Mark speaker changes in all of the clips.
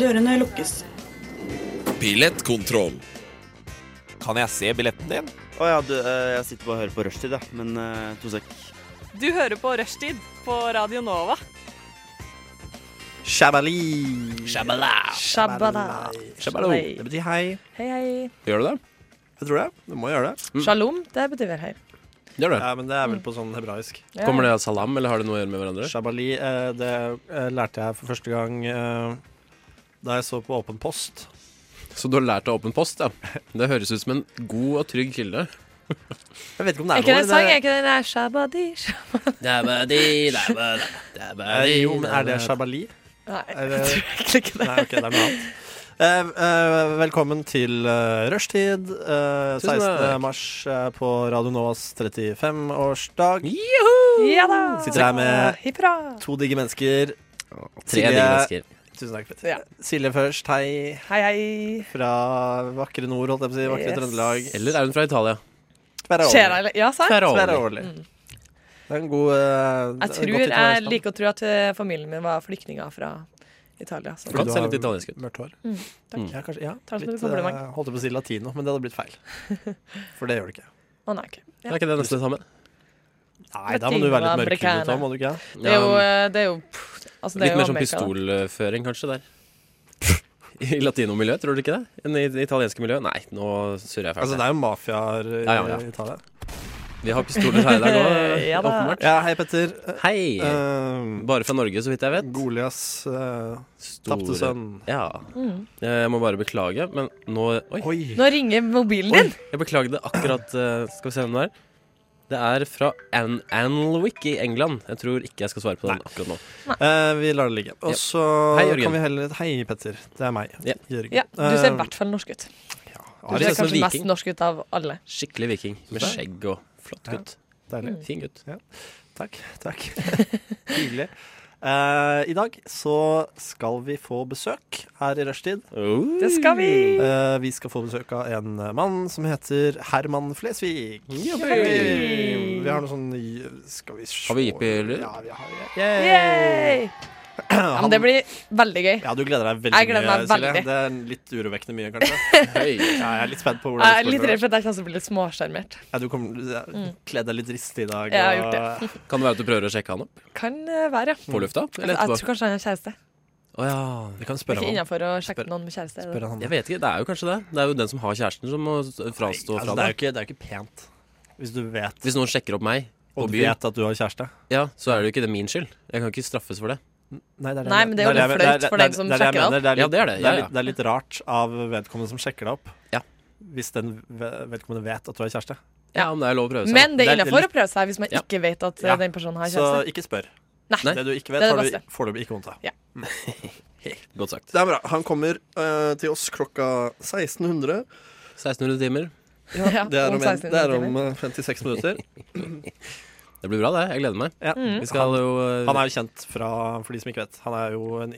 Speaker 1: Dørene lukkes.
Speaker 2: Billettkontroll.
Speaker 3: Kan jeg se billetten din?
Speaker 4: Å ja, du, eh, jeg sitter bare og hører på rushtid, jeg. Men eh, to sek.
Speaker 5: Du hører på Rushtid på Radio Nova.
Speaker 4: Shabali!
Speaker 6: Shabada.
Speaker 3: Shabalo.
Speaker 6: Nei.
Speaker 3: Det betyr hei.
Speaker 6: Hei, hei.
Speaker 3: Gjør du det? Jeg tror det. Du må gjøre det.
Speaker 6: Shalom, det betyr vel hei.
Speaker 3: Gjør Mm, det.
Speaker 7: Ja, men det er vel på sånn hebraisk.
Speaker 6: Ja.
Speaker 3: Kommer det av salam, eller har det noe å gjøre med hverandre?
Speaker 7: Shabali, eh, det eh, lærte jeg for første gang eh, da jeg så på Åpen post.
Speaker 3: Så du har lært av Åpen post, ja. Det høres ut som en god og trygg kilde.
Speaker 7: Jeg vet ikke om det
Speaker 6: Er
Speaker 7: er
Speaker 6: ikke det
Speaker 7: noe
Speaker 6: en sang? Er ikke det den der Shabadi? shab-
Speaker 7: Eh, jo, men er det shabali?
Speaker 6: Nei, jeg
Speaker 7: Er
Speaker 6: tror
Speaker 7: det-
Speaker 6: egentlig ikke det.
Speaker 7: Nei, ok, det er noe annet. Eh, eh, velkommen til eh, rushtid. Eh,
Speaker 3: Tusen
Speaker 7: 16.
Speaker 3: takk.
Speaker 7: mars eh, på Radio Novas 35-årsdag.
Speaker 3: Mm.
Speaker 6: Ja da.
Speaker 7: Sitter her med-
Speaker 6: Hipp hurra.
Speaker 7: To digge mennesker.
Speaker 4: Tre digge mennesker.
Speaker 7: Tusen takk. Petter.
Speaker 6: Ja.
Speaker 7: Silje først, hei.
Speaker 6: Hei, hei.
Speaker 7: Fra vakre nord, holdt jeg på å si. Vakre
Speaker 6: Yes.
Speaker 7: Trøndelag.
Speaker 3: Eller er hun fra Italia?
Speaker 6: Skjer det? Ja, sant?
Speaker 7: Tverrårlig. Det er en god eh,
Speaker 6: Mm. Jeg
Speaker 7: det er
Speaker 6: tror,
Speaker 7: godt
Speaker 6: jeg
Speaker 7: italiensk navn.
Speaker 6: liker å tro at eh, familien min var flyktninger fra Italia. Så.
Speaker 3: Kan
Speaker 7: du
Speaker 3: se
Speaker 7: har
Speaker 3: litt italiensk ut. Mm.
Speaker 7: Mørkt hår.
Speaker 6: Mm, takk.
Speaker 7: Ja, kanskje, ja,
Speaker 6: Tar det som
Speaker 7: litt,
Speaker 6: et kompliment.
Speaker 7: eh, holdt jeg på å si latino, men det hadde blitt feil. For det gjør du ikke.
Speaker 6: Å nei, ok.
Speaker 3: Er ikke det nesten det samme?
Speaker 7: Nei, da må du være litt mørkere,
Speaker 6: Latinoamerikaner.
Speaker 7: da, må du ikke?
Speaker 6: Det er jo, eh, det er jo pff, altså, det er
Speaker 3: litt
Speaker 6: jo
Speaker 3: mer sånn
Speaker 6: Amerika, da.
Speaker 3: pistolføring, kanskje, der. I latinomiljøet, tror du ikke det? Enn i det italienske miljøet? Nei, nå surrer jeg fælt.
Speaker 7: Altså, det er jo mafiaer eh, i
Speaker 3: Ja, ja, ja.
Speaker 7: Italia.
Speaker 3: Vi har pistoler her i dag òg,
Speaker 6: Ja da.
Speaker 3: åpenbart.
Speaker 7: Ja, hei, Petter.
Speaker 3: Hei!
Speaker 7: Uh,
Speaker 3: Bare fra Norge, så vidt jeg vet.
Speaker 7: Golias uh, tapte sønn.
Speaker 3: Ja.
Speaker 6: Mm.
Speaker 3: Jeg må bare beklage, men nå Oi.
Speaker 7: Oi.
Speaker 6: Nå ringer mobilen
Speaker 3: Oi,
Speaker 6: din.
Speaker 3: jeg beklager det akkurat eh, Skal vi se hvem det er. Det er fra An Anwick i England. Jeg tror ikke jeg skal svare på den akkurat nå.
Speaker 7: Eh, vi lar det ligge. Og
Speaker 3: Ja.
Speaker 7: så
Speaker 3: Hei, Jørgen.
Speaker 7: kan vi heller Hei, Petter. Det er meg.
Speaker 3: Ja.
Speaker 7: Jørgen.
Speaker 6: Ja, du ser i
Speaker 7: Eh, sånn
Speaker 6: hvert fall norsk ut. Du
Speaker 3: det
Speaker 6: ser
Speaker 3: ser ut som en
Speaker 6: kanskje mest
Speaker 3: viking.
Speaker 6: norsk ut av alle.
Speaker 3: Skikkelig viking med
Speaker 7: Super.
Speaker 3: skjegg og flott
Speaker 7: Ja.
Speaker 3: gutt.
Speaker 7: Deilig.
Speaker 6: Mm.
Speaker 3: Fin gutt.
Speaker 7: Takk. takk. Hyggelig. Eh, I dag så skal vi få besøk her i rushtid.
Speaker 6: Det skal vi.
Speaker 7: Eh, vi skal få besøk av en mann som heter Herman Flesvig. Hei. Vi har noe sånn Skal vi se
Speaker 3: Har vi jippi-lyd?
Speaker 7: Ja, vi har det.
Speaker 6: Yay. Ja, men det blir veldig gøy.
Speaker 7: Ja, du gleder deg veldig
Speaker 6: Jeg gleder meg
Speaker 7: mye, Silje.
Speaker 6: veldig.
Speaker 7: Det er litt urovekkende mye, kanskje.
Speaker 3: Hei.
Speaker 7: Ja, jeg er litt spent på hvordan
Speaker 6: Jeg er
Speaker 7: du
Speaker 6: litt
Speaker 7: spiller.
Speaker 6: redd for at jeg kanskje blir litt småsjarmert.
Speaker 7: Ja, du kom, ja, kledde deg litt ristig i dag.
Speaker 6: Jeg har gjort
Speaker 7: det.
Speaker 3: Kan det være at du prøver å sjekke han opp
Speaker 6: Kan eh, være, ja.
Speaker 3: på lufta? Eller
Speaker 6: Jeg
Speaker 3: etterpå?
Speaker 6: tror kanskje han har kjæreste.
Speaker 3: Å ja.
Speaker 7: Vi
Speaker 6: Det
Speaker 7: kan
Speaker 6: er
Speaker 7: spørre
Speaker 6: Ikke
Speaker 7: ham.
Speaker 6: innafor å sjekke noen med kjæreste. er det?
Speaker 7: Spørre ham.
Speaker 3: Jeg vet ikke. Det er jo kanskje det. Det er jo den som har kjæresten, som må s- frastå fra
Speaker 7: altså, det, er
Speaker 3: det.
Speaker 7: jo ikke, det er jo ikke pent hvis du vet
Speaker 3: Hvis noen sjekker opp meg på
Speaker 7: Og du
Speaker 3: byen,
Speaker 7: vet at du har kjæreste.
Speaker 3: ja, så er det jo ikke det min skyld. Jeg kan ikke straffes for det.
Speaker 7: Nei, det
Speaker 6: Nei, men det er jo litt flaut for den som sjekker
Speaker 7: opp. Det er,
Speaker 3: Ja,
Speaker 7: litt,
Speaker 3: det er det. Ja, ja.
Speaker 7: litt, det er litt rart av vedkommende som sjekker deg opp.
Speaker 3: Ja.
Speaker 7: Hvis den ve- vedkommende vet at du har kjæreste.
Speaker 3: Ja, men det er lov å prøve seg.
Speaker 6: Men det er
Speaker 7: Det er
Speaker 6: innafor å
Speaker 7: litt-
Speaker 6: prøve seg hvis man
Speaker 3: Ja.
Speaker 6: ikke vet at eh,
Speaker 7: Ja.
Speaker 6: den personen har
Speaker 7: Så
Speaker 6: kjæreste.
Speaker 7: ikke spør.
Speaker 6: Nei.
Speaker 7: Det du ikke
Speaker 6: Det
Speaker 7: vet,
Speaker 6: er det
Speaker 7: har
Speaker 6: beste.
Speaker 7: du foreløpig ikke vondt av.
Speaker 3: Godt sagt.
Speaker 7: Det er bra. Han kommer eh, til oss klokka 1600.
Speaker 3: 1600 timer.
Speaker 6: Ja, om 16 timer.
Speaker 7: 56 eh, minutter.
Speaker 3: Det blir bra, det. Jeg gleder meg.
Speaker 7: Ja.
Speaker 6: Mm.
Speaker 3: Vi skal jo eh,
Speaker 7: Han er jo kjent fra, for de som ikke vet, han er jo en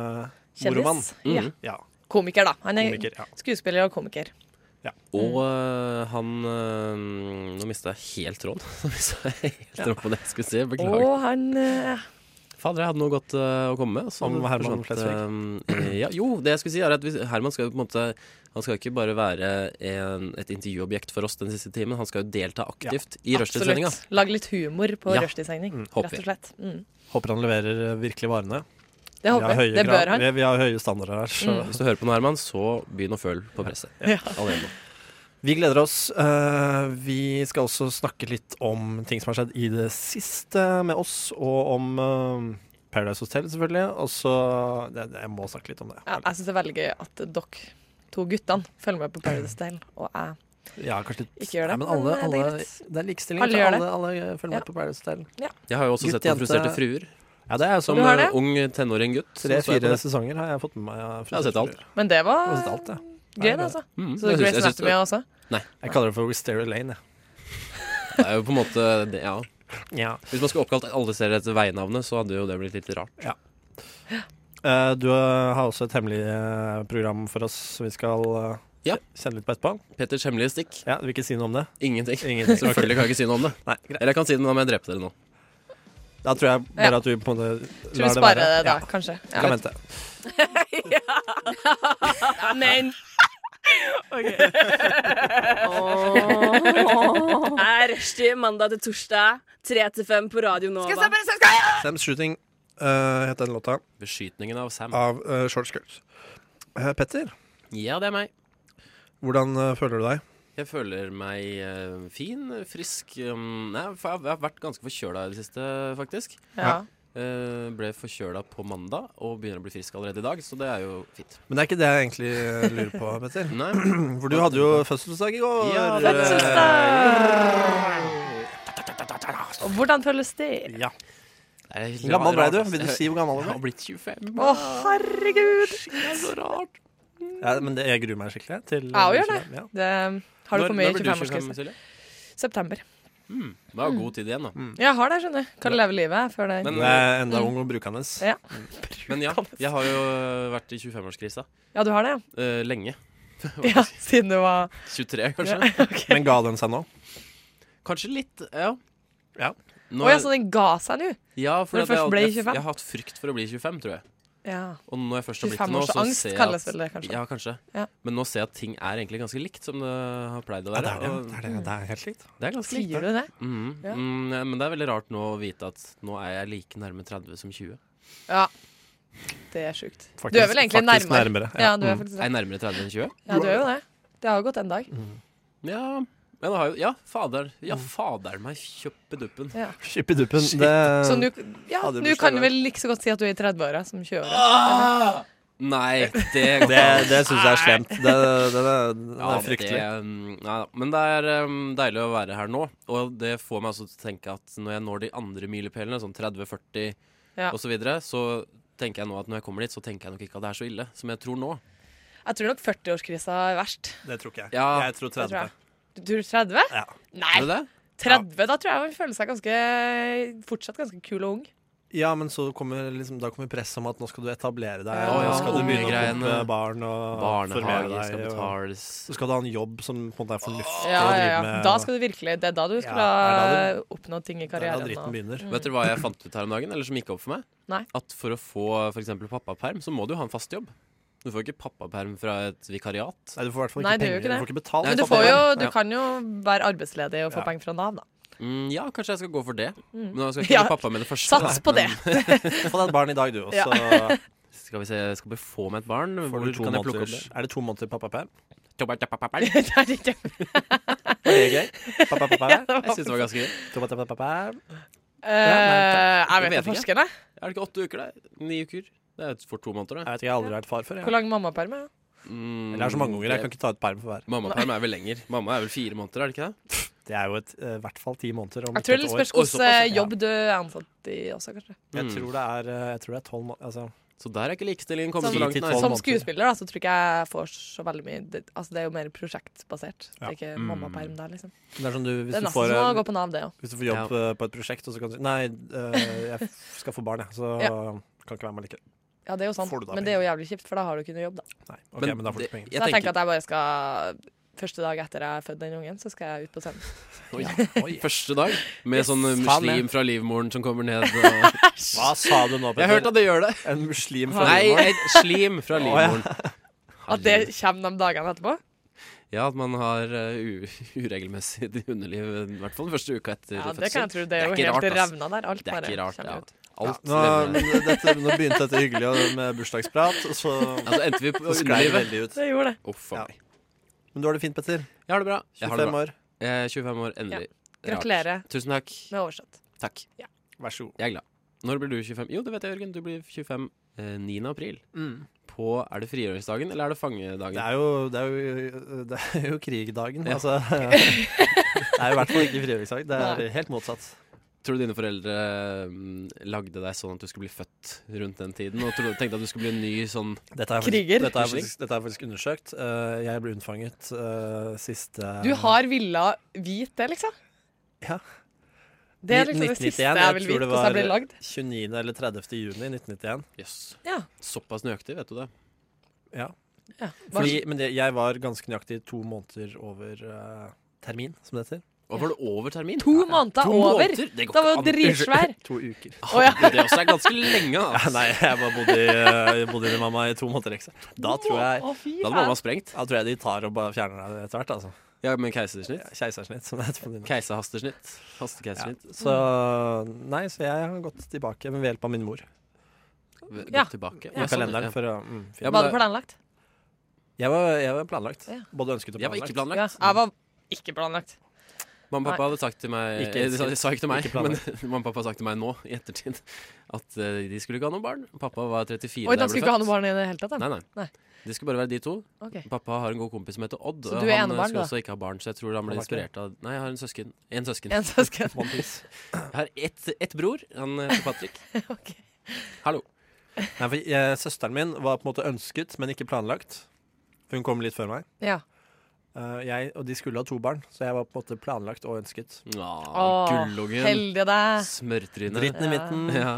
Speaker 7: Instagram-moromann.
Speaker 6: Kjendis. Ja.
Speaker 3: Mhm.
Speaker 7: ja,
Speaker 6: Komiker, da. Han er
Speaker 7: Mm. komiker. Ja.
Speaker 6: skuespiller og komiker.
Speaker 3: Og øh, han øh, Nå mista jeg helt tråden. Nå mistet jeg helt tråden på det jeg skulle si. Beklager.
Speaker 6: Og han eh,
Speaker 3: Fader, jeg hadde noe godt øh, å komme med. så
Speaker 7: Om Herman
Speaker 3: forsvant, øh, ja, jo, det jeg skulle si er at hvis, Herman skal jo på en måte Han skal jo ikke bare være en, et intervjuobjekt for oss den siste timen. Han skal jo delta aktivt i rushtidssendinga.
Speaker 6: absolutt lag litt humor på
Speaker 3: Ja.
Speaker 6: rushtidssending,
Speaker 3: håper
Speaker 6: rett
Speaker 3: vi.
Speaker 6: og slett. Mm.
Speaker 7: Håper han leverer eh, virkelig varene.
Speaker 6: Det
Speaker 7: Vi har
Speaker 6: håper jeg.
Speaker 7: høye
Speaker 6: Det
Speaker 7: grad-
Speaker 6: bør han.
Speaker 7: Vi, vi har høye standarder
Speaker 6: Mm.
Speaker 7: her. Så.
Speaker 3: Hvis du hører på noe, Herman, så begynn å føle på presset. Allerede nå.
Speaker 7: Vi gleder oss. Eh, vi skal også snakke litt om ting som har skjedd i det siste med oss, og om eh, Paradise Hotel, selvfølgelig. Og så det, det, Jeg må snakke litt om det.
Speaker 6: Ja, jeg syns det er veldig gøy at dere to guttene følger med på Paradise Hotel, og jeg
Speaker 7: Ja, kanskje litt
Speaker 6: ikke gjør det.
Speaker 7: Nei, men alle,
Speaker 6: det er
Speaker 7: alle,
Speaker 6: greit.
Speaker 7: det er likestilling.
Speaker 6: Alle
Speaker 7: Alle,
Speaker 6: gjør det.
Speaker 7: alle, alle
Speaker 6: Ja.
Speaker 7: følger med på Paradise Hotel.
Speaker 3: Jeg har jo også
Speaker 7: Gutt,
Speaker 3: sett på
Speaker 7: jente.
Speaker 3: Frustrerte fruer.
Speaker 7: Ja, det er
Speaker 3: Som
Speaker 7: som
Speaker 6: Du har det?
Speaker 3: øh, ung tenåring gutt. så så jeg på
Speaker 7: tre-fire
Speaker 3: det.
Speaker 7: sesonger har jeg fått med meg. ja,
Speaker 3: Jeg har sett alt.
Speaker 6: Men det var
Speaker 7: Jeg har sett alt, ja.
Speaker 6: gøy,
Speaker 7: Nei,
Speaker 6: det,
Speaker 7: det-
Speaker 6: altså. Så
Speaker 3: Mm, jeg synes-
Speaker 6: Grace
Speaker 3: jeg synes-
Speaker 6: Anatomy også?
Speaker 7: Jeg kaller det for Wisteria Lane. jeg.
Speaker 3: Det er jo på en måte det, ja.
Speaker 7: Ja.
Speaker 3: Hvis man skulle oppkalt alle serier etter veinavnet, så hadde jo det blitt litt rart.
Speaker 7: Eh, du eh, har også et hemmelig eh, program for oss som vi skal eh,
Speaker 3: Ja.
Speaker 7: kjenne litt på etterpå.
Speaker 3: Petters hemmelige stikk?
Speaker 7: Ja, du vil ikke si noe om det?
Speaker 3: Ingenting.
Speaker 7: Ingenting.
Speaker 3: Selvfølgelig kan jeg ikke si noe om det.
Speaker 7: Nei, greit.
Speaker 3: Eller jeg kan si det, men da må jeg drepe dere nå.
Speaker 7: Da tror jeg bare at du på en måte
Speaker 6: Tror vi
Speaker 7: lar det
Speaker 6: sparer
Speaker 7: være.
Speaker 6: det da,
Speaker 7: Ja,
Speaker 6: kanskje. Ja.
Speaker 7: kan vente.
Speaker 6: Men
Speaker 1: Åh. Er rushtid mandag til torsdag, 3 til 5 på Radio Nova.
Speaker 7: Sam's Shooting eh, het den låta,
Speaker 3: Beskytningen av Sam.
Speaker 7: av eh, Short Skirts. Eh, Petter,
Speaker 3: Ja, det er meg.
Speaker 7: hvordan eh, føler du deg?
Speaker 3: Jeg føler meg eh, fin, frisk um, Nei, for jeg jeg har vært ganske forkjøla i det siste, faktisk.
Speaker 6: ja.
Speaker 3: Eh, ble forkjøla på mandag og begynner å bli frisk allerede i dag, så det er jo fint.
Speaker 7: Men det er ikke det jeg egentlig eh, lurer på, Petter.
Speaker 3: Nei,
Speaker 7: For du hadde jo fødselsdag i går.
Speaker 3: Ja,
Speaker 6: Og hvordan føles det?
Speaker 7: Ja.
Speaker 3: det er
Speaker 7: Hvor gammel ble
Speaker 3: rart,
Speaker 7: du?
Speaker 3: ass.
Speaker 7: Vil du si hvor gammel
Speaker 3: Jeg
Speaker 7: du
Speaker 3: har
Speaker 7: ble?
Speaker 3: blitt 25.
Speaker 6: Å, herregud!
Speaker 3: Det er så rart.
Speaker 7: Ja, men det, jeg gruer meg skikkelig til
Speaker 6: Ja, gjør
Speaker 7: det. Ja.
Speaker 6: Det, har du for mye
Speaker 3: Når- når blir du 25,
Speaker 6: 25-årsgrense?
Speaker 3: Silje?
Speaker 6: September.
Speaker 3: Mm, det er jo god tid igjen, da.
Speaker 6: Jeg har det, skjønner du. Kan leve livet før det
Speaker 3: Mm. Men-
Speaker 7: Hun
Speaker 6: eh,
Speaker 7: er
Speaker 6: mm.
Speaker 7: enda ung og brukende.
Speaker 6: Ja.
Speaker 3: Men ja, jeg har jo vært i 25-årskrisa
Speaker 6: Ja, du har det, ja?
Speaker 3: eh, lenge.
Speaker 6: ja siden du var
Speaker 3: 23,
Speaker 6: ja,
Speaker 3: kanskje.
Speaker 6: ok.
Speaker 7: Men ga den seg nå?
Speaker 3: Kanskje litt, ja.
Speaker 7: Ja.
Speaker 3: Nå,
Speaker 6: Å ja, så den ga seg nå?
Speaker 3: ja for
Speaker 6: når du
Speaker 3: at jeg,
Speaker 6: først ble
Speaker 3: alltid-
Speaker 6: 25.
Speaker 3: jeg har hatt frykt for å bli 25, tror jeg.
Speaker 6: Ja.
Speaker 3: Og når jeg først har blitt det nå, så
Speaker 6: 25-årsangst
Speaker 3: ser jeg
Speaker 6: kalles
Speaker 3: at
Speaker 6: vel det, kanskje.
Speaker 3: Ja, kanskje.
Speaker 6: Ja.
Speaker 3: Men nå ser jeg at ting er egentlig ganske likt som det har pleid å
Speaker 7: Ja,
Speaker 3: være.
Speaker 7: det er det.
Speaker 3: og
Speaker 7: Det er, det. Det er helt likt.
Speaker 3: det er ganske likt.
Speaker 6: Sier du det?
Speaker 3: Mhm.
Speaker 6: Ja.
Speaker 3: Mm, ja, men det er veldig rart nå å vite at nå er jeg like nærme 30 som 20.
Speaker 6: Ja. Det er sjukt.
Speaker 7: Faktisk-
Speaker 6: du er vel egentlig
Speaker 7: faktisk
Speaker 6: nærmere.
Speaker 7: nærmere, ja.
Speaker 6: Ja, du er
Speaker 3: Mm.
Speaker 6: faktisk
Speaker 3: Er
Speaker 6: det.
Speaker 3: jeg nærmere 30 enn 20?
Speaker 6: Ja, du er jo det. Det har jo gått en dag.
Speaker 3: Ja, men det har jo Ja, fader. Ja, fader meg kjøppeduppen.
Speaker 6: Mm. Ja.
Speaker 7: Chip i duppen.
Speaker 3: Shit.
Speaker 7: Det,
Speaker 6: Så nå ja,
Speaker 7: Ja, det
Speaker 6: nå
Speaker 7: blir
Speaker 6: kan du
Speaker 7: slag.
Speaker 6: vel like så godt si at du er i 30-åra som 20-åra.
Speaker 3: Ah! Nei, det går ikke
Speaker 7: det,
Speaker 3: an.
Speaker 7: det syns jeg er slemt. Det, det, det, det
Speaker 3: Ja,
Speaker 7: er fryktelig.
Speaker 3: Det, mm, nei, da. men det er mm, deilig å være her nå. Og det får meg altså til å tenke at når jeg når de andre milepælene, sånn 30, 40
Speaker 6: Ja.
Speaker 3: osv., så, videre, så tenker jeg nå at når jeg kommer dit, så tenker jeg nok ikke at det er så ille som jeg tror nå.
Speaker 6: Jeg tror nok 40-årskrisa er verst.
Speaker 7: Det tror ikke jeg.
Speaker 3: Ja.
Speaker 7: Jeg tror
Speaker 6: Det tror
Speaker 7: 30.
Speaker 6: jeg. Du tror 30?
Speaker 7: Ja.
Speaker 6: Nei,
Speaker 3: Er det det?
Speaker 6: 30, da tror jeg man føler seg ganske fortsatt ganske kul og ung.
Speaker 7: Ja, men så kommer liksom, da kommer presset om at nå skal du etablere deg,
Speaker 6: Ja.
Speaker 7: og
Speaker 6: Å,
Speaker 7: nå
Speaker 6: ja,
Speaker 7: skal du begynne å
Speaker 3: ungegreiene.
Speaker 7: pumpe barn og formere
Speaker 3: Barnehage skal
Speaker 7: deg. Og,
Speaker 3: betales.
Speaker 7: så skal du ha en jobb som på en måte er fornuftig
Speaker 6: Ja, ja,
Speaker 7: å drive
Speaker 6: ja.
Speaker 7: med.
Speaker 6: Da
Speaker 7: og-
Speaker 6: skal du virkelig, Det er da du
Speaker 7: Ja,
Speaker 6: skulle
Speaker 7: er
Speaker 6: ha oppnådd ting i
Speaker 7: det er da
Speaker 6: karrieren.
Speaker 7: dritten
Speaker 6: og-
Speaker 7: begynner.
Speaker 3: Vet dere hva jeg fant ut her om dagen, eller som gikk opp for meg?
Speaker 6: Mm. Nei.
Speaker 3: At for å få f.eks. pappaperm, så må du ha en fast jobb. Du får ikke pappaperm fra et vikariat.
Speaker 7: Nei, du får i hvert fall
Speaker 6: Nei,
Speaker 7: ikke
Speaker 6: det gjør
Speaker 7: penger.
Speaker 6: ikke det.
Speaker 7: Du får ikke betalt.
Speaker 3: Nei,
Speaker 6: Men du,
Speaker 3: det
Speaker 6: får jo, du
Speaker 3: Ja.
Speaker 6: kan jo være arbeidsledig og få
Speaker 7: Ja.
Speaker 6: penger fra Nav, da.
Speaker 3: Mm, ja, kanskje jeg skal gå for det. Men jeg skal ikke
Speaker 6: Mm. Ja.
Speaker 3: bli pappa med det første.
Speaker 6: Sats på
Speaker 3: men-
Speaker 6: det!
Speaker 7: Få deg et barn i dag, du. Og
Speaker 6: Ja.
Speaker 7: så
Speaker 3: Skal vi se, jeg skal bare få meg et barn.
Speaker 7: får
Speaker 3: Hvor
Speaker 7: du to
Speaker 3: kan jeg plukke opp
Speaker 7: måneder.
Speaker 3: det?
Speaker 7: Er det to måneder pappaperm?
Speaker 3: Jeg
Speaker 6: Det er ikke-
Speaker 7: Var det gøy? Pappaperm?
Speaker 3: syns det var ganske gøy.
Speaker 7: Pappaperm?
Speaker 6: Eh, jeg vet
Speaker 3: Jeg vet
Speaker 6: ikke
Speaker 3: ikke.
Speaker 6: forskerne.
Speaker 3: Er det ikke åtte uker, det? Ni uker? Det er for to måneder, det.
Speaker 7: Jeg vet ikke, jeg har aldri vært far før.
Speaker 6: Hvor
Speaker 7: Jeg.
Speaker 6: lang mammaperm er det?
Speaker 3: Mm,
Speaker 7: Eller jeg har så mange unger, jeg kan
Speaker 3: det-
Speaker 7: ikke ta et perm for hver.
Speaker 3: Mammaperm er vel lenger. Mamma er vel fire måneder, er det ikke det?
Speaker 7: Det er jo et, eh, i hvert fall ti måneder. Om
Speaker 6: Jeg tror
Speaker 7: ikke
Speaker 6: det
Speaker 7: et
Speaker 6: spørs
Speaker 3: Oi, såpass, ja.
Speaker 6: hvilken jobb du er ansatt i også, kanskje.
Speaker 7: år. Jeg
Speaker 3: Mm.
Speaker 7: tror det er eh, Jeg tror det er tolv måneder. Altså,
Speaker 3: Så der er ikke likestillingen kommet
Speaker 6: Sånn.
Speaker 3: så
Speaker 7: Ti
Speaker 3: langt.
Speaker 7: til
Speaker 3: nei.
Speaker 7: tolv
Speaker 6: Som
Speaker 7: måneder.
Speaker 6: skuespiller da, så tror ikke jeg får så veldig mye Det, altså, det er jo mer prosjektbasert. Det
Speaker 7: Ja.
Speaker 6: er ikke
Speaker 3: Mm.
Speaker 6: mammaperm der, liksom.
Speaker 7: det er sånn du, hvis,
Speaker 6: Det er
Speaker 7: du
Speaker 6: nesten
Speaker 7: får,
Speaker 6: som å
Speaker 7: eh,
Speaker 6: gå på Nav, det òg.
Speaker 7: hvis du får jobb eh, på et prosjekt, og så kan du si Nei, eh, jeg f- skal få barn, jeg. Så kan ikke være med likevel.
Speaker 6: Ja, det er jo sant,
Speaker 7: Får du da
Speaker 6: men det er jo jævlig kjipt, for da har du ikke noe jobb, da.
Speaker 7: Nei, ok, men, da får du
Speaker 3: det-
Speaker 7: ikke
Speaker 6: Så
Speaker 7: penger.
Speaker 6: jeg tenker at jeg bare skal Første dag etter jeg har født den ungen, så skal jeg ut på scenen.
Speaker 3: Oi, Første dag med sånn eh,
Speaker 7: Faen, jeg.
Speaker 3: slim fra livmoren som kommer ned. Og...
Speaker 7: Hva sa du nå,
Speaker 3: Jeg har hørt at det gjør det.
Speaker 7: En muslim fra
Speaker 3: Nei,
Speaker 7: Rosenborg?
Speaker 3: et slim fra livmoren.
Speaker 6: At det kommer de dagene etterpå?
Speaker 3: Ja, at man har eh, u uregelmessig underliv, i hvert fall den første uka etter
Speaker 6: Ja, det kan
Speaker 3: fødsel.
Speaker 6: jeg tro. Det er jo
Speaker 3: Det er ikke
Speaker 6: helt
Speaker 3: rart, ass.
Speaker 6: revna der. Alt
Speaker 3: Det er
Speaker 6: bare
Speaker 3: ikke rart,
Speaker 6: kommer
Speaker 3: ja.
Speaker 6: ut.
Speaker 3: Alt
Speaker 7: Nå,
Speaker 3: levner.
Speaker 7: men dette, nå begynte dette hyggelige og med bursdagsprat, og så,
Speaker 3: Altså endte vi på
Speaker 7: så sklei det
Speaker 3: underlivet.
Speaker 7: veldig ut.
Speaker 6: Det gjorde det.
Speaker 3: Å, faen.
Speaker 7: Ja. Men du har det fint, Petter.
Speaker 3: Jeg har det bra. Jeg har det
Speaker 7: 25
Speaker 3: bra.
Speaker 7: år.
Speaker 3: Jeg er 25 år, endelig.
Speaker 6: Gratulerer
Speaker 3: Rart. Tusen takk.
Speaker 6: med oversatt.
Speaker 3: Takk.
Speaker 7: Vær så god.
Speaker 3: Jeg er glad. Når blir du 25? Jo, det vet jeg, Jørgen. Du blir 25 eh, 9. april. På Er det frigjøringsdagen, eller er det
Speaker 7: Mm. Det
Speaker 3: fangedagen?
Speaker 7: er jo, det er jo, det er jo krigdagen.
Speaker 3: Ja.
Speaker 7: Altså, det er i hvert fall ikke frigjøringsdag. Det er helt motsatt.
Speaker 3: Tror du dine foreldre mm, lagde deg sånn at du skulle bli født rundt den tiden? Og trodde, tenkte at du skulle bli en ny sånn
Speaker 7: Dette er
Speaker 6: Kriger.
Speaker 7: faktisk, dette er faktisk, dette er faktisk undersøkt. Eh, jeg ble unnfanget eh, siste
Speaker 6: Du har villa hvit, det, liksom?
Speaker 7: Ja.
Speaker 6: Det er liksom det siste
Speaker 7: 1991,
Speaker 6: jeg vil
Speaker 7: tror
Speaker 6: vite
Speaker 7: det
Speaker 6: hvordan jeg ble
Speaker 7: var
Speaker 6: lagd.
Speaker 7: 29. eller 30. juni 1991.
Speaker 3: Jøss.
Speaker 6: Ja.
Speaker 3: Såpass nøyaktig, vet du det.
Speaker 7: Ja.
Speaker 6: Ja. Hva-
Speaker 7: Fordi, men det, jeg var ganske nøyaktig to måneder over eh, termin, som det heter.
Speaker 3: Og var det over termin?
Speaker 6: To måneder
Speaker 3: To
Speaker 6: over.
Speaker 3: måneder? Det går
Speaker 6: Da var jo
Speaker 3: ikke an.
Speaker 6: dritsvær.
Speaker 7: To uker.
Speaker 6: Å ja.
Speaker 3: Det også er ganske lenge. Altså.
Speaker 7: Nei, jeg bare bodde i, eh, bodde i mamma i to måneder ekstra. Da tror jeg
Speaker 6: Å, fy
Speaker 3: Da hadde
Speaker 6: faen.
Speaker 3: mamma sprengt.
Speaker 7: da tror jeg de tar og bare fjerner deg etter hvert. Altså.
Speaker 3: Ja, med keisersnitt.
Speaker 7: Keisersnitt, som det heter på din.
Speaker 3: Keiserhastesnitt. Hastekeisersnitt.
Speaker 7: Så nei, så jeg har gått tilbake ved hjelp av min mor.
Speaker 3: Gått
Speaker 6: Ja.
Speaker 3: tilbake.
Speaker 7: I
Speaker 3: Ja, sånn,
Speaker 7: kalenderen
Speaker 3: ja.
Speaker 7: for å
Speaker 3: Ja,
Speaker 7: mm, finne.
Speaker 3: men
Speaker 6: Var det planlagt?
Speaker 7: jeg, var, jeg var planlagt.
Speaker 6: Ja.
Speaker 7: Både ønsket og
Speaker 3: Jeg var ikke
Speaker 7: planlagt.
Speaker 6: Ja,
Speaker 3: planlagt.
Speaker 6: jeg var ikke planlagt.
Speaker 3: Mamma og pappa hadde sagt til meg
Speaker 7: Ikke
Speaker 3: eh, De sa,
Speaker 7: ønsket.
Speaker 3: de sa ikke til meg,
Speaker 7: Ikke
Speaker 3: men mamma og pappa har sagt til meg nå i ettertid at eh, de skulle ikke ha noen barn. Pappa var 34
Speaker 6: Oi, da
Speaker 3: da jeg
Speaker 6: skulle
Speaker 3: ble
Speaker 6: ikke ha noe
Speaker 3: født.
Speaker 6: barn i det hele tatt? da?
Speaker 3: Nei, nei.
Speaker 6: Nei.
Speaker 3: Det skulle bare være de to.
Speaker 6: Ok.
Speaker 3: Pappa har en god kompis som heter Odd.
Speaker 6: Så
Speaker 3: og
Speaker 6: du er
Speaker 3: han eh,
Speaker 6: enebarn,
Speaker 3: skulle
Speaker 6: da?
Speaker 3: også ikke ha barn, så jeg tror han ble
Speaker 7: Han var ikke
Speaker 3: inspirert av Nei, jeg har en søsken. En søsken.
Speaker 6: En søsken.
Speaker 7: One Piece.
Speaker 3: Jeg har ett ett bror. Han heter Patrick.
Speaker 6: Ok.
Speaker 3: Hallo.
Speaker 7: Nei, for jeg, Søsteren min var på en måte ønsket, men ikke planlagt. For hun kom litt før meg.
Speaker 6: Ja.
Speaker 7: Eh, jeg, og de skulle ha to barn, så jeg var på en måte planlagt og ønsket.
Speaker 3: Å,
Speaker 6: Åh,
Speaker 3: gullungen.
Speaker 6: heldige deg.
Speaker 3: Smørtryne.
Speaker 7: Dritten i
Speaker 6: Ja.
Speaker 7: midten.
Speaker 3: Ja.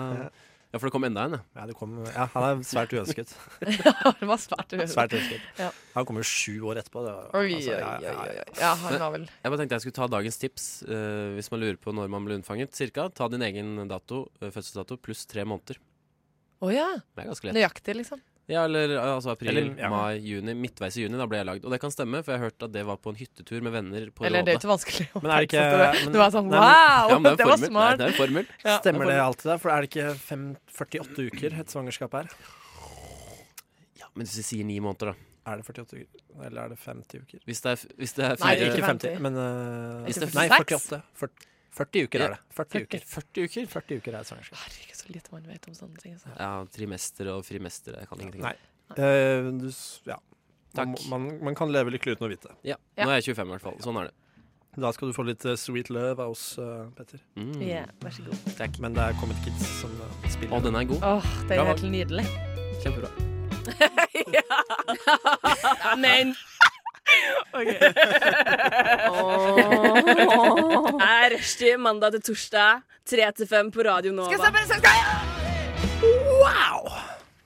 Speaker 3: ja, for det kom enda en, ja.
Speaker 7: Ja, det kom, ja, han er svært uønsket.
Speaker 6: Det var svært uhørt.
Speaker 7: Svært ønsket.
Speaker 6: Ja.
Speaker 7: Han kom jo sju år etterpå. Det, var-
Speaker 6: Oi,
Speaker 7: altså,
Speaker 6: oi,
Speaker 7: ja,
Speaker 6: oi,
Speaker 7: ja,
Speaker 6: oi.
Speaker 7: ja.
Speaker 6: oi. Ja, han var vel
Speaker 3: Jeg bare tenkte jeg skulle ta dagens tips eh, hvis man lurer på når man ble unnfanget. Cirka. Ta din egen dato, eh, fødselsdato pluss tre måneder.
Speaker 6: Å ja.
Speaker 3: Det er ganske lett.
Speaker 6: Nøyaktig, liksom.
Speaker 3: Ja, eller eh, altså april,
Speaker 7: Eller, ja.
Speaker 3: mai, juni. Midtveis i juni, da ble jeg lagd. Og det kan stemme, for jeg har hørt at det var på en hyttetur med venner på
Speaker 6: Eller det er
Speaker 3: Råde.
Speaker 6: jo ikke vanskelig å
Speaker 7: Men er det ikke-
Speaker 6: verdsette det.
Speaker 7: men-
Speaker 6: Du var sånn
Speaker 7: Nei, men-
Speaker 6: wow,
Speaker 3: Ja, men
Speaker 6: det
Speaker 3: er en
Speaker 6: var
Speaker 3: formel.
Speaker 6: smart.
Speaker 3: Det er en formel.
Speaker 7: Stemmer det alltid, da? For er det ikke fem- 48 uker et svangerskap er?
Speaker 3: Ja, men hvis vi sier ni måneder, da.
Speaker 7: Er det 48 uker, eller er det 50 uker?
Speaker 3: Hvis det er, f- hvis det er
Speaker 6: Nei,
Speaker 3: fire
Speaker 6: ikke
Speaker 7: ikke 50,
Speaker 6: 50,
Speaker 7: men eh,
Speaker 3: Hvis det er
Speaker 7: Nei,
Speaker 6: 46.
Speaker 7: 48. Fyrt- 40 uker
Speaker 3: Ja.
Speaker 7: er det. 40 uker.
Speaker 3: 40 uker.
Speaker 7: 40 uker er et svangerskap.
Speaker 6: Herregud, så lite man vet om sånne ting. Altså.
Speaker 3: Ja, trimester og frimester. Jeg kan ingenting. om.
Speaker 7: Nei. Eh, du, s- ja. Man,
Speaker 3: Takk.
Speaker 7: man, man kan leve lykkelig uten å vite.
Speaker 3: Ja.
Speaker 6: Ja.
Speaker 3: Nå er jeg 25, i hvert fall. Sånn er det.
Speaker 7: Da skal du få litt eh, sweet love av oss, eh, Petter.
Speaker 3: Mm.
Speaker 6: Ja, vær så god.
Speaker 7: Men det er kommet kids som eh, spiller.
Speaker 3: Og den er god.
Speaker 6: Åh, det
Speaker 3: Bra
Speaker 6: er
Speaker 3: valg.
Speaker 6: helt nydelig.
Speaker 3: Kjempebra.
Speaker 1: Men er rushtid mandag til torsdag, 3 til 5 på Radio Nova.
Speaker 7: Wow!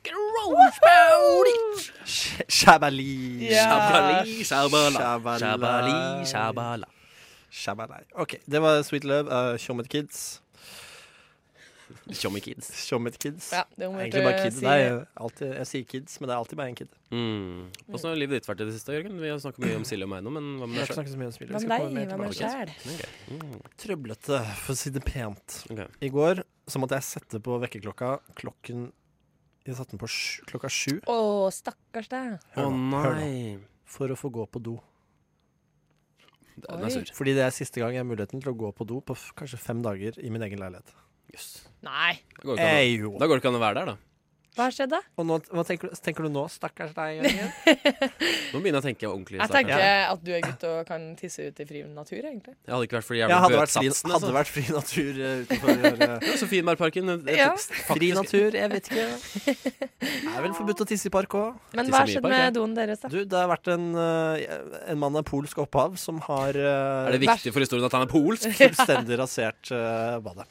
Speaker 7: Grossbody! Shabali.
Speaker 3: Shabali, shabala.
Speaker 7: Shabala.
Speaker 3: Shabali, shabala.
Speaker 7: Shabali. OK, det var Sweet Love av Tjommet Kids.
Speaker 3: Tjommi kids.
Speaker 7: Tjommet Kids.
Speaker 6: Ja, det må
Speaker 7: Egentlig bare kids. Nei, jeg, alltid, jeg sier kids, men det er alltid bare en kid.
Speaker 3: Mm. Åssen har livet ditt vært i det siste, Jørgen? Vi har snakket mye om Silje og meg nå, men hva med deg Mm, sjøl?
Speaker 7: Jeg har ikke snakket så mye om spillet.
Speaker 6: Hvem
Speaker 7: Jeg skal
Speaker 6: deg?
Speaker 7: komme mer
Speaker 6: Hvem er
Speaker 7: tilbake.
Speaker 6: det sjæl?
Speaker 7: Trøblete, for å si det pent.
Speaker 3: Ok.
Speaker 7: I går så måtte jeg sette på vekkerklokka klokken Jeg satte den på sju, klokka sju
Speaker 6: Å, stakkars deg.
Speaker 3: Å
Speaker 7: Hør nå, hør nå.
Speaker 3: nei.
Speaker 7: for å få gå på do.
Speaker 3: Det- Den er sur.
Speaker 7: Fordi det er siste gang jeg har muligheten til å gå på do på f kanskje fem dager i min egen leilighet.
Speaker 3: Jøss.
Speaker 6: Nei,
Speaker 3: Da går det ikke an å-
Speaker 7: Eh, jo.
Speaker 3: Da går det ikke an å være der, da.
Speaker 6: hva har skjedd da?
Speaker 7: Og nå, hva tenker, du- tenker du nå, stakkars deg? Jørgen?
Speaker 3: Nå begynner jeg å tenke ordentlig.
Speaker 6: Jeg
Speaker 3: stakkars.
Speaker 6: tenker at du er gutt og kan tisse ut i fri natur, egentlig.
Speaker 3: Jeg hadde ikke vært for de
Speaker 7: Jeg
Speaker 3: jævla
Speaker 7: hadde vært fri,
Speaker 3: bøtesatsene.
Speaker 7: hadde
Speaker 3: altså.
Speaker 7: vært fri natur eh, utenfor eh,
Speaker 3: Det er jo Sofienbergparken. et- et-
Speaker 6: Ja.
Speaker 7: Fri
Speaker 3: faktisk-
Speaker 7: natur, jeg vet ikke. Det er vel forbudt å tisse i park òg.
Speaker 6: Men
Speaker 3: tisser
Speaker 6: hva har
Speaker 3: mye i
Speaker 6: skjedd
Speaker 3: park, jeg.
Speaker 6: med doen deres, da?
Speaker 7: Du, det har vært en, eh, en mann av polsk opphav som har eh,
Speaker 3: Er det viktig for historien at han er polsk?
Speaker 7: fullstendig rasert eh, badet.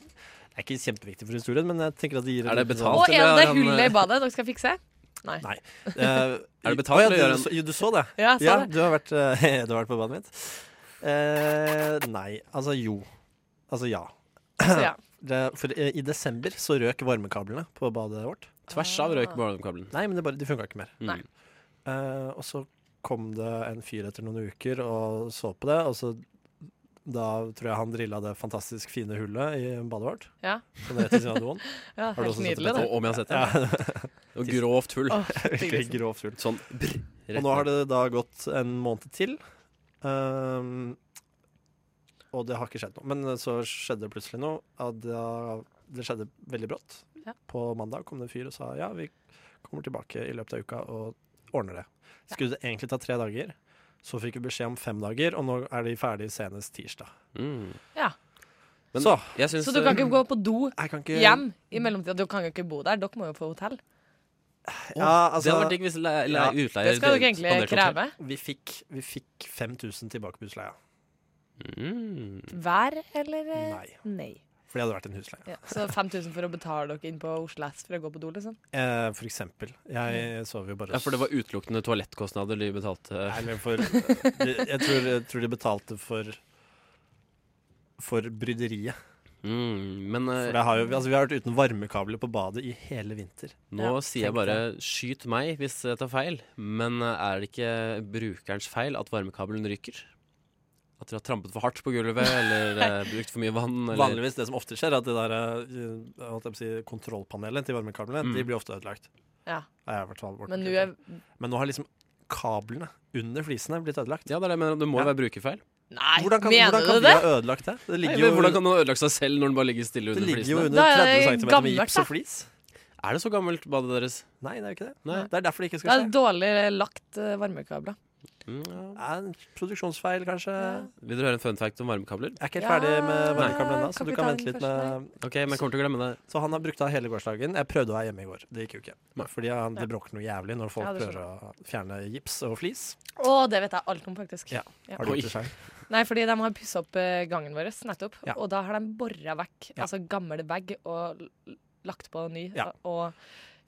Speaker 7: Det er ikke kjempeviktig for historien, men jeg tenker at det gir
Speaker 3: Er det
Speaker 7: litt-
Speaker 3: betalt?
Speaker 6: Og
Speaker 3: Eller
Speaker 6: en
Speaker 3: er
Speaker 6: det
Speaker 3: han,
Speaker 6: hullet
Speaker 3: eh,
Speaker 6: i badet dere skal fikse?
Speaker 7: Eh,
Speaker 3: Er det betalt
Speaker 7: å, ja,
Speaker 3: for å gjøre
Speaker 7: du,
Speaker 3: en-
Speaker 7: så- jo, du så det?
Speaker 6: Ja, jeg sa
Speaker 7: Ja,
Speaker 6: det.
Speaker 7: du har vært, eh, du har vært på badet mitt. Eh, nei, altså jo. Altså ja.
Speaker 6: Så ja.
Speaker 7: Det, for eh, i desember så røk varmekablene på badet vårt.
Speaker 3: Tvers av røyk barnekabelen.
Speaker 7: Nei, men det bare, de funka ikke mer.
Speaker 6: Nei.
Speaker 3: Mm.
Speaker 7: Eh, og så kom det en fyr etter noen uker og så på det, og så da tror jeg han drilla det fantastisk fine hullet i badet vårt.
Speaker 6: Ja.
Speaker 7: Sånn rett ved siden av doen.
Speaker 6: Ja,
Speaker 7: du
Speaker 6: helt
Speaker 7: også sett
Speaker 6: nydelig,
Speaker 7: det
Speaker 6: det.
Speaker 3: Og om jeg har sett det.
Speaker 7: Ja,
Speaker 3: Og grovt hull.
Speaker 6: Åh,
Speaker 7: virkelig
Speaker 6: styggelse.
Speaker 7: grovt hull.
Speaker 3: Sånn brr.
Speaker 7: Og nå har det da gått en måned til. Ehm, og det har ikke skjedd noe. Men så skjedde det plutselig noe. og da, det skjedde veldig brått.
Speaker 6: Ja.
Speaker 7: På mandag kom det en fyr og sa ja, vi kommer tilbake i løpet av uka og ordner det. Skulle det egentlig ta tre dager. Så fikk vi beskjed om fem dager, og nå er de ferdig senest tirsdag.
Speaker 3: Mm.
Speaker 6: Ja.
Speaker 3: Men
Speaker 7: så
Speaker 3: jeg syns
Speaker 6: Så du kan ikke gå på do
Speaker 7: jeg kan eh, ikke
Speaker 6: hjem i mellomtida? Du kan jo ikke bo der, dere må jo få hotell.
Speaker 7: Ja, altså,
Speaker 3: Det hadde vært digg hvis le- le-
Speaker 7: Ja.
Speaker 3: utleier
Speaker 6: Det skal dere egentlig
Speaker 3: spanderte hotell.
Speaker 6: kreve.
Speaker 7: vi fikk, vi fikk 5000 tilbake på husleia.
Speaker 3: Mm.
Speaker 6: Hver eller eh,
Speaker 7: Nei.
Speaker 6: nei.
Speaker 7: For det hadde vært en husleie.
Speaker 6: Ja, så 5000 for å betale dere inn på Oslo S for å gå på do, liksom?
Speaker 7: Eh, for eksempel. Jeg sov jo bare
Speaker 3: Ja, for det var utelukkende toalettkostnader de betalte.
Speaker 7: Nei, men for, de, jeg, tror, jeg tror de betalte for for bryderiet.
Speaker 3: Mm, men eh,
Speaker 7: For det har jo, altså, vi har vært uten varmekabler på badet i hele vinter.
Speaker 3: nå
Speaker 1: Ja,
Speaker 3: sier jeg
Speaker 7: tenk
Speaker 3: bare 'skyt meg' hvis jeg tar feil. Men eh, er det ikke brukerens feil at varmekabelen ryker? At dere har trampet for hardt på gulvet, eller eh, brukt for mye vann? Eller?
Speaker 7: Vanligvis det som ofte skjer, er at det der, eh, jeg holdt på å si, kontrollpanelet til varmekablene
Speaker 3: Mm.
Speaker 7: De blir ofte ødelagt.
Speaker 6: Ja.
Speaker 7: Det har vært vår-
Speaker 6: Men nå er
Speaker 7: Men nå har liksom kablene under flisene blitt ødelagt.
Speaker 3: Ja, det, er det, jeg mener, det må jo være brukerfeil.
Speaker 6: Nei,
Speaker 7: Hvordan kan,
Speaker 6: mener
Speaker 7: hvordan kan
Speaker 6: du
Speaker 7: vi
Speaker 6: det?
Speaker 7: ha ødelagt det? Det
Speaker 3: Nei,
Speaker 7: ligger jo,
Speaker 3: men Hvordan kan man ha ødelagt seg selv når den bare ligger stille
Speaker 7: det
Speaker 3: under
Speaker 7: ligger jo
Speaker 3: flisene?
Speaker 7: under
Speaker 6: Da er
Speaker 7: 30
Speaker 6: det
Speaker 7: cm med
Speaker 6: gammelt,
Speaker 7: gips og
Speaker 6: da.
Speaker 7: flis.
Speaker 3: Er det så gammelt badet deres?
Speaker 7: Nei, det er jo ikke det.
Speaker 3: Nei.
Speaker 7: Det er derfor det ikke
Speaker 6: Det
Speaker 7: skal
Speaker 6: er
Speaker 7: skje.
Speaker 6: dårlig lagt eh, varmekabler.
Speaker 3: Mm, ja.
Speaker 7: Det er en produksjonsfeil, kanskje.
Speaker 6: Ja.
Speaker 3: Vil dere høre en fun fact om varmekabler?
Speaker 7: Jeg er ikke helt
Speaker 6: Ja,
Speaker 7: ferdig med varmekabelen ennå, så
Speaker 6: kan
Speaker 7: du
Speaker 6: vi
Speaker 7: kan
Speaker 6: ta
Speaker 7: vente
Speaker 6: den
Speaker 7: litt
Speaker 6: først,
Speaker 7: med
Speaker 3: Ok, men jeg kommer til å glemme det.
Speaker 7: Så han har brukt av hele gårsdagen. Jeg prøvde å være hjemme i går. Det gikk jo ikke.
Speaker 3: Nei.
Speaker 7: Fordi han, det bråker noe jævlig når folk
Speaker 6: Ja, det
Speaker 7: prøver å fjerne gips og flis.
Speaker 6: Å, det vet jeg alt om, faktisk.
Speaker 7: Ja.
Speaker 6: Ja.
Speaker 7: Har du
Speaker 3: Oi.
Speaker 7: gjort det selv?
Speaker 6: Nei, fordi de har pussa opp eh, gangen vår nettopp,
Speaker 7: Ja.
Speaker 6: og da har de bora vekk
Speaker 7: Ja.
Speaker 6: altså gammel bag og l- lagt på ny.
Speaker 7: Ja.
Speaker 6: Og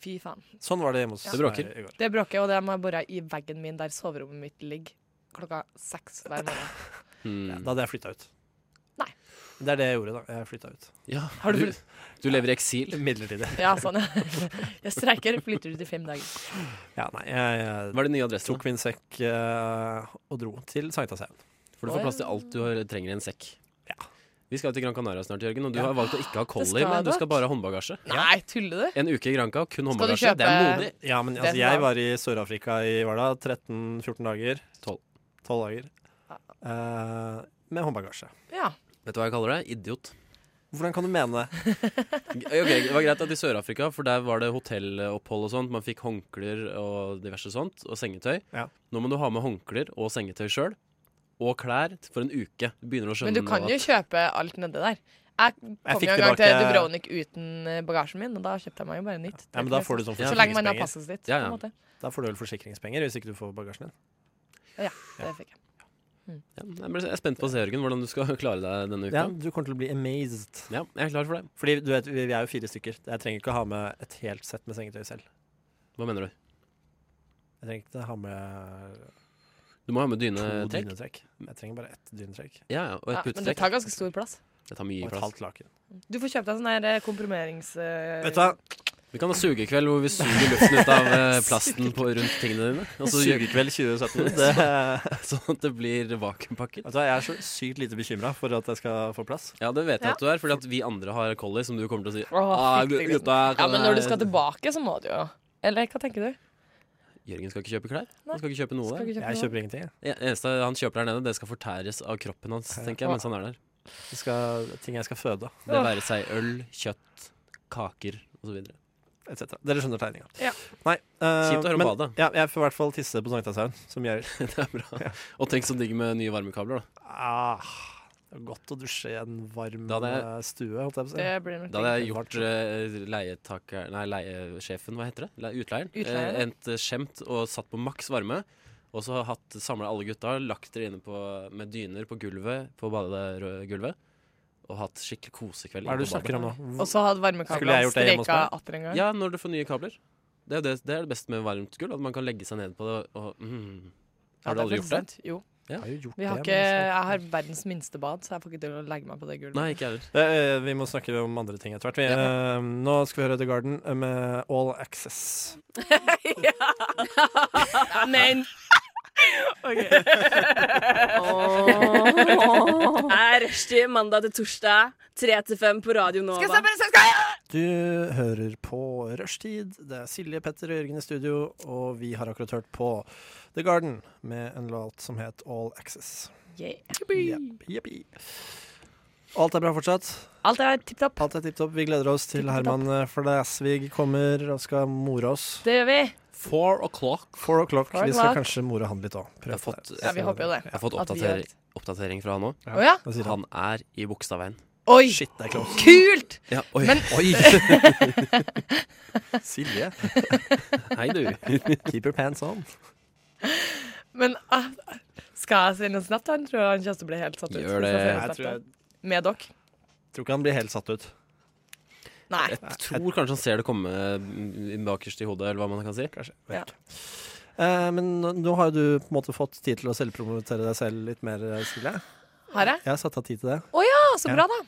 Speaker 6: fy faen.
Speaker 7: Sånn var det hjemme hos
Speaker 3: Det bråker.
Speaker 7: meg i går.
Speaker 6: Det bråket, og de har bora i veggen min der soverommet mitt ligger, klokka seks hver morgen.
Speaker 7: Ja,
Speaker 3: Hmm.
Speaker 7: Da hadde jeg flytta ut.
Speaker 6: Mm. Nei.
Speaker 7: Det er det jeg gjorde, da. Jeg flytta ut.
Speaker 3: Ja,
Speaker 6: Har du
Speaker 3: du, du lever i eksil.
Speaker 7: Midlertidig.
Speaker 6: Ja, sånn. Jeg streiker, flytter ut i fem dager.
Speaker 7: Ja, nei, jeg, jeg
Speaker 3: Hva er de nye adressene?
Speaker 7: tok min sekk eh, og dro til Sankthanshaugen.
Speaker 3: For du får plass til alt du har- trenger i en sekk. Vi skal jo til Gran Canaria snart, Jørgen, og du har valgt å ikke ha
Speaker 6: Det
Speaker 3: kolli,
Speaker 6: skal
Speaker 3: men du
Speaker 6: dere.
Speaker 3: skal bare ha håndbagasje.
Speaker 6: Nei, tuller du?
Speaker 3: En uke i Granca, kun
Speaker 6: Skal du
Speaker 3: håndbagasje. Det er
Speaker 6: kjøpe-
Speaker 3: modig.
Speaker 7: Ja, men
Speaker 6: Det
Speaker 7: altså,
Speaker 6: er
Speaker 7: jeg
Speaker 6: bra.
Speaker 7: var i Sør-Afrika i hva da? 13-14 dager?
Speaker 3: 12.
Speaker 7: 12 dager. Eh, med håndbagasje.
Speaker 6: Ja.
Speaker 3: Vet du hva jeg kaller det? Idiot.
Speaker 7: Hvordan kan du mene det?
Speaker 3: Ok, Det var greit at i Sør-Afrika, for der var det hotellopphold og sånt. Man fikk håndklær og diverse sånt, og sengetøy.
Speaker 7: Ja.
Speaker 3: Nå må du ha med håndklær og sengetøy sjøl. Og klær for en uke. Du begynner å skjønne
Speaker 6: Men du kan
Speaker 3: nå
Speaker 6: jo
Speaker 3: at-
Speaker 6: kjøpe alt nedi der. Jeg kom
Speaker 7: fikk
Speaker 6: jo en gang til
Speaker 7: tilbake-
Speaker 6: Dubrovnik uten eh, bagasjen min, og da kjøpte jeg meg jo bare nytt.
Speaker 7: Ja, men da får du sånn
Speaker 3: Ja,
Speaker 6: så lenge man har
Speaker 7: forsikringspenger.
Speaker 6: passet sitt. på
Speaker 3: Ja, ja.
Speaker 6: en måte.
Speaker 7: Da får du vel forsikringspenger hvis ikke du får bagasjen din.
Speaker 6: Det fikk jeg.
Speaker 3: Ja, jeg ble- jeg er spent på å se, Jørgen, hvordan du skal klare deg denne
Speaker 7: Ja,
Speaker 3: uka.
Speaker 7: du kommer til å bli amazed.
Speaker 3: Ja, jeg er klar for det.
Speaker 7: Fordi du vet, vi vi er jo fire stykker. Jeg trenger ikke å ha med et helt sett med sengetøy selv.
Speaker 3: Hva mener du?
Speaker 7: Jeg trenger ikke ha med
Speaker 3: Du må ha med
Speaker 7: to
Speaker 3: dynetrekk.
Speaker 7: dynetrekk. Jeg trenger bare ett dynetrekk.
Speaker 3: Ja, ja, og
Speaker 6: Ja,
Speaker 3: et
Speaker 6: men det
Speaker 3: putetrekk.
Speaker 6: tar ganske stor plass.
Speaker 3: Det tar mye
Speaker 7: Og et
Speaker 3: plass.
Speaker 7: halvt laken.
Speaker 6: Du får kjøpt deg sånn her eh, komprimerings... eh,
Speaker 7: Vet du hva?
Speaker 3: Vi kan ha sugekveld hvor vi suger luften ut av eh, plasten på, rundt tingene dine. Og så gjør-
Speaker 7: Sugekveld 2017. Det, vet
Speaker 3: sånn at det blir vakuumpakker.
Speaker 7: du hva, jeg er så sykt lite bekymra for at jeg skal få plass.
Speaker 3: Ja, det vet jeg
Speaker 6: Ja.
Speaker 3: at du er, fordi at vi andre har collie, som du kommer til å si.
Speaker 6: Åh,
Speaker 3: «Ah,
Speaker 6: fryktelig
Speaker 3: gutta, kan eh,
Speaker 6: Ja, men når du
Speaker 3: jeg-
Speaker 6: skal tilbake, så må du jo Eller hva tenker du?
Speaker 3: Jørgen skal ikke kjøpe klær.
Speaker 6: Nei.
Speaker 3: Han skal ikke kjøpe noe.
Speaker 6: Skal
Speaker 3: der.
Speaker 6: ikke
Speaker 7: Jeg
Speaker 6: kjøpe noe?
Speaker 7: kjøper ingenting. jeg.
Speaker 3: Det eneste han kjøper der nede, det skal fortæres av kroppen hans, tenker jeg, mens han er der.
Speaker 7: Det skal, ting jeg skal føde,
Speaker 3: Det være seg øl, kjøtt, kaker osv.
Speaker 7: etc. Dere skjønner tegninga.
Speaker 6: Ja.
Speaker 7: Nei, eh,
Speaker 3: Kjipt å høre om
Speaker 7: men-
Speaker 3: badet.
Speaker 7: Ja, jeg får i hvert fall tisse på Sankthanshaugen, som jeg gjør.
Speaker 3: Det er bra. Og tenk så digg med nye varmekabler, da.
Speaker 7: Ah, det er godt å dusje i en varm
Speaker 3: Da hadde jeg-
Speaker 7: eh, stue, holdt jeg på å si.
Speaker 6: Det blir nok
Speaker 3: Da hadde jeg
Speaker 7: Det er
Speaker 3: gjort eh, leietaker... Nei, leiesjefen, hva heter det? Le utleieren.
Speaker 6: Utleier,
Speaker 3: Eh,
Speaker 6: ja.
Speaker 3: et eh, skjemt og satt på maks varme. Og så hatt samla alle gutta, lagt dere inne på, med dyner på gulvet, på badegulvet. Og hatt skikkelig kosekveld.
Speaker 7: Hva er det
Speaker 3: inne
Speaker 7: du
Speaker 3: på badet.
Speaker 7: snakker om nå?
Speaker 6: Og så hadde
Speaker 7: Skulle jeg
Speaker 6: varmekablene
Speaker 7: gjort det hjemme hos
Speaker 6: streika
Speaker 7: meg?
Speaker 6: atter en gang.
Speaker 3: Ja, når du får nye kabler. Det er jo det, det, er det beste med varmt gull, at man kan legge seg ned på det og mm. Har du aldri gjort det?
Speaker 6: Jo.
Speaker 7: Jeg har jo gjort
Speaker 6: Vi har
Speaker 7: det,
Speaker 6: ikke,
Speaker 7: men
Speaker 6: jeg har verdens minste bad, så jeg får ikke til å legge meg på det gulvet.
Speaker 3: Nei, ikke heller.
Speaker 7: altså- Eh, eh, Vi må snakke om andre ting etter hvert. Vi, eh, nå skal vi høre The Garden eh, med All Access.
Speaker 6: Men
Speaker 1: er rushtid mandag til torsdag, tre til fem på Radio Nova.
Speaker 7: Du hører på Rushtid. Det er Silje, Petter og Jørgen i studio, og vi har akkurat hørt på The Garden med en låt som het All Access. Jepp, jeppi. Alt er bra fortsatt?
Speaker 6: Alt er tipp topp.
Speaker 7: Alt er tipp topp. Vi gleder oss til
Speaker 6: Tipp topp.
Speaker 7: Herman eh, Flæsvig kommer og skal more oss.
Speaker 6: Det gjør vi.
Speaker 3: Four o'clock.
Speaker 7: Four o'clock.
Speaker 6: Four
Speaker 7: Vi skal
Speaker 6: o'clock.
Speaker 7: kanskje more han litt òg.
Speaker 3: Jeg har fått-
Speaker 6: Ja, vi håper jo det.
Speaker 3: Jeg har fått
Speaker 6: At vi gjør
Speaker 3: oppdater,
Speaker 6: det.
Speaker 3: oppdatering fra han òg.
Speaker 6: Å ja?
Speaker 7: Hva sier han?
Speaker 3: Han er i Bogstadveien.
Speaker 6: Oi,
Speaker 7: Shit, det er close.
Speaker 6: kult!
Speaker 3: Ja, oi.
Speaker 6: Men-
Speaker 3: oi.
Speaker 7: Silje,
Speaker 3: Hei, du.
Speaker 7: keep your pants on.
Speaker 6: Men ah, skal jeg sende en snap til han? Tror jeg han kommer til å bli helt satt ut.
Speaker 3: Gjør
Speaker 6: hvis jeg
Speaker 3: det.
Speaker 6: sender en
Speaker 7: Jeg
Speaker 6: snap
Speaker 7: tror,
Speaker 6: til
Speaker 7: jeg,
Speaker 6: han. Med dere?
Speaker 7: tror ikke han blir helt satt ut.
Speaker 6: Nei.
Speaker 3: Jeg tror kanskje han ser det komme mm, bakerst i hodet, eller hva man kan si.
Speaker 7: Kanskje.
Speaker 6: Ja.
Speaker 7: Vet ikke. Eh, men nå- nå har jo du på en måte fått tid til å selvpromotere deg selv litt mer, eh, Silje.
Speaker 6: Har jeg?
Speaker 7: Jeg har satt av tid til det.
Speaker 6: Å ja! så
Speaker 7: Ja.
Speaker 6: bra, da.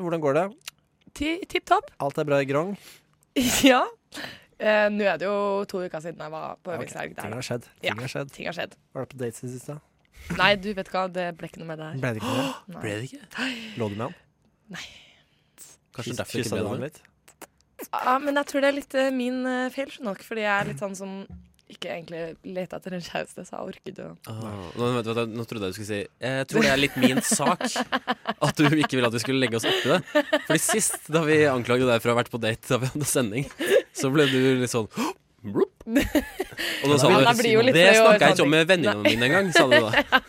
Speaker 7: Hvordan går det?
Speaker 6: Ti, Tipp topp.
Speaker 7: Alt er bra i Grong?
Speaker 6: ja. Eh, Nå er det jo to uker siden jeg var på
Speaker 7: Ok,
Speaker 6: øvingshelg
Speaker 7: Ting
Speaker 6: der.
Speaker 7: har skjedd.
Speaker 6: Ja.
Speaker 7: Ting har skjedd.
Speaker 6: Ting har skjedd.
Speaker 7: Var du på dates i det siste?
Speaker 6: Nei, du vet hva, det ble ikke noe med det her.
Speaker 7: Ble det ikke det?
Speaker 6: Nei.
Speaker 3: Ble det ikke?
Speaker 7: Lå du med han?
Speaker 3: Kanskje
Speaker 7: Kyss-
Speaker 3: derfor ikke
Speaker 7: kyssa
Speaker 3: ble
Speaker 7: du
Speaker 3: det
Speaker 7: han
Speaker 3: noe.
Speaker 7: litt?
Speaker 6: Ja, Ah, men jeg tror det er litt eh, min eh, feil, skjønner dere. Fordi jeg er litt sånn som ikke egentlig leter etter en kjæreste, så jeg orker ikke å
Speaker 3: Ah, nå, vet, du hva, nå trodde jeg du skulle si Jeg tror det er litt min sak at du ikke ville at vi skulle legge oss oppi det. Fordi sist, da vi anklaget deg for å ha vært på date da vi hadde sending, så ble du litt sånn Blup. Og nå sa
Speaker 6: Ja,
Speaker 3: du
Speaker 6: da blir jo litt
Speaker 3: Det
Speaker 6: flere år
Speaker 3: snakka jeg ikke
Speaker 6: sending.
Speaker 3: om med vennene mine engang, sa du da.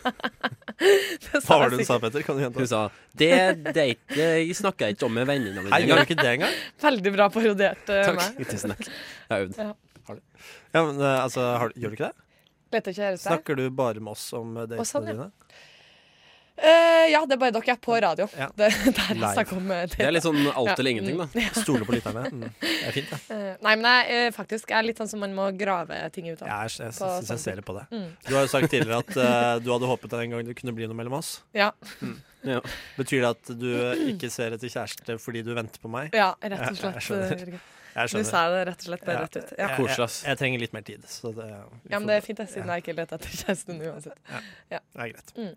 Speaker 6: Det
Speaker 7: Hva
Speaker 6: sa
Speaker 7: var
Speaker 6: jeg
Speaker 7: det du sa, Petter? Kan du gjenta?
Speaker 3: Hun sa Det date snakka jeg ikke om med vennene mine
Speaker 7: Nei, gjør
Speaker 3: engang.
Speaker 7: du ikke det engang?
Speaker 6: sikkert. Veldig bra parodert eh, meg.
Speaker 3: Takk. Tusen takk. Jeg har øvd.
Speaker 7: Ja, men eh, altså, har, du- gjør du ikke det?
Speaker 6: Leter kjæreste.
Speaker 7: Snakker du bare med oss om eh, datene
Speaker 6: sånn, ja.
Speaker 7: dine?
Speaker 6: Eh, ja, det er bare dere jeg er på radio.
Speaker 7: Ja.
Speaker 6: Det, der jeg
Speaker 7: Live.
Speaker 6: snakker om eh,
Speaker 3: Det
Speaker 6: det.
Speaker 3: er litt sånn alt
Speaker 6: Ja.
Speaker 3: eller ingenting, da.
Speaker 7: Stoler på lytterne? Mm. Det er fint, det.
Speaker 6: Eh, nei, men jeg eh, faktisk jeg er litt sånn som man må grave ting ut av.
Speaker 7: Jeg, jeg, jeg
Speaker 6: På
Speaker 7: syns jeg
Speaker 6: sånn
Speaker 7: ser litt på det.
Speaker 6: Mm.
Speaker 7: Du har jo sagt tidligere at eh, du hadde håpet en gang det kunne bli noe mellom oss. Mm.
Speaker 6: Ja.
Speaker 3: Ja.
Speaker 7: Betyr det at du ikke ser etter kjæreste fordi du venter på meg?
Speaker 6: Ja, rett og
Speaker 7: Jeg- jeg
Speaker 6: slett.
Speaker 7: skjønner.
Speaker 6: eh, Jørgen.
Speaker 7: Jeg
Speaker 6: Nå
Speaker 7: skjønner.
Speaker 6: sa jeg det rett og slett bare
Speaker 7: Ja.
Speaker 6: rett ut. Ja.
Speaker 7: Jeg-
Speaker 3: Koselig,
Speaker 7: jeg,
Speaker 3: ass.
Speaker 7: jeg trenger litt mer tid, så det vi
Speaker 6: Liksom. ja, men
Speaker 7: får-
Speaker 6: det er fint, det, siden
Speaker 7: Ja.
Speaker 6: jeg ikke leter etter kjæresten uansett.
Speaker 7: det er greit.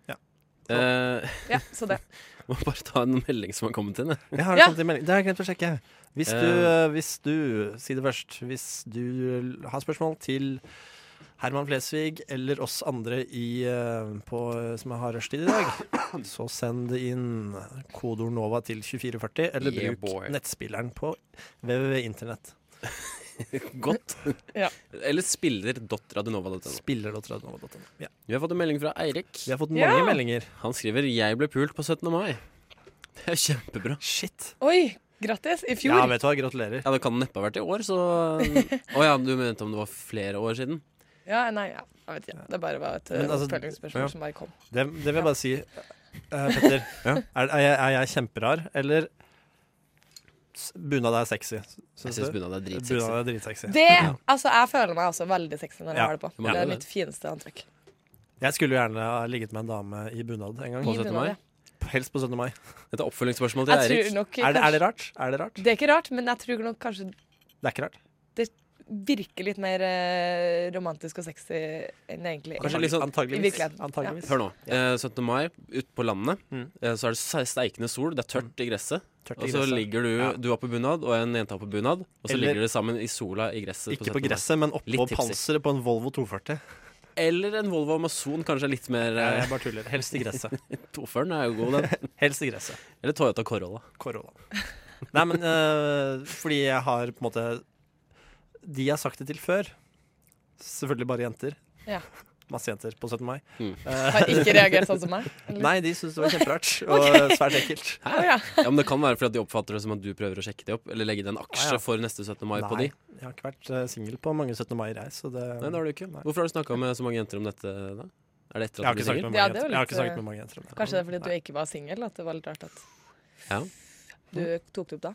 Speaker 3: Eh,
Speaker 6: Ja, så det.
Speaker 3: må bare ta en melding som har kommet inn. jeg.
Speaker 7: Jeg har
Speaker 6: Ja.
Speaker 7: kommet en melding. Det har jeg glemt å sjekke. Hvis du,
Speaker 3: Eh.
Speaker 7: hvis du Si det først. Hvis du l- har spørsmål til Herman Flesvig eller oss andre i, eh, på, som har rushtid i dag, så send det inn kodeord NOVA til 2440, eller
Speaker 3: Yeah,
Speaker 7: bruk
Speaker 3: boy.
Speaker 7: nettspilleren på www internett.
Speaker 3: Godt.
Speaker 6: Ja.
Speaker 3: Eller spiller.radionova.no.
Speaker 7: Spiller.nova.no. Ja.
Speaker 3: Vi har fått en melding fra Eirik.
Speaker 7: Vi har fått mange
Speaker 6: Ja.
Speaker 7: meldinger.
Speaker 3: Han skriver 'Jeg ble pult på 17. mai'. Det er kjempebra.
Speaker 7: Shit.
Speaker 6: Oi, grattis! I
Speaker 7: Ja,
Speaker 6: fjor.
Speaker 7: vet du hva. Gratulerer.
Speaker 3: Ja, Det kan neppe ha vært i år, så Å ja, du mente om det var flere år siden?
Speaker 6: Ja, nei, ja. jeg vet ikke. Det bare var et eh,
Speaker 7: Men altså,
Speaker 6: oppfølgingsspørsmål
Speaker 7: ja.
Speaker 6: som bare kom.
Speaker 7: Det, det vil jeg bare si. Eh, Petter, er, er, jeg, er jeg kjemperar, eller s- bunad er sexy?
Speaker 3: Jeg
Speaker 7: Syns
Speaker 3: syns
Speaker 7: du?
Speaker 3: bunad er dritsexy.
Speaker 7: Bunad er dritsexy.
Speaker 6: Det, altså, jeg føler meg også veldig sexy når jeg
Speaker 7: Ja.
Speaker 6: har det på.
Speaker 3: Ja,
Speaker 6: Det er
Speaker 3: det.
Speaker 6: mitt fineste antrekk.
Speaker 7: Jeg skulle jo gjerne ha ligget med en dame i bunad en gang.
Speaker 3: På 17. mai?
Speaker 7: Helst på 17. mai.
Speaker 3: Dette er oppfølgingsspørsmål til
Speaker 6: Jeg tror
Speaker 3: Eirik.
Speaker 6: nok
Speaker 7: Er det, er
Speaker 6: kanskje-
Speaker 7: det rart? Er det rart?
Speaker 6: Det er ikke rart, men jeg tror nok kanskje
Speaker 7: Det er ikke rart.
Speaker 6: virker litt mer eh, romantisk og sexy enn det egentlig
Speaker 3: Kanskje litt sånn-
Speaker 6: I
Speaker 7: Antageligvis.
Speaker 6: virkeligheten, ja.
Speaker 7: Antageligvis.
Speaker 3: Hør nå. Eh, 17. mai ute på landet,
Speaker 7: Mm.
Speaker 3: eh, så er det se- steikende sol, det er tørt i gresset.
Speaker 7: Tørt i
Speaker 3: Og så
Speaker 7: gresset.
Speaker 3: ligger du
Speaker 7: Ja.
Speaker 3: Du har på bunad, og en jente har på bunad, og så
Speaker 7: Eller-
Speaker 3: ligger dere sammen i sola i gresset.
Speaker 7: Ikke på
Speaker 3: 17. mai.
Speaker 7: gresset, men oppå
Speaker 3: Litt tipsy.
Speaker 7: panseret på en Volvo 240.
Speaker 3: Eller en Volvo Amazon, kanskje litt mer
Speaker 7: Jeg
Speaker 3: eh,
Speaker 7: jeg bare tuller. Helst i gresset.
Speaker 3: Toføren er jo god, den.
Speaker 7: Helst i gresset.
Speaker 3: Eller Toyota Corolla.
Speaker 7: Corolla. Nei, men eh, fordi jeg har på en måte De jeg har sagt det til før, selvfølgelig bare jenter.
Speaker 6: Ja.
Speaker 7: Masse jenter på 17. mai.
Speaker 3: Mm.
Speaker 7: Eh,
Speaker 6: Har ikke reagert sånn som meg?
Speaker 7: nei, de syntes det var kjemperart og svært ekkelt.
Speaker 6: Å, ja.
Speaker 3: Ja, men Det kan være fordi at de oppfatter det som at du prøver å sjekke det opp, eller legge den aksje
Speaker 7: Ah, ja.
Speaker 3: for neste 17. mai på
Speaker 7: Nei,
Speaker 3: de.
Speaker 7: jeg har ikke vært uh, singel på mange 17. mai i reis, så det
Speaker 3: Nei, det har du ikke.
Speaker 7: Nei.
Speaker 3: Hvorfor har du snakka med så mange jenter om dette, da? Er det etter
Speaker 7: Jeg har
Speaker 3: at du ble
Speaker 7: ikke snakket
Speaker 3: singel?
Speaker 7: med mange,
Speaker 6: Ja, det er jo
Speaker 7: jenter. Jeg har
Speaker 6: litt,
Speaker 7: ikke snakket
Speaker 6: eh,
Speaker 7: med mange jenter om det.
Speaker 6: Kanskje det er fordi du
Speaker 7: Nei.
Speaker 6: ikke var singel at det var litt rart at
Speaker 3: Ja.
Speaker 6: du tok det opp da?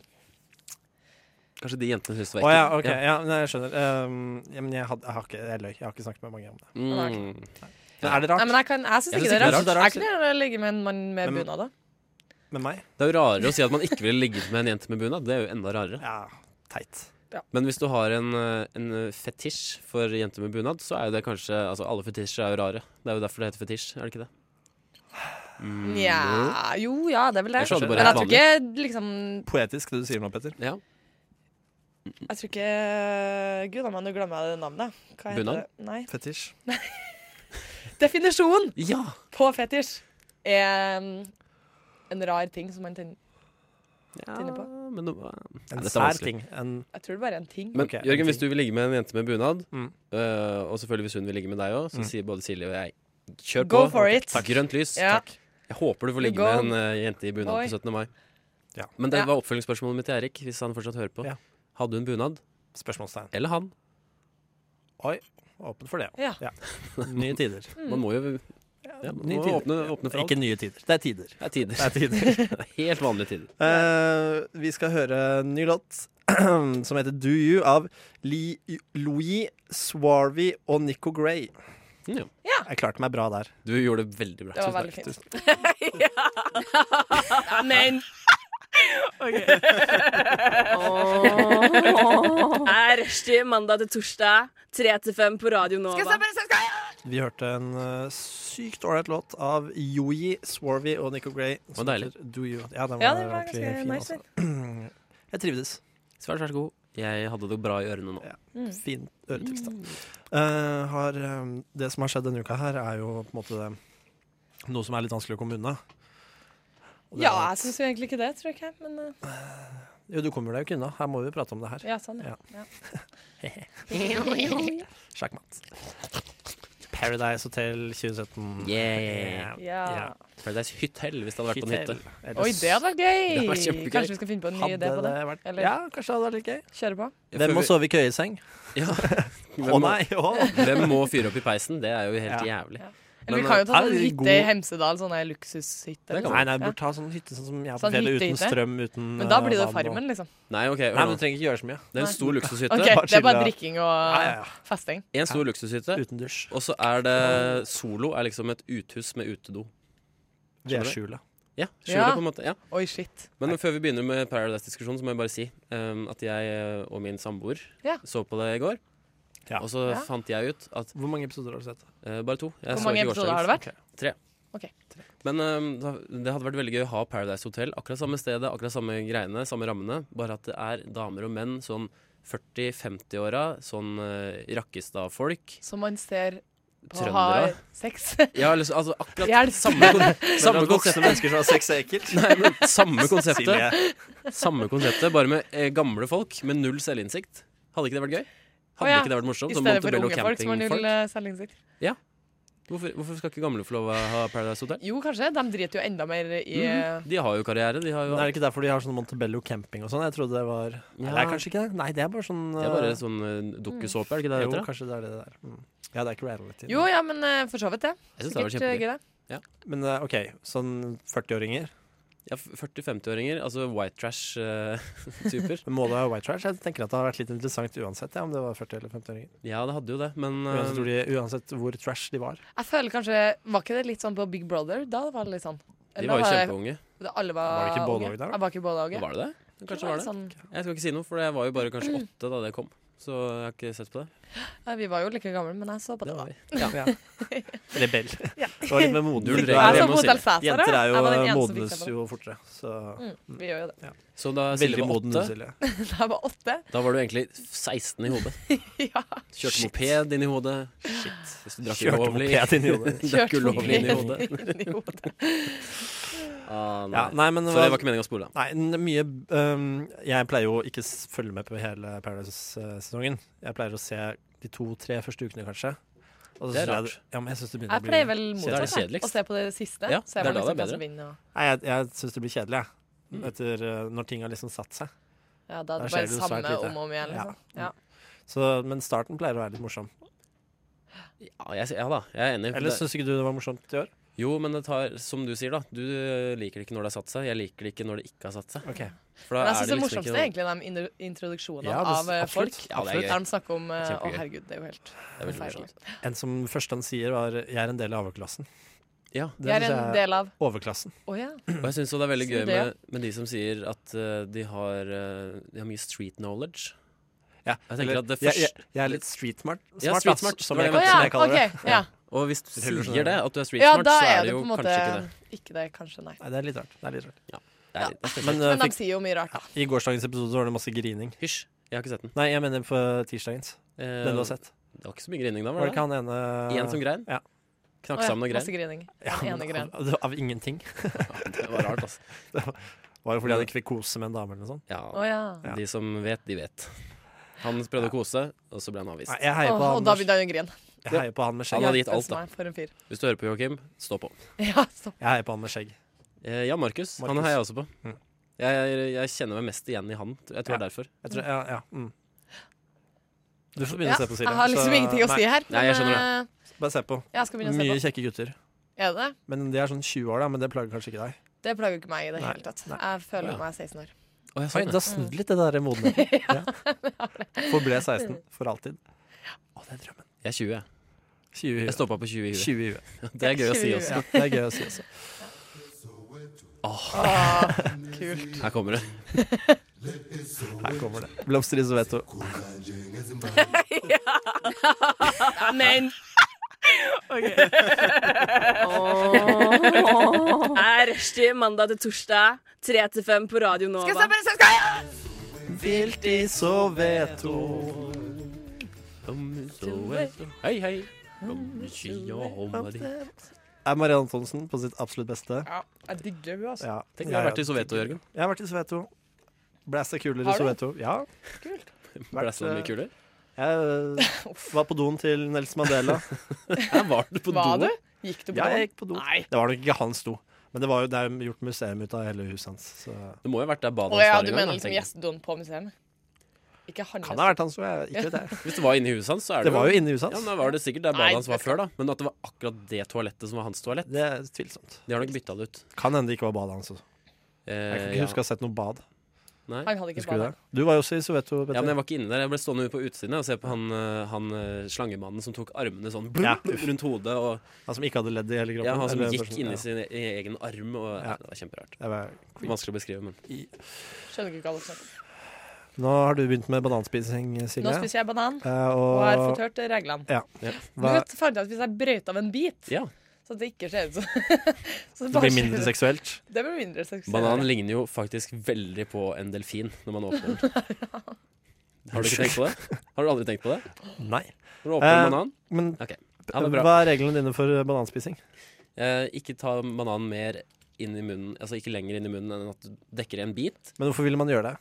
Speaker 3: Kanskje de jentene syns det
Speaker 7: Å
Speaker 3: var
Speaker 7: ja,
Speaker 3: ekkelt?
Speaker 7: ok. Ja, nei, jeg skjønner. Um, ja, men jeg, had, jeg har ikke Jeg løy. Jeg har ikke snakket med mange om det.
Speaker 3: Ja.
Speaker 6: Nei.
Speaker 3: Mm.
Speaker 7: Men er det rart
Speaker 6: Nei, men jeg, kan, jeg syns ikke,
Speaker 3: Jeg synes
Speaker 6: det er
Speaker 3: ikke
Speaker 6: rart.
Speaker 7: det er
Speaker 6: Er
Speaker 7: rart.
Speaker 6: ikke det rart å ligge med en mann med
Speaker 7: Men-
Speaker 6: bunad, da?
Speaker 7: med meg?
Speaker 3: Det er jo rarere å si at man ikke ville ligget med en jente med bunad. Det er jo enda rarere.
Speaker 7: Ja, teit.
Speaker 3: Men hvis du har en, eh, en fetisj for jenter med bunad, så er jo det kanskje Altså, alle fetisjer er jo rare. Det er jo derfor det heter fetisj, er det ikke det? Mm.
Speaker 6: Nja Jo, ja, det er vel det.
Speaker 3: Jeg sa det
Speaker 6: Men
Speaker 3: bare
Speaker 6: jeg
Speaker 3: helt
Speaker 6: tror
Speaker 3: vanlig.
Speaker 6: ikke liksom
Speaker 7: Poetisk det du sier nå, Petter.
Speaker 3: Ja.
Speaker 6: Jeg tror ikke Gud, nå glemmer jeg det navnet. Hva heter
Speaker 3: Bunad?
Speaker 6: det? Nei.
Speaker 7: Fetisj.
Speaker 6: Definisjonen
Speaker 3: ja.
Speaker 6: på fetisj er um, en rar ting som man tenker
Speaker 3: ja
Speaker 6: Tenner på.
Speaker 3: men nå- Nei,
Speaker 7: En
Speaker 3: dette er
Speaker 7: sær
Speaker 3: vanskelig.
Speaker 7: ting. En
Speaker 6: Jeg tror det bare er en ting.
Speaker 3: Men
Speaker 7: Ok, en
Speaker 3: Jørgen, hvis du
Speaker 7: ting.
Speaker 3: vil ligge med en jente med bunad,
Speaker 7: Mm.
Speaker 3: øh, og selvfølgelig hvis hun vil ligge med deg òg, så
Speaker 7: Mm.
Speaker 3: sier både Silje og jeg kjør
Speaker 6: Go
Speaker 3: på.
Speaker 6: for it.
Speaker 3: Takk. Grønt lys.
Speaker 6: Ja.
Speaker 3: Takk. Jeg håper du får ligge
Speaker 6: Go.
Speaker 3: med en øh, jente i bunad
Speaker 6: Oi.
Speaker 3: på 17. mai.
Speaker 7: Ja.
Speaker 3: Men det
Speaker 6: Ja.
Speaker 3: var oppfølgingsspørsmålet mitt til Erik, hvis han fortsatt hører på.
Speaker 7: Ja.
Speaker 3: Hadde hun bunad?
Speaker 7: spørsmålstegn.
Speaker 3: Eller han?
Speaker 7: Åpen for det òg.
Speaker 6: Ja.
Speaker 7: Nye tider.
Speaker 6: Mm.
Speaker 3: Man må jo ja, man
Speaker 7: Nye
Speaker 3: må
Speaker 7: tider.
Speaker 3: åpne, åpne for alt.
Speaker 7: Ikke nye tider. Det er tider.
Speaker 3: Det er tider.
Speaker 7: Det er tider.
Speaker 3: Helt vanlige tider.
Speaker 7: Eh, vi skal høre en ny låt som heter Do You av Li Louis Swarvey og Nico Gray.
Speaker 3: Ja.
Speaker 7: Mm, Jeg klarte meg bra der.
Speaker 3: Du gjorde det veldig bra.
Speaker 6: Det var
Speaker 3: Tusen
Speaker 6: veldig
Speaker 3: takk.
Speaker 6: fint.
Speaker 1: Men er rushtid mandag til torsdag, tre til fem på Radio Nova.
Speaker 7: Vi hørte en eh, sykt ålreit låt av Yoyi, Swarvy og Nico Gray. som
Speaker 3: deilig.
Speaker 7: heter Do You. Ja, den var,
Speaker 6: Ja, det var
Speaker 7: ordentlig
Speaker 6: ganske
Speaker 7: fin.
Speaker 6: nice.
Speaker 7: altså. Jeg trivdes.
Speaker 3: Svært, svært god. Jeg hadde det bra i ørene nå.
Speaker 7: Fin øretriks, da.
Speaker 6: Mm.
Speaker 7: Eh, har, eh, det som har skjedd denne uka her, er jo på en måte noe som er litt vanskelig å komme unna. Og det
Speaker 6: Ja,
Speaker 7: er at-
Speaker 6: jeg syns jo egentlig ikke det, tror jeg ikke. Men eh,
Speaker 7: Jo, du kommer deg jo ikke unna. Her må vi prate om det her.
Speaker 6: ja, sånn, ja. ja.
Speaker 7: Sjakkmatt. Paradise Hotel 2017.
Speaker 3: Yeah.
Speaker 6: ja.
Speaker 7: Ja.
Speaker 3: Paradise Hotel, hvis det hadde vært på en hytte.
Speaker 7: Hotel.
Speaker 6: Oi, det hadde vært gøy!
Speaker 3: Det hadde vært kjempegøy.
Speaker 6: Kanskje vi skal finne på en ny idé på det?
Speaker 7: det vært
Speaker 6: Eller-
Speaker 7: Ja, kanskje det hadde vært litt gøy.
Speaker 6: Kjøre på?
Speaker 7: Hvem må sove i køyeseng?
Speaker 3: Ja.
Speaker 7: Å
Speaker 3: Hvem, må,
Speaker 7: nei! å.
Speaker 3: hvem må fyre opp i peisen? Det er jo helt jævlig.
Speaker 6: Eller
Speaker 3: Men,
Speaker 6: vi kan jo ta
Speaker 7: er
Speaker 6: sånn
Speaker 7: det
Speaker 6: hytte
Speaker 7: god-
Speaker 6: i Hemsedal, sånn ei luksushytte. eller
Speaker 7: Nei,
Speaker 6: noe
Speaker 7: nei,
Speaker 6: sånt.
Speaker 7: burde ta sånn hytte sånn som jeg har på
Speaker 6: Sånn
Speaker 7: fjellet, uten
Speaker 6: hyttehytte?
Speaker 7: strøm, uten
Speaker 6: Men da
Speaker 7: eh,
Speaker 6: blir det
Speaker 7: vann og-
Speaker 6: Farmen, liksom.
Speaker 3: Nei, ok,
Speaker 7: Nei,
Speaker 3: hør
Speaker 7: men
Speaker 3: nå.
Speaker 7: du trenger ikke gjøre så mye.
Speaker 3: Det er en stor luksushytte.
Speaker 6: Ok,
Speaker 7: bare
Speaker 6: Det er
Speaker 7: chille.
Speaker 6: bare drikking
Speaker 7: Ja, ja,
Speaker 6: og
Speaker 7: ja.
Speaker 6: festing.
Speaker 3: En stor luksushytte.
Speaker 7: Uten dusj.
Speaker 3: Og så er det Solo er liksom et uthus med utedo. Skjønner du?
Speaker 7: Vedskjulet.
Speaker 3: Ja, skjulet
Speaker 6: Ja.
Speaker 3: på en måte. Ja.
Speaker 6: Oi, shit.
Speaker 3: Men før vi begynner med Paradise-diskusjonen, så må jeg bare si ehm, at jeg eh, og min samboer
Speaker 6: Ja.
Speaker 3: så på det i går.
Speaker 7: Ja.
Speaker 3: Og så
Speaker 6: Ja.
Speaker 3: fant jeg ut at
Speaker 7: Hvor mange episoder har du sett?
Speaker 3: eh, Bare to. Jeg
Speaker 6: Hvor
Speaker 3: så
Speaker 6: mange
Speaker 3: ikke
Speaker 6: episoder har det
Speaker 3: gårsdagens.
Speaker 6: vært?
Speaker 3: Men ehm, da, det hadde vært veldig gøy å ha Paradise Hotel. Akkurat samme stedet, akkurat samme greiene, samme rammene. Bare at det er damer og menn sånn 40-50-åra, sånn eh, Rakkestad-folk.
Speaker 6: Som man ser på har
Speaker 3: Trøndere.
Speaker 6: sex.
Speaker 3: Ja, eller så- altså akkurat
Speaker 6: Hjelp!
Speaker 3: samme, kon samme
Speaker 7: voksne
Speaker 3: konseptet.
Speaker 7: mennesker som har sex er ekkelt.
Speaker 3: Nei, men samme konseptet.
Speaker 7: Silje.
Speaker 3: Samme konseptet, bare med eh, gamle folk med null selvinnsikt. Hadde ikke det vært gøy? Hadde
Speaker 6: Å ja,
Speaker 3: ikke det vært morsomt?
Speaker 6: I
Speaker 3: Som
Speaker 6: stedet for
Speaker 3: Montebello
Speaker 6: unge folk som har null
Speaker 3: campingfolk.
Speaker 6: eh, selvinnsikt.
Speaker 3: Hvorfor, hvorfor skal ikke gamle få lov å ha Paradise Hotel?
Speaker 6: Jo, kanskje. De driter jo enda mer i
Speaker 3: Mhm.
Speaker 6: eh,
Speaker 3: De har jo karriere. De har jo
Speaker 7: Men er det ikke derfor de har sånn Montebello camping og sånn? Jeg trodde det var Nei, det er kanskje ikke det. Nei, det er bare sånn
Speaker 3: Det er bare sånn eh, dukkesåpe, er det ikke det det
Speaker 7: Jo,
Speaker 3: heter? da?
Speaker 7: kanskje det er det der. Mm. Ja, det er ikke reality.
Speaker 6: Jo, ja, men eh, for så vidt det.
Speaker 3: Jeg synes det
Speaker 6: Sikkert
Speaker 3: hadde
Speaker 6: eh,
Speaker 3: vært
Speaker 6: gøy,
Speaker 3: kjempegøy.
Speaker 6: det.
Speaker 7: Men eh, OK, sånn 40-åringer.
Speaker 3: Ja, 40-50-åringer, altså white eh, trash-typer.
Speaker 7: Men Målet er jo white trash. Jeg tenker at det har vært litt interessant uansett ja, om det var 40- eller 50-åringer.
Speaker 3: ja, det hadde jo det, men eh,
Speaker 7: Uansett, hvor de- uansett hvor trash de var.
Speaker 6: Jeg føler kanskje Var ikke det litt sånn på Big Brother? Da var det litt sånn.
Speaker 3: de
Speaker 6: Eller
Speaker 3: var jo
Speaker 6: da
Speaker 3: kjempeunge.
Speaker 6: det- Alle var,
Speaker 7: Var det ikke både
Speaker 6: unge.
Speaker 7: og der, da?
Speaker 6: Ja, Var ikke både og, ja.
Speaker 3: Var det det? Kanskje var det.
Speaker 6: Sånn,
Speaker 3: Jeg skal ikke si noe, for jeg var jo bare kanskje åtte da det kom. Så jeg har ikke sett på det.
Speaker 6: ja, vi var jo like gamle, men jeg så på det.
Speaker 3: Det var vi.
Speaker 7: Ja. Rebell. Det var litt med
Speaker 3: Null
Speaker 7: moden.
Speaker 3: regler
Speaker 6: Jeg så
Speaker 3: hjemme
Speaker 6: på
Speaker 3: hos
Speaker 6: Hotel
Speaker 3: Silje.
Speaker 6: Cæsar. ja.
Speaker 7: Jenter er
Speaker 6: Jeg
Speaker 7: jo
Speaker 6: var den eneste som fikk
Speaker 7: modnes
Speaker 6: se på det.
Speaker 7: jo fortere, så
Speaker 6: Mm, Vi gjør jo det.
Speaker 3: Så da Silje
Speaker 7: Veldig
Speaker 3: var
Speaker 7: moden,
Speaker 3: åtte,
Speaker 7: Silje.
Speaker 6: Da jeg var åtte.
Speaker 3: da var du egentlig 16 i hodet.
Speaker 6: Ja.
Speaker 3: Kjørte
Speaker 7: Shit.
Speaker 3: moped inn i hodet. Shit. Hvis du drakk
Speaker 7: Kjørte
Speaker 3: ulovlig.
Speaker 7: moped inn i hodet.
Speaker 3: drakk ulovlig inn i
Speaker 6: moped
Speaker 3: hodet.
Speaker 6: inn i hodet.
Speaker 3: Ah, nei.
Speaker 7: Ja, nei, men
Speaker 3: Så det var ikke meningen å spole.
Speaker 7: Nei, n- mye øhm, Jeg pleier jo ikke s- følge med på hele Paradise-sesongen. Jeg pleier å se de to-tre første ukene, kanskje. Og så
Speaker 3: Det er
Speaker 7: synes jeg-
Speaker 3: rart.
Speaker 7: Ja, men jeg syns det begynner
Speaker 6: Jeg pleier
Speaker 7: å bli
Speaker 6: vel
Speaker 3: Da er
Speaker 7: kjedelig.
Speaker 3: det
Speaker 6: motsatt, jeg.
Speaker 3: kjedeligst.
Speaker 6: Å se på det siste.
Speaker 3: Ja,
Speaker 6: så jeg
Speaker 3: det er
Speaker 6: var
Speaker 3: da
Speaker 6: liksom
Speaker 3: det er
Speaker 6: hvem som
Speaker 3: bedre.
Speaker 6: vinner, og-
Speaker 7: Nei, jeg, jeg syns det blir kjedelig, jeg.
Speaker 3: Mm.
Speaker 7: Etter øh, når ting har liksom satt seg.
Speaker 6: Ja, da er
Speaker 7: Da
Speaker 6: det
Speaker 7: skjer
Speaker 6: bare
Speaker 7: det jo svært
Speaker 6: samme
Speaker 7: lite.
Speaker 6: om og om igjen. Liksom. Ja.
Speaker 7: Så, men starten pleier å være litt morsom.
Speaker 3: Ja, jeg, ja da, jeg er enig.
Speaker 7: Eller
Speaker 3: Det-
Speaker 7: syns ikke du det var morsomt i år?
Speaker 3: jo, men det tar, som du sier, da. Du eh, liker det ikke når det har satt seg. Jeg liker det ikke når det ikke har satt seg.
Speaker 7: Ok.
Speaker 3: For da
Speaker 6: Men jeg syns
Speaker 3: er det
Speaker 6: det
Speaker 3: liksom
Speaker 6: morsomste
Speaker 3: ikke
Speaker 6: er
Speaker 3: noe
Speaker 6: egentlig de indu- introduksjonene
Speaker 7: Ja, det-
Speaker 6: av eh, folk.
Speaker 7: absolutt.
Speaker 3: Ja, det er
Speaker 6: Der
Speaker 3: gøy.
Speaker 6: de snakker om eh, Å,
Speaker 3: Kjempegøy.
Speaker 6: herregud, det er jo helt
Speaker 3: Det er veldig
Speaker 6: forferdelig.
Speaker 3: morsomt.
Speaker 7: En som først han sier, var 'Jeg er en del av overklassen'.
Speaker 3: Ja.
Speaker 7: Det
Speaker 6: Jeg er
Speaker 7: synes
Speaker 6: en
Speaker 7: jeg er
Speaker 6: del av
Speaker 7: overklassen.
Speaker 6: Å ja.
Speaker 3: Og jeg syns det er veldig
Speaker 6: Sier
Speaker 3: gøy
Speaker 6: det, ja.
Speaker 3: med, med de som sier at eh, de, har, eh, de har mye street knowledge.
Speaker 7: Ja,
Speaker 3: Jeg tenker
Speaker 7: eller-
Speaker 3: at det
Speaker 7: jeg, jeg,
Speaker 3: først-
Speaker 7: jeg er litt street smart, smart,
Speaker 3: Ja,
Speaker 7: da,
Speaker 3: street smart,
Speaker 7: som,
Speaker 3: det
Speaker 7: jeg,
Speaker 3: var
Speaker 6: Å
Speaker 3: det
Speaker 7: som
Speaker 6: ja,
Speaker 7: jeg kaller det.
Speaker 6: OK. Ja.
Speaker 3: Og hvis du
Speaker 7: Heller sånn.
Speaker 3: sier det, at du er street
Speaker 6: ja,
Speaker 3: smart,
Speaker 6: da
Speaker 3: så
Speaker 6: er
Speaker 3: er
Speaker 6: det
Speaker 3: jo
Speaker 6: på en
Speaker 3: kanskje
Speaker 6: måte
Speaker 3: ikke det.
Speaker 6: ikke det. Kanskje, nei.
Speaker 7: Nei, det er litt rart. Det er litt rart.
Speaker 3: det, er, det er spesielt.
Speaker 7: Men, øh,
Speaker 6: Men de
Speaker 7: fikk,
Speaker 6: sier jo mye rart. da.
Speaker 7: i gårsdagens episode så var det masse grining.
Speaker 3: Hysj. Jeg har ikke sett den.
Speaker 7: Nei, jeg mener på tirsdagens.
Speaker 3: Eh,
Speaker 7: Den du har sett.
Speaker 3: Det var ikke så mye grining da,
Speaker 7: Var
Speaker 3: var
Speaker 7: det
Speaker 3: det?
Speaker 7: ikke han ene
Speaker 3: Én som grein?
Speaker 7: Ja.
Speaker 6: Å
Speaker 3: Knakk
Speaker 6: ja,
Speaker 3: sammen og grein?
Speaker 6: Masse grining.
Speaker 7: Ja,
Speaker 6: Den
Speaker 7: men
Speaker 6: ene grein.
Speaker 7: av, av ingenting.
Speaker 3: Det var rart, altså.
Speaker 7: Var jo fordi jeg hadde kvikose med en dame eller noe sånt.
Speaker 3: Ja,
Speaker 6: Å ja.
Speaker 7: Ja.
Speaker 3: De som vet, de vet. Han prøvde å kose, og så ble han
Speaker 7: Nei,
Speaker 3: avvist.
Speaker 7: jeg heier
Speaker 6: Å,
Speaker 7: på,
Speaker 6: og
Speaker 7: han
Speaker 6: da
Speaker 7: med,
Speaker 6: begynte han å grine.
Speaker 7: jeg heier på han
Speaker 3: Han
Speaker 7: med skjegg.
Speaker 3: hadde gitt alt,
Speaker 6: Hjelpes meg, For en fyr.
Speaker 3: Hvis du hører på, Joakim, stå på.
Speaker 6: Ja, stopp.
Speaker 7: Jeg heier på han med skjegg.
Speaker 3: Eh, ja, Markus. Han
Speaker 7: Markus.
Speaker 3: heier jeg også på.
Speaker 7: Mm.
Speaker 3: Jeg, jeg kjenner meg mest igjen i han. Jeg tror det er derfor.
Speaker 7: Jeg tror, ja, ja, mm. Du får begynne
Speaker 6: Ja,
Speaker 7: å se på, Silje.
Speaker 6: jeg har liksom
Speaker 7: Så-
Speaker 6: ingenting å si
Speaker 7: nei,
Speaker 6: her.
Speaker 3: Nei, jeg skjønner
Speaker 6: det.
Speaker 7: Bare se på.
Speaker 6: Jeg skal begynne å
Speaker 7: Mye
Speaker 6: se på.
Speaker 7: kjekke gutter.
Speaker 6: Er det det?
Speaker 7: Men de er sånn 20 år, da, men det plager kanskje ikke deg.
Speaker 6: Det plager jo ikke meg i det
Speaker 7: Nei,
Speaker 6: hele tatt.
Speaker 7: nei.
Speaker 6: Jeg føler
Speaker 3: Ja.
Speaker 6: meg 16 år.
Speaker 3: Å, jeg
Speaker 7: Oi,
Speaker 3: sånn,
Speaker 7: det
Speaker 3: ja.
Speaker 7: har snudd litt, det der modenheten. Ja. Forble 16 for alltid. Å, det er drømmen.
Speaker 3: Jeg er 20. jeg.
Speaker 7: 20 i
Speaker 3: Jeg
Speaker 7: huet.
Speaker 3: stoppa på 20 i huet.
Speaker 7: 20 i huet.
Speaker 3: Det er gøy å
Speaker 6: 20 i
Speaker 3: si
Speaker 6: huet.
Speaker 3: også.
Speaker 7: altså. Ja, det er gøy å si også.
Speaker 6: Åh, kult.
Speaker 3: Her kommer det.
Speaker 7: Her kommer det. Blomster i Soweto.
Speaker 1: Men
Speaker 6: Ok.
Speaker 1: er rushtid mandag til torsdag, tre til fem på Radio Nova.
Speaker 6: Skal jeg bare se, skal jeg?
Speaker 7: Vilt i Soweto.
Speaker 3: Hei, hei. Tenk
Speaker 7: Er Marianne Antonsen på sitt absolutt beste?
Speaker 6: Ja, jeg digger henne, altså.
Speaker 7: Ja.
Speaker 3: deg å ha vært i Soveto, Jørgen.
Speaker 7: Jeg har vært i Soweto. Blæsta kuler i
Speaker 6: Har du?
Speaker 7: Soweto. Ja.
Speaker 6: Kult.
Speaker 3: Ble det så mye kuler?
Speaker 7: Jeg eh, var på doen til Nelson Mandela.
Speaker 3: Her var du på
Speaker 6: Var
Speaker 3: do.
Speaker 6: du? Gikk du på
Speaker 7: Ja,
Speaker 6: den?
Speaker 7: jeg gikk på do.
Speaker 6: Nei.
Speaker 7: Det var nok ikke hans do, men det var jo det er jo gjort museum ut av hele huset hans. Så.
Speaker 3: Det må jo ha vært der badet
Speaker 6: Å
Speaker 3: hans
Speaker 6: ja,
Speaker 3: var
Speaker 6: du
Speaker 3: i
Speaker 6: mener
Speaker 3: gang. da,
Speaker 6: liksom
Speaker 3: tenker jeg.
Speaker 6: gjestedoen på museet? Ikke hans.
Speaker 7: Kan det ha vært hans do? Jeg ikke vet jeg.
Speaker 3: Hvis det var inne i huset hans, så er det,
Speaker 7: Det var jo inne i huset
Speaker 3: Ja, men
Speaker 7: hans.
Speaker 3: da var det sikkert der
Speaker 6: Nei,
Speaker 3: badet hans var
Speaker 6: vet du
Speaker 3: før, da. Men at det var akkurat det toalettet som var hans toalett,
Speaker 7: Det er tvilsomt.
Speaker 3: de har nok bytta det ut.
Speaker 7: Kan hende det ikke var badet hans. Også.
Speaker 3: Eh,
Speaker 7: Jeg kan
Speaker 3: ja.
Speaker 7: ikke huske å ha sett noe bad.
Speaker 3: Nei.
Speaker 6: Han hadde ikke
Speaker 7: Husker du det?
Speaker 6: bada.
Speaker 7: Du var jo også i Soweto,
Speaker 3: Ja, men
Speaker 7: Petter.
Speaker 3: jeg var ikke inne der. Jeg ble stående på utsiden og se på han, eh, han eh, slangemannen som tok armene sånn
Speaker 7: Ja.
Speaker 3: rundt hodet. Og
Speaker 7: Han som ikke hadde ledd i hele kroppen.
Speaker 3: ja, han som
Speaker 7: Eller
Speaker 3: gikk
Speaker 7: person-
Speaker 3: inni
Speaker 7: ja.
Speaker 3: sin e- egen arm. Og,
Speaker 7: Ja.
Speaker 3: nei, det var kjemperart.
Speaker 7: Det var-
Speaker 3: Vanskelig å beskrive, men
Speaker 6: Skjønner ikke hva alle snakker om.
Speaker 7: Nå har du begynt med bananspising,
Speaker 6: Nå
Speaker 7: Silje.
Speaker 6: spiser jeg banan
Speaker 7: Eh,
Speaker 6: og har
Speaker 7: og
Speaker 6: fått hørt reglene.
Speaker 7: Ja.
Speaker 3: Ja.
Speaker 6: Du
Speaker 7: Hva,
Speaker 6: vet, fant jeg at hvis jeg brøyt av en bit,
Speaker 3: ja.
Speaker 6: så det ikke ser ut som så
Speaker 7: det
Speaker 6: bare
Speaker 7: blir mindre
Speaker 6: ser-
Speaker 7: seksuelt.
Speaker 6: Det blir mindre seksuelt.
Speaker 3: Banan ligner jo faktisk veldig på en delfin når man åpner den. Har du ikke tenkt på det? Har du aldri tenkt på det?
Speaker 7: Nei.
Speaker 3: Når du åpner
Speaker 7: Eh,
Speaker 3: en banan?
Speaker 7: Men
Speaker 3: Ja, det er bra.
Speaker 7: hva er reglene dine for bananspising?
Speaker 3: Eh, ikke ta bananen mer inn i munnen, altså ikke lenger inn i munnen enn at du dekker en bit.
Speaker 7: Men hvorfor ville man gjøre det?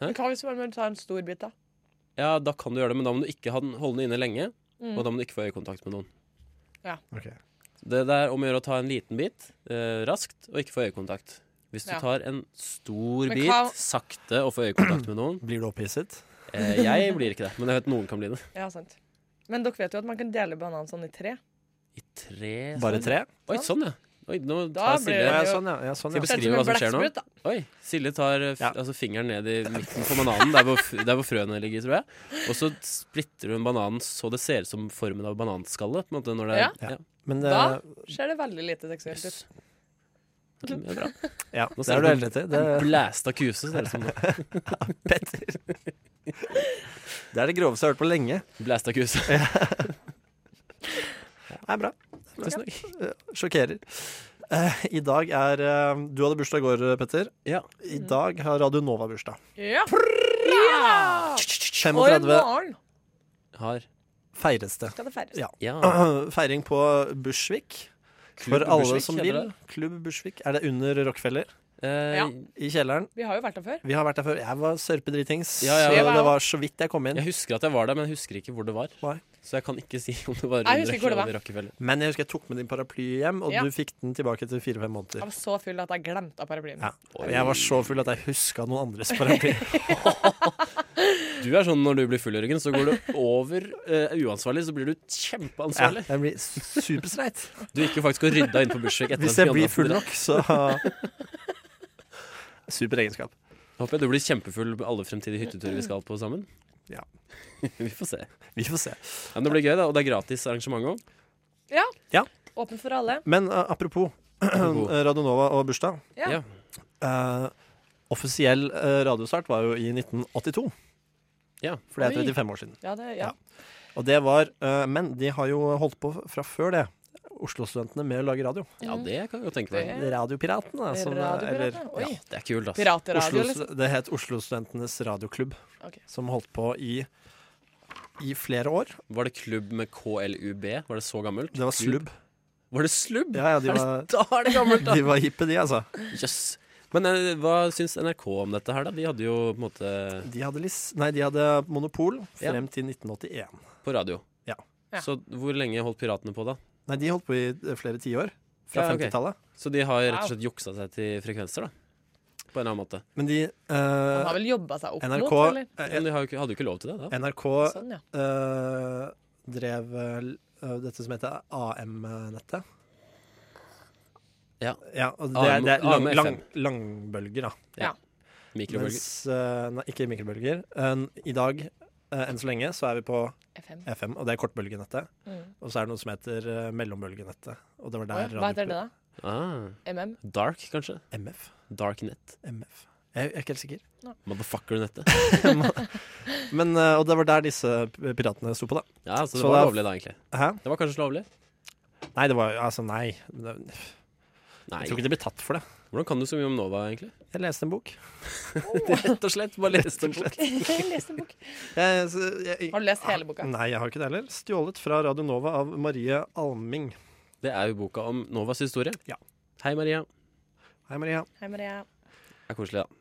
Speaker 6: Men Hva hvis man tar en stor bit, da?
Speaker 3: Ja, da kan du gjøre det, men da må du ikke ha den, holde den inne lenge,
Speaker 6: Mm.
Speaker 3: og da må du ikke få øyekontakt med noen.
Speaker 7: Ok.
Speaker 3: Det det er om å gjøre å ta en liten bit eh, raskt og ikke få øyekontakt. Hvis du
Speaker 6: Ja.
Speaker 3: tar en stor
Speaker 6: Men
Speaker 3: bit
Speaker 6: hva-
Speaker 3: sakte og får øyekontakt med noen
Speaker 7: Blir du opphisset?
Speaker 3: eh, Jeg blir ikke det, men jeg vet noen kan bli det.
Speaker 6: Ja, sant. Men dere vet jo at man kan dele banan sånn i tre.
Speaker 3: I tre
Speaker 7: Bare tre?
Speaker 3: Oi, sånn, ja. Oi, nå
Speaker 6: Da
Speaker 3: tar Silje
Speaker 6: blir
Speaker 7: Ja,
Speaker 6: det-
Speaker 7: sånn, ja. ja,
Speaker 3: Skal
Speaker 7: sånn, ja.
Speaker 3: vi
Speaker 6: Ser ut
Speaker 3: Beskriv
Speaker 6: som en
Speaker 3: hva som skjer nå.
Speaker 6: blekksprut, da.
Speaker 3: Oi, Silje tar eh, f
Speaker 7: Ja.
Speaker 3: altså fingeren ned i midten på bananen, der hvor, f- der hvor frøene ligger, tror jeg. Og så splitter hun bananen så det ser ut som formen av bananskallet. På en måte, når det er,
Speaker 6: Ja.
Speaker 3: Ja.
Speaker 7: Men eh, det,
Speaker 6: Da Ser det veldig lite seksuelt ut.
Speaker 3: Yes. Ja, Det er bra.
Speaker 7: ja,
Speaker 3: Nå
Speaker 7: det
Speaker 3: ser
Speaker 7: har du
Speaker 3: du-
Speaker 7: helt rett i. Det,
Speaker 3: Blæsta kuse, ser det ut som. nå.
Speaker 7: Petter. det er det groveste jeg har hørt på lenge.
Speaker 3: Blæsta kuse.
Speaker 7: Det er bra.
Speaker 3: Tusen takk.
Speaker 7: Sjokkerer. Eh, I dag er eh, Du hadde bursdag i går, Petter.
Speaker 3: Ja.
Speaker 7: I dag har Radio Nova bursdag.
Speaker 6: Ja! ja! Og i
Speaker 7: 35
Speaker 6: morgen
Speaker 3: Har.
Speaker 7: feires det.
Speaker 6: skal det feires.
Speaker 7: Ja.
Speaker 3: Ja.
Speaker 7: Feiring på Bushvik.
Speaker 3: Klubb
Speaker 7: For alle
Speaker 3: Bushvik,
Speaker 7: som
Speaker 3: heter
Speaker 7: vil.
Speaker 3: det.
Speaker 7: Klubb Bushvik. Er det under Rockefeller?
Speaker 3: Eh,
Speaker 6: Ja.
Speaker 7: I kjelleren.
Speaker 6: Vi har jo vært der før.
Speaker 7: Vi har vært der før. Jeg var sørpedritings.
Speaker 3: Ja, ja,
Speaker 7: så
Speaker 6: ja.
Speaker 7: det var så vidt jeg kom inn.
Speaker 3: Jeg husker at jeg var der, men jeg husker ikke hvor det var.
Speaker 7: Nei.
Speaker 3: Så jeg kan ikke si om det var
Speaker 6: Jeg husker ikke hvor det
Speaker 3: under
Speaker 6: var.
Speaker 3: Rockefeller.
Speaker 7: Men jeg husker jeg tok med din paraply hjem, og
Speaker 6: Ja.
Speaker 7: du fikk den tilbake etter fire-fem måneder.
Speaker 6: Jeg var så full at jeg glemte av paraplyen.
Speaker 7: Ja. Jeg var så full at jeg huska noen andres paraply.
Speaker 3: Du er sånn når du blir full, Jørgen, så går du over eh, uansvarlig, så blir du
Speaker 7: Ja,
Speaker 3: kjempeansvarlig.
Speaker 7: jeg blir superstreit.
Speaker 3: Du gikk jo faktisk og rydda inn på Bushwick etter
Speaker 7: Hvis
Speaker 3: at Fiona
Speaker 7: jeg blir full
Speaker 3: dro.
Speaker 7: nok, så Super egenskap.
Speaker 3: Håper jeg du blir kjempefull på alle fremtidige hytteturer vi skal på sammen.
Speaker 7: Ja.
Speaker 3: vi får se.
Speaker 7: Vi får se.
Speaker 3: Ja, men det blir gøy, da. Og det er gratis arrangement òg.
Speaker 6: Åpen for alle.
Speaker 7: Men eh, apropos eh, Radionova og bursdag.
Speaker 6: Ja.
Speaker 3: Ja.
Speaker 7: Eh, offisiell eh, radiostart var jo i 1982,
Speaker 3: Ja.
Speaker 7: for det
Speaker 6: Oi.
Speaker 7: er 35 år siden.
Speaker 6: Ja, det, ja.
Speaker 7: Ja. Og det var eh, Men de har jo holdt på fra før det, Oslo-studentene, med å lage radio.
Speaker 3: ja,
Speaker 6: Mm.
Speaker 3: det kan jeg godt tenke meg.
Speaker 7: Radiopiratene, som eh, eller
Speaker 6: Radiopiratene. Mm. Oi.
Speaker 3: Ja, det er kult, ass.
Speaker 6: Pirateradio,
Speaker 7: Oslo,
Speaker 6: liksom.
Speaker 7: det het Oslo-studentenes radioklubb,
Speaker 6: Ok.
Speaker 7: som holdt på i, i flere år.
Speaker 3: Var det klubb med KLUB? Var det så gammelt?
Speaker 7: Det var slubb.
Speaker 3: Var det slubb?
Speaker 7: Ja, ja, de var,
Speaker 3: Da er det gammelt, da!
Speaker 7: de var hippe, de, altså.
Speaker 3: Jøss. Men eh, hva syns NRK om dette her, da? De hadde jo på en måte
Speaker 7: De hadde, lis, nei, de hadde monopol
Speaker 3: Ja.
Speaker 7: frem til 1981.
Speaker 3: på radio.
Speaker 7: Ja.
Speaker 6: Ja.
Speaker 3: Så hvor lenge holdt piratene på, da?
Speaker 7: Nei, de holdt på i eh, flere tiår. Fra
Speaker 3: Ja, ok.
Speaker 7: 50-tallet.
Speaker 3: Så de har rett
Speaker 6: Wow.
Speaker 3: og slett juksa seg til frekvenser, da? På en eller annen måte.
Speaker 7: Men de eh,
Speaker 6: Han har vel jobba seg opp
Speaker 7: NRK,
Speaker 6: mot, eller?
Speaker 7: eh,
Speaker 3: Men de har jo ikke, hadde jo ikke lov til det da.
Speaker 7: NRK
Speaker 6: Sånn, ja.
Speaker 7: eh, drev eh, dette som heter AM-nettet.
Speaker 3: Ja.
Speaker 7: og det, er- det er lang,
Speaker 3: AM,
Speaker 7: lang, langbølger, da.
Speaker 3: Mikrobølger.
Speaker 7: Mens, eh, nei, ikke mikrobølger. En- I dag, eh, enn så lenge, så er vi på
Speaker 6: FM.
Speaker 7: FM, og det er kortbølgenettet.
Speaker 6: Mm.
Speaker 7: Og så er det noe som heter eh, mellombølgenettet. Og det var
Speaker 6: Oi,
Speaker 7: der
Speaker 6: Hva heter det, da?
Speaker 3: Ah,
Speaker 6: MM.
Speaker 3: dark, kanskje?
Speaker 7: MF?
Speaker 3: Darknet.
Speaker 7: MF? Jeg, jeg er ikke helt sikker.
Speaker 3: Motherfucker-nettet.
Speaker 7: Men, eh, og det var der disse p- piratene sto på, da.
Speaker 3: Ja, så det
Speaker 7: Så
Speaker 3: var
Speaker 7: det
Speaker 3: lovlig da, egentlig.
Speaker 7: Hæ?
Speaker 3: Det var kanskje lovlig?
Speaker 7: Nei, det var altså nei. Det,
Speaker 3: Nei.
Speaker 7: jeg tror ikke de blir tatt for det.
Speaker 3: Hvordan kan du så mye om Nova, egentlig?
Speaker 7: Jeg leste en bok.
Speaker 3: Rett og slett, bare leste en bok.
Speaker 6: Jeg leste en bok.
Speaker 7: Jeg, så jeg,
Speaker 6: Har du lest hele boka?
Speaker 7: nei, jeg har ikke det heller. Stjålet fra Radio Nova av Marie Alming.
Speaker 3: Det er jo boka om Novas historie.
Speaker 7: Ja.
Speaker 3: Hei, Maria.
Speaker 7: Hei, Maria.
Speaker 6: Hei, Maria.
Speaker 3: Det er koselig, da.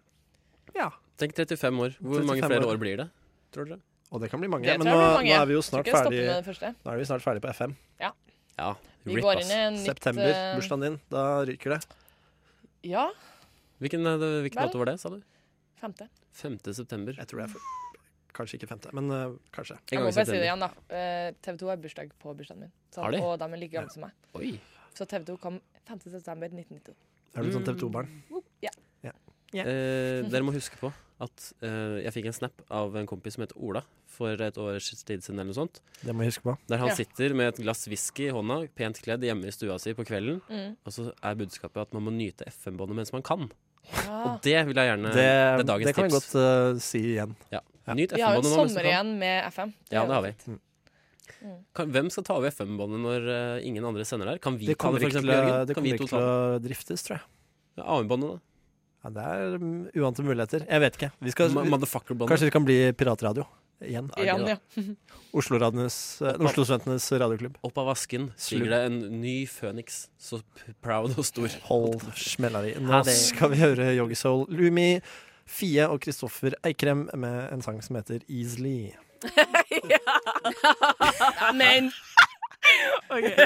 Speaker 7: Ja.
Speaker 3: Tenk 35 år. Hvor
Speaker 7: 35
Speaker 3: mange flere
Speaker 7: år.
Speaker 3: år blir det? Tror dere?
Speaker 7: Og det kan bli mange.
Speaker 6: Det
Speaker 7: Men
Speaker 6: tror jeg
Speaker 7: nå,
Speaker 6: blir
Speaker 7: nå
Speaker 6: mange.
Speaker 7: er vi jo
Speaker 6: Skal
Speaker 7: snart
Speaker 6: ikke stoppe
Speaker 7: ferdig,
Speaker 6: med den første.
Speaker 7: nå er vi snart ferdig på FM.
Speaker 3: Ja.
Speaker 6: Vi
Speaker 3: Rip,
Speaker 6: går
Speaker 3: ass.
Speaker 6: inn i en nytt
Speaker 7: September,
Speaker 6: eh,
Speaker 7: bursdagen din. Da ryker det.
Speaker 6: Ja.
Speaker 3: Hvilken, eh, det- hvilken
Speaker 6: Vel.
Speaker 3: dato var det, sa du?
Speaker 6: Femte.
Speaker 3: 5. september.
Speaker 7: Jeg tror det er for, kanskje ikke femte, men eh, kanskje.
Speaker 3: En
Speaker 6: Jeg
Speaker 3: gang
Speaker 6: må bare
Speaker 3: i
Speaker 6: si det
Speaker 3: september.
Speaker 6: igjen, da. Eh, TV 2 har bursdag på bursdagen min. Så,
Speaker 3: Har de?
Speaker 6: Og de er like gamle som meg.
Speaker 3: Oi.
Speaker 6: Så TV 2 kom 5.9.1992.
Speaker 7: Er du et sånn TV 2-barn? Ja.
Speaker 3: Eh, dere må huske på at eh, jeg fikk en snap av en kompis som het Ola for et års tid siden, eller noe sånt.
Speaker 7: Det må jeg huske på.
Speaker 3: Der han
Speaker 6: Ja.
Speaker 3: sitter med et glass whisky i hånda, pent kledd hjemme i stua si på kvelden.
Speaker 6: Mm.
Speaker 3: Og så er budskapet at man må nyte FM-båndet mens man kan.
Speaker 6: Ja.
Speaker 3: Og det vil jeg gjerne
Speaker 7: Det,
Speaker 3: er dagens
Speaker 7: det kan jeg
Speaker 3: tips.
Speaker 7: godt eh, si igjen.
Speaker 3: ja.
Speaker 7: Ja.
Speaker 3: Nyt
Speaker 6: Vi har jo en
Speaker 3: FM-båndet nå mens du
Speaker 6: sommer
Speaker 3: kan.
Speaker 6: igjen med FM.
Speaker 3: Ja, det har vi.
Speaker 7: Mm.
Speaker 3: Kan, hvem skal ta over FM-båndet når eh, ingen andre sender der? Kan vi
Speaker 7: Det
Speaker 3: ta
Speaker 7: kommer
Speaker 3: det, for
Speaker 7: ikke til,
Speaker 3: eksempel,
Speaker 7: å-
Speaker 3: Jørgen?
Speaker 7: det
Speaker 3: Kan vi
Speaker 7: kommer
Speaker 3: to
Speaker 7: ikke
Speaker 3: ta
Speaker 7: til å
Speaker 3: det?
Speaker 7: driftes, tror jeg.
Speaker 3: Ja, AM-båndet, da?
Speaker 7: Ja, det er mm, uante muligheter. Jeg vet ikke. Vi skal,
Speaker 3: Ma- Motherfucker-båndet.
Speaker 7: kanskje vi kan bli piratradio igjen.
Speaker 3: Ja,
Speaker 6: Igjen,
Speaker 3: det da.
Speaker 6: ja.
Speaker 7: Oslo-studentenes radioklubb.
Speaker 3: Opp av asken
Speaker 7: Slugg.
Speaker 3: stiger det en ny føniks, så p- proud og stor.
Speaker 7: Hold smella di. Nå
Speaker 3: Ha det.
Speaker 7: skal vi høre Yogi Soul, Lumi, Fie og Kristoffer Eikrem med en sang som heter Easley.
Speaker 1: Amen! Det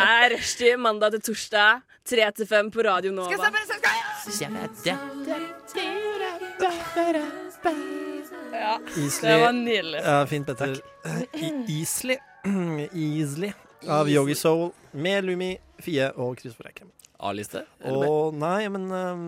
Speaker 1: er rushtid mandag til torsdag, tre til fem på Radio Nova.
Speaker 6: ja. Det var
Speaker 7: Easley.
Speaker 6: nydelig.
Speaker 7: Ja, fint, Petter. I- Easley. Easley av Yogi Soul med Lumi, Fie og Kristoffer Eikrem.
Speaker 3: A-liste? eller B?
Speaker 7: Og nei, men um,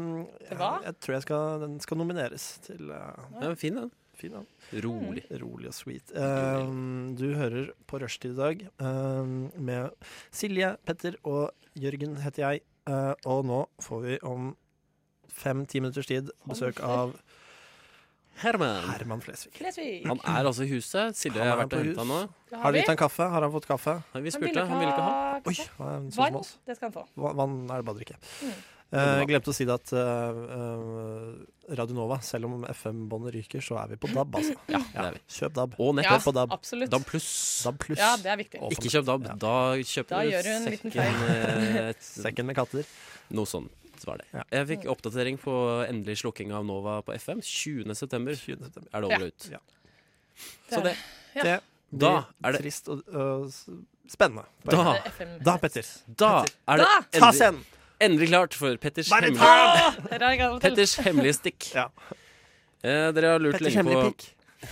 Speaker 7: jeg,
Speaker 6: Hva?
Speaker 7: jeg tror jeg skal, den skal nomineres til uh,
Speaker 3: Ja, fin, den.
Speaker 7: Fin, da.
Speaker 3: Rolig.
Speaker 7: Rolig og sweet. Um, du hører på Rushtid i dag um, med Silje, Petter og Jørgen heter jeg. Uh, og nå får vi om fem-ti minutters tid besøk av
Speaker 3: Herman.
Speaker 7: Herman Flesvig.
Speaker 6: Lesvig.
Speaker 3: Han er altså i huset. Silje
Speaker 7: Han er
Speaker 3: har vært og
Speaker 7: på
Speaker 3: henta
Speaker 7: hus.
Speaker 3: nå.
Speaker 7: Har vi gitt han kaffe? Har han fått kaffe?
Speaker 3: Han- Vi
Speaker 6: Han
Speaker 3: spurte, han ville ikke ha.
Speaker 7: Oi,
Speaker 6: kaffe.
Speaker 7: han er sånn som
Speaker 6: Vann.
Speaker 7: oss.
Speaker 6: Det skal han få.
Speaker 7: Va- Vann er det bare å drikke.
Speaker 6: Mm.
Speaker 3: Veldig
Speaker 7: Uh,
Speaker 3: bra.
Speaker 7: glemte å si det at uh, uh, Radio Nova, selv om FM-båndet ryker, så er vi på DAB, altså.
Speaker 3: Ja, det er vi.
Speaker 7: Kjøp DAB.
Speaker 6: Ja,
Speaker 3: Og nettopp
Speaker 7: på DAB.
Speaker 6: absolutt.
Speaker 3: DAB pluss.
Speaker 7: DAB pluss.
Speaker 6: Ja, det er viktig.
Speaker 7: Og-
Speaker 3: Ikke kjøp DAB.
Speaker 7: Ja.
Speaker 3: Da kjøper
Speaker 6: Da
Speaker 3: du
Speaker 6: gjør du en liten
Speaker 3: sekken
Speaker 6: feil.
Speaker 3: eh, et-
Speaker 7: Sekken med katter.
Speaker 3: Noe sånt var det.
Speaker 7: Ja.
Speaker 3: Jeg fikk oppdatering på endelig slukking av Nova på FM. 20. september
Speaker 7: 20. september.
Speaker 3: er det over og ut.
Speaker 7: Ja.
Speaker 6: Det
Speaker 3: Så
Speaker 6: er
Speaker 3: det,
Speaker 6: Ja.
Speaker 7: Det blir
Speaker 3: Da er det-
Speaker 7: trist og og s- spennende.
Speaker 3: da,
Speaker 6: Det er FM.
Speaker 7: Da, Petter.
Speaker 3: da er det
Speaker 7: Ta
Speaker 3: endelig,
Speaker 7: scenen!
Speaker 3: endelig klart for Petters
Speaker 7: Bare
Speaker 3: hemmelige
Speaker 7: ta den!
Speaker 6: Her er jeg gammel til.
Speaker 3: Petters hemmelige stikk.
Speaker 7: Ja.
Speaker 3: Eh, dere har lurt
Speaker 7: Petters
Speaker 3: lenge
Speaker 7: hemmelige
Speaker 3: på
Speaker 7: pikk.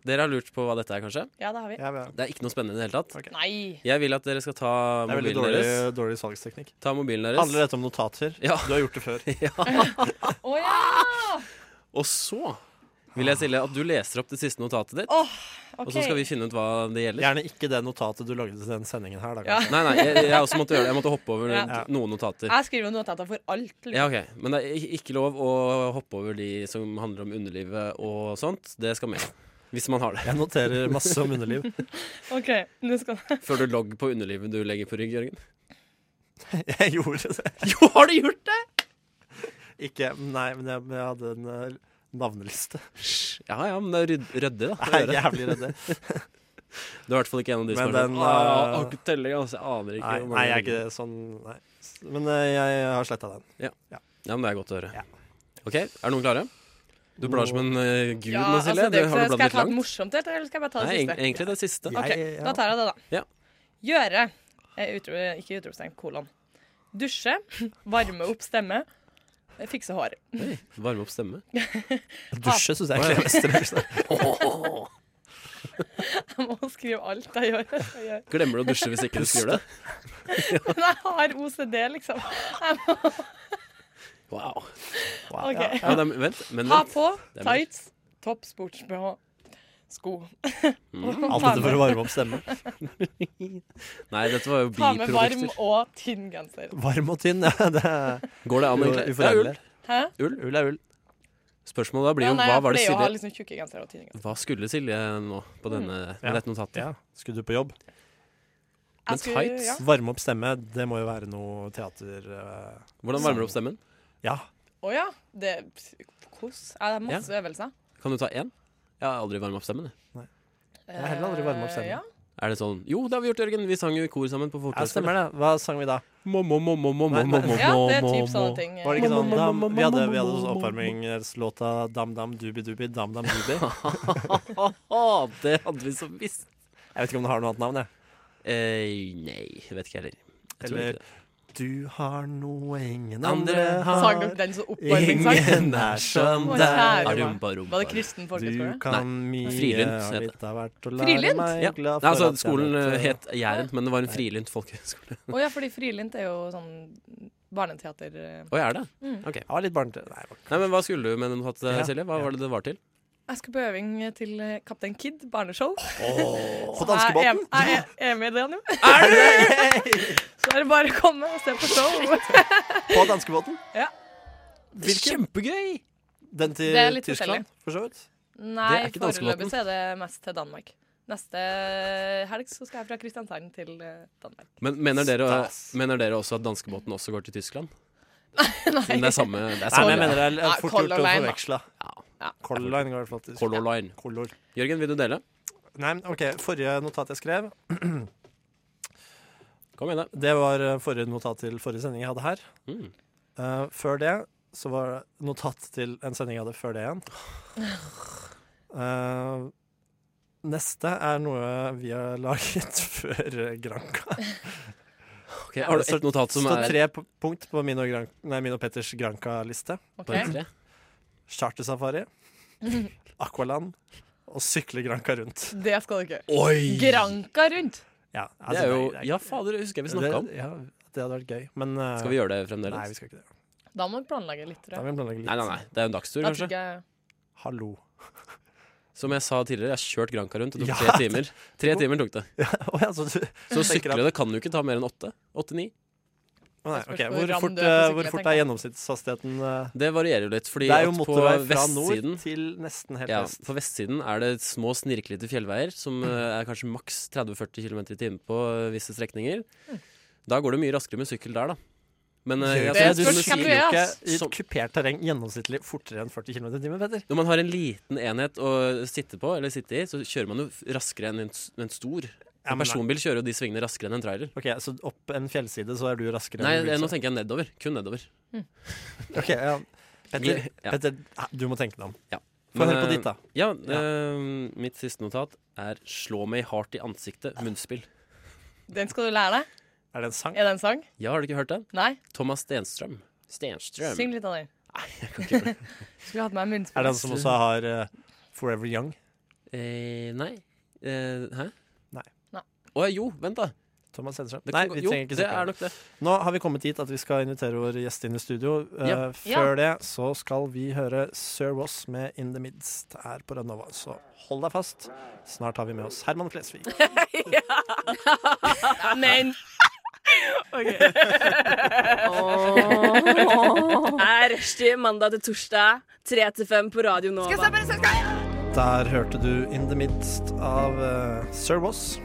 Speaker 3: Dere har lurt på hva dette er, kanskje?
Speaker 6: Ja, det har vi.
Speaker 7: Ja, ja.
Speaker 3: Det er ikke noe spennende i det hele tatt.
Speaker 7: Ok.
Speaker 6: Nei.
Speaker 3: Jeg vil at dere skal ta
Speaker 7: Det er veldig
Speaker 3: mobilen
Speaker 7: dårlig,
Speaker 3: deres.
Speaker 7: dårlig salgsteknikk.
Speaker 3: Ta mobilen deres.
Speaker 7: Handler dette om notater?
Speaker 3: Ja.
Speaker 7: Du har gjort det før.
Speaker 3: ja.
Speaker 6: Å
Speaker 3: Ah!
Speaker 6: ja!
Speaker 3: Og så vil jeg stille at du leser opp det siste notatet ditt, og
Speaker 6: OK.
Speaker 3: så skal vi finne ut hva det gjelder.
Speaker 7: Gjerne ikke det notatet du lagde til den sendingen her. Da,
Speaker 6: Ja.
Speaker 7: kanskje.
Speaker 3: Nei, nei, jeg, jeg også måtte gjøre det. Jeg måtte hoppe over
Speaker 6: Ja.
Speaker 3: noen notater.
Speaker 6: Jeg skriver jo notater for alt. liksom.
Speaker 3: Ja, ok. Men det er ik- ikke lov å hoppe over de som handler om underlivet og sånt. Det skal med. Hvis man har det.
Speaker 7: Jeg noterer masse om underliv.
Speaker 6: OK, nå skal
Speaker 3: Før du logger på underlivet du legger på rygg, Jørgen.
Speaker 7: Jeg gjorde det.
Speaker 3: Jo, har du gjort det?!
Speaker 7: Ikke Nei, men jeg, men jeg hadde en eh, navneliste.
Speaker 3: Ja ja, men det er rydd- ryddig, da.
Speaker 7: Jeg
Speaker 3: å
Speaker 7: er
Speaker 3: gjøre.
Speaker 7: jævlig redd. det.
Speaker 3: Du er i hvert fall ikke en av de som
Speaker 7: Men
Speaker 3: er sånn,
Speaker 7: den,
Speaker 3: «Åh,
Speaker 7: eh,
Speaker 3: orker ikke telling, altså. Jeg aner ikke.
Speaker 7: Nei,
Speaker 3: hvor mange
Speaker 7: nei, jeg
Speaker 3: ligger».
Speaker 7: er ikke det sånn Nei. Men eh, jeg har sletta den.
Speaker 3: Ja, men det er godt å høre.
Speaker 7: Ja.
Speaker 3: Ok, Er noen klare? Du blar som en eh, gud
Speaker 6: Ja, altså,
Speaker 3: nå, Silje.
Speaker 6: det er
Speaker 3: Du-
Speaker 6: ikke-
Speaker 3: har du
Speaker 6: skal jeg
Speaker 3: bladd litt
Speaker 6: ta et
Speaker 3: langt?
Speaker 6: morsomt et, eller skal jeg bare ta det
Speaker 3: Nei,
Speaker 6: siste?
Speaker 3: egen- egentlig det siste.
Speaker 7: Jeg-
Speaker 6: Ok,
Speaker 7: ja.
Speaker 6: Da tar jeg det, da.
Speaker 3: eh, Ja.
Speaker 6: Gjøre eh, utro, Ikke utropstegn, kolon. Dusje. Varme opp stemme. eh, Fikse hår.
Speaker 3: Varme opp stemme.
Speaker 7: Dusje syns jeg er det beste.
Speaker 6: Jeg må skrive alt jeg gjør. Jeg gjør.
Speaker 3: Glemmer du å dusje hvis ikke du skriver det?
Speaker 6: Men jeg har OCD, liksom.
Speaker 3: Wow.
Speaker 6: Ok.
Speaker 3: Ja, det er, vent, men
Speaker 6: Ha
Speaker 3: vent.
Speaker 6: på
Speaker 3: Det er mye.
Speaker 6: tights, topp sports-BH. sko.
Speaker 3: Mm.
Speaker 7: Alt dette for å varme opp stemmen.
Speaker 3: Nei, dette var jo
Speaker 6: Ta med varm
Speaker 3: biprodukter.
Speaker 6: og tynn genser.
Speaker 7: Varm og tynn, ja. Det er
Speaker 3: Går det an, egentlig? Ja, ull.
Speaker 7: uforenlig.
Speaker 6: Hæ?
Speaker 3: Ull.
Speaker 7: Ull er ull.
Speaker 3: Spørsmålet da blir
Speaker 6: Ja,
Speaker 3: jo
Speaker 6: nei,
Speaker 3: hva
Speaker 6: jeg
Speaker 3: var det
Speaker 6: pleier å ha
Speaker 3: Silje
Speaker 6: liksom tjukke gensere og tynne gensere.
Speaker 3: Hva skulle Silje nå på denne,
Speaker 7: Ja.
Speaker 6: Mm.
Speaker 3: med dette notatet?
Speaker 7: Ja. Skulle du på jobb?
Speaker 6: Jeg
Speaker 3: Men
Speaker 6: skulle-
Speaker 3: tights?
Speaker 6: Ja.
Speaker 7: Varme opp stemme, det må jo være noe teater... eh,
Speaker 3: Hvordan varmer du opp stemmen?
Speaker 7: Ja.
Speaker 6: Å ja. Det Kos. Ja, det er masse øvelser.
Speaker 3: Kan du ta én? Jeg har aldri varma opp stemmen. jeg.
Speaker 7: har heller aldri varmet opp
Speaker 6: Eh,
Speaker 7: stemmen.
Speaker 6: Ja.
Speaker 3: Er det sånn Jo, det har vi gjort, Jørgen. Vi sang jo i kor sammen på
Speaker 7: ja,
Speaker 3: fortauet.
Speaker 7: stemmer det. Hva sang vi da? Nei, nei.
Speaker 6: ja, det er typ sånne ting.
Speaker 7: Var det ikke
Speaker 3: Mo,
Speaker 7: sånn
Speaker 3: mo, mo,
Speaker 7: dam,
Speaker 3: mo,
Speaker 7: vi, hadde,
Speaker 3: mo,
Speaker 7: vi hadde også
Speaker 3: mo, mo,
Speaker 7: oppvarmingslåta Dam Dam Dubi Dubi Dam Dam Dubi. Jeg
Speaker 3: det hadde vi så visst.
Speaker 7: vet ikke om den har noe annet navn, jeg.
Speaker 3: Eh, nei, jeg vet ikke heller. Jeg tror
Speaker 7: Eller-
Speaker 3: ikke det.
Speaker 7: Du har noe ingen
Speaker 3: Andre
Speaker 7: andre har.
Speaker 6: Sang dere den som oppvarmingssang?
Speaker 7: Ingen er sånn som
Speaker 6: Å,
Speaker 7: deg.
Speaker 6: kjære meg.
Speaker 3: Arumba, rumba.
Speaker 6: Var det kristen
Speaker 7: Du
Speaker 6: folkehøgskole?
Speaker 7: kan mye
Speaker 3: Frilynt heter
Speaker 7: litt av hvert å lære
Speaker 6: Frilynt?
Speaker 7: meg
Speaker 3: Ja.
Speaker 7: glad for
Speaker 3: Nei, altså,
Speaker 7: at jeg
Speaker 3: skolen
Speaker 7: vet,
Speaker 3: eh,
Speaker 7: eh,
Speaker 3: het Jæren, men det var en frilynt folkehøgskole.
Speaker 6: Å ja, fordi frilynt er jo sånn barneteater eh.
Speaker 3: Å, er det?
Speaker 7: Jeg var litt barnete. Nei, jeg var-
Speaker 3: Nei, men Hva skulle du med den notatet,
Speaker 7: Ja.
Speaker 3: Silje? Hva var det det var til?
Speaker 6: Jeg skal på øving til eh, Kaptein Kid, barneshow.
Speaker 7: På danskebåten?
Speaker 6: Jeg er- jeg er med i det nå. Så er det bare å komme og se på show.
Speaker 7: På danskebåten?
Speaker 6: Ja.
Speaker 7: Hvilken?
Speaker 3: Kjempegøy!
Speaker 7: Den til
Speaker 6: Det er litt
Speaker 7: Tyskland, for så vidt?
Speaker 6: Nei, foreløpig
Speaker 3: ikke danskebåten.
Speaker 6: så er det mest til Danmark. Neste eh, helg så skal jeg fra Kristiansand til eh, Danmark.
Speaker 3: Men mener dere,
Speaker 7: Stas.
Speaker 3: mener dere også at danskebåten også går til Tyskland?
Speaker 6: Nei.
Speaker 3: Siden det er samme, det er
Speaker 7: Nei, men
Speaker 3: samme
Speaker 7: jeg mener det er
Speaker 6: Sånn, Ja,
Speaker 7: litt fort
Speaker 6: Color
Speaker 7: gjort å
Speaker 6: Line, da.
Speaker 7: forveksle.
Speaker 6: Ja.
Speaker 7: Color Line går i hvert fall til Tyskland.
Speaker 3: Color Line.
Speaker 7: Color.
Speaker 3: Jørgen, vil du dele?
Speaker 7: Nei, men ok, forrige notat jeg skrev
Speaker 3: Kom igjen, da.
Speaker 7: Det var eh, forrige notat til forrige sending jeg hadde her
Speaker 3: Mm.
Speaker 7: Eh, Før det så var det notat til en sending jeg hadde før det igjen Eh, Neste er noe vi har laget før eh, Granka
Speaker 3: Ok, har du
Speaker 7: Så-
Speaker 3: et notat som
Speaker 7: står
Speaker 3: er
Speaker 7: tre p- punkt på min og, Gran nei, min og Petters Granka-liste
Speaker 6: Ok.
Speaker 3: Bare tre?
Speaker 7: Chartersafari Aqualand Og sykle Granka rundt
Speaker 6: Det skal du ikke gjøre.
Speaker 3: Oi!
Speaker 6: Granka rundt!
Speaker 7: ja,
Speaker 3: Det
Speaker 7: altså,
Speaker 3: er jo
Speaker 7: nei, det er-
Speaker 3: Ja, fader, det husker jeg vi snakka om.
Speaker 7: det, ja, det hadde vært gøy Men eh,
Speaker 3: Skal vi gjøre det
Speaker 7: Nei,
Speaker 3: fremdeles?
Speaker 7: vi skal ikke det
Speaker 6: Da må vi planlegge litt,
Speaker 7: Da
Speaker 6: tror jeg.
Speaker 7: vil vi planlegge litt
Speaker 3: Nei, nei, nei. Det er jo en dagstur,
Speaker 6: Da tror
Speaker 3: kanskje.
Speaker 6: ikke jeg
Speaker 7: Hallo
Speaker 3: Som jeg sa tidligere, jeg har kjørt Granka rundt. Det tok
Speaker 7: Ja.
Speaker 3: tre timer. Tre timer tok det.
Speaker 7: Å ja, så du
Speaker 3: Så
Speaker 7: tenker at-
Speaker 3: sykle det kan jo ikke ta mer enn åtte. Åtte-ni.
Speaker 7: Å Nei,
Speaker 6: Det spørs
Speaker 7: ok.
Speaker 6: hvor
Speaker 7: Hvor,
Speaker 6: ram
Speaker 7: fort,
Speaker 6: du er på
Speaker 7: eh,
Speaker 6: sykkel,
Speaker 7: hvor
Speaker 6: jeg
Speaker 7: fort
Speaker 6: tenker.
Speaker 7: er gjennomsnittshastigheten? eh?
Speaker 3: Det varierer jo litt, fordi
Speaker 7: Det er jo
Speaker 3: at på
Speaker 7: motorvei fra nord
Speaker 3: vestsiden
Speaker 7: til nesten helt
Speaker 3: ja,
Speaker 7: vest.
Speaker 3: på vestsiden er det små snirklete fjellveier som eh, er kanskje maks 30-40 km i timen på eh, visse strekninger. Da går det mye raskere med sykkel der, da. Men eh,
Speaker 7: Gjør
Speaker 3: jeg
Speaker 7: det,
Speaker 3: synes
Speaker 7: du
Speaker 6: spørs
Speaker 3: som
Speaker 6: hvem
Speaker 3: du
Speaker 6: du
Speaker 3: sier,
Speaker 6: er.
Speaker 7: ikke
Speaker 6: ass.
Speaker 7: i et
Speaker 3: Som-
Speaker 7: kupert terreng gjennomsnittlig fortere enn 40 km i timen, Petter.
Speaker 3: når man har en liten enhet å sitte på, eller sitte i, så kjører man jo f- raskere enn en, s- en stor.
Speaker 7: Ja,
Speaker 3: En
Speaker 7: men nei.
Speaker 3: personbil kjører jo de svingene raskere enn en trailer.
Speaker 7: Ok, Så opp en fjellside, så er du raskere
Speaker 3: Nei,
Speaker 7: enn
Speaker 3: eh,
Speaker 7: en
Speaker 3: nå
Speaker 7: bil.
Speaker 3: tenker jeg nedover. Kun nedover.
Speaker 7: Ok, ja. Petter,
Speaker 3: Ja.
Speaker 7: Petter, eh, du må tenke deg om. Få
Speaker 3: Men,
Speaker 7: høre på
Speaker 3: eh,
Speaker 7: ditt, da.
Speaker 3: Ja, eh, mitt siste notat er 'slå meg hardt i ansiktet', munnspill.
Speaker 6: Den skal du lære deg.
Speaker 7: Er det en sang?
Speaker 6: Er det en sang?
Speaker 3: Ja, har du ikke hørt den?
Speaker 6: Nei?
Speaker 3: Thomas Stenstrøm. Stenstrøm.
Speaker 6: Syng litt av den.
Speaker 3: Jeg kan ikke gjøre det.
Speaker 6: Skulle hatt meg
Speaker 7: Er det
Speaker 6: munnspill.
Speaker 7: han som også har eh, Forever Young?
Speaker 3: Eh, nei. Eh, hæ?
Speaker 7: Nei.
Speaker 6: Nei.
Speaker 3: Å jo, vent, da.
Speaker 7: Thomas Hedstrøm?
Speaker 3: Det
Speaker 7: Nei,
Speaker 3: kan gå-
Speaker 7: vi
Speaker 3: jo,
Speaker 7: trenger ikke
Speaker 3: det
Speaker 7: snakke om
Speaker 3: er nok det.
Speaker 7: Nå har vi kommet dit at vi skal invitere vår gjest inn i studio. Eh,
Speaker 3: Ja.
Speaker 7: Før det så skal vi høre Sir Ross med 'In the Midst' her på Radnova. Så hold deg fast. Snart har vi med oss Herman Flesvig.
Speaker 6: Men
Speaker 1: er rushtid mandag til torsdag, tre til fem på Radio Nova.
Speaker 7: Der hørte du 'In the Midst' av eh, Sir Ross.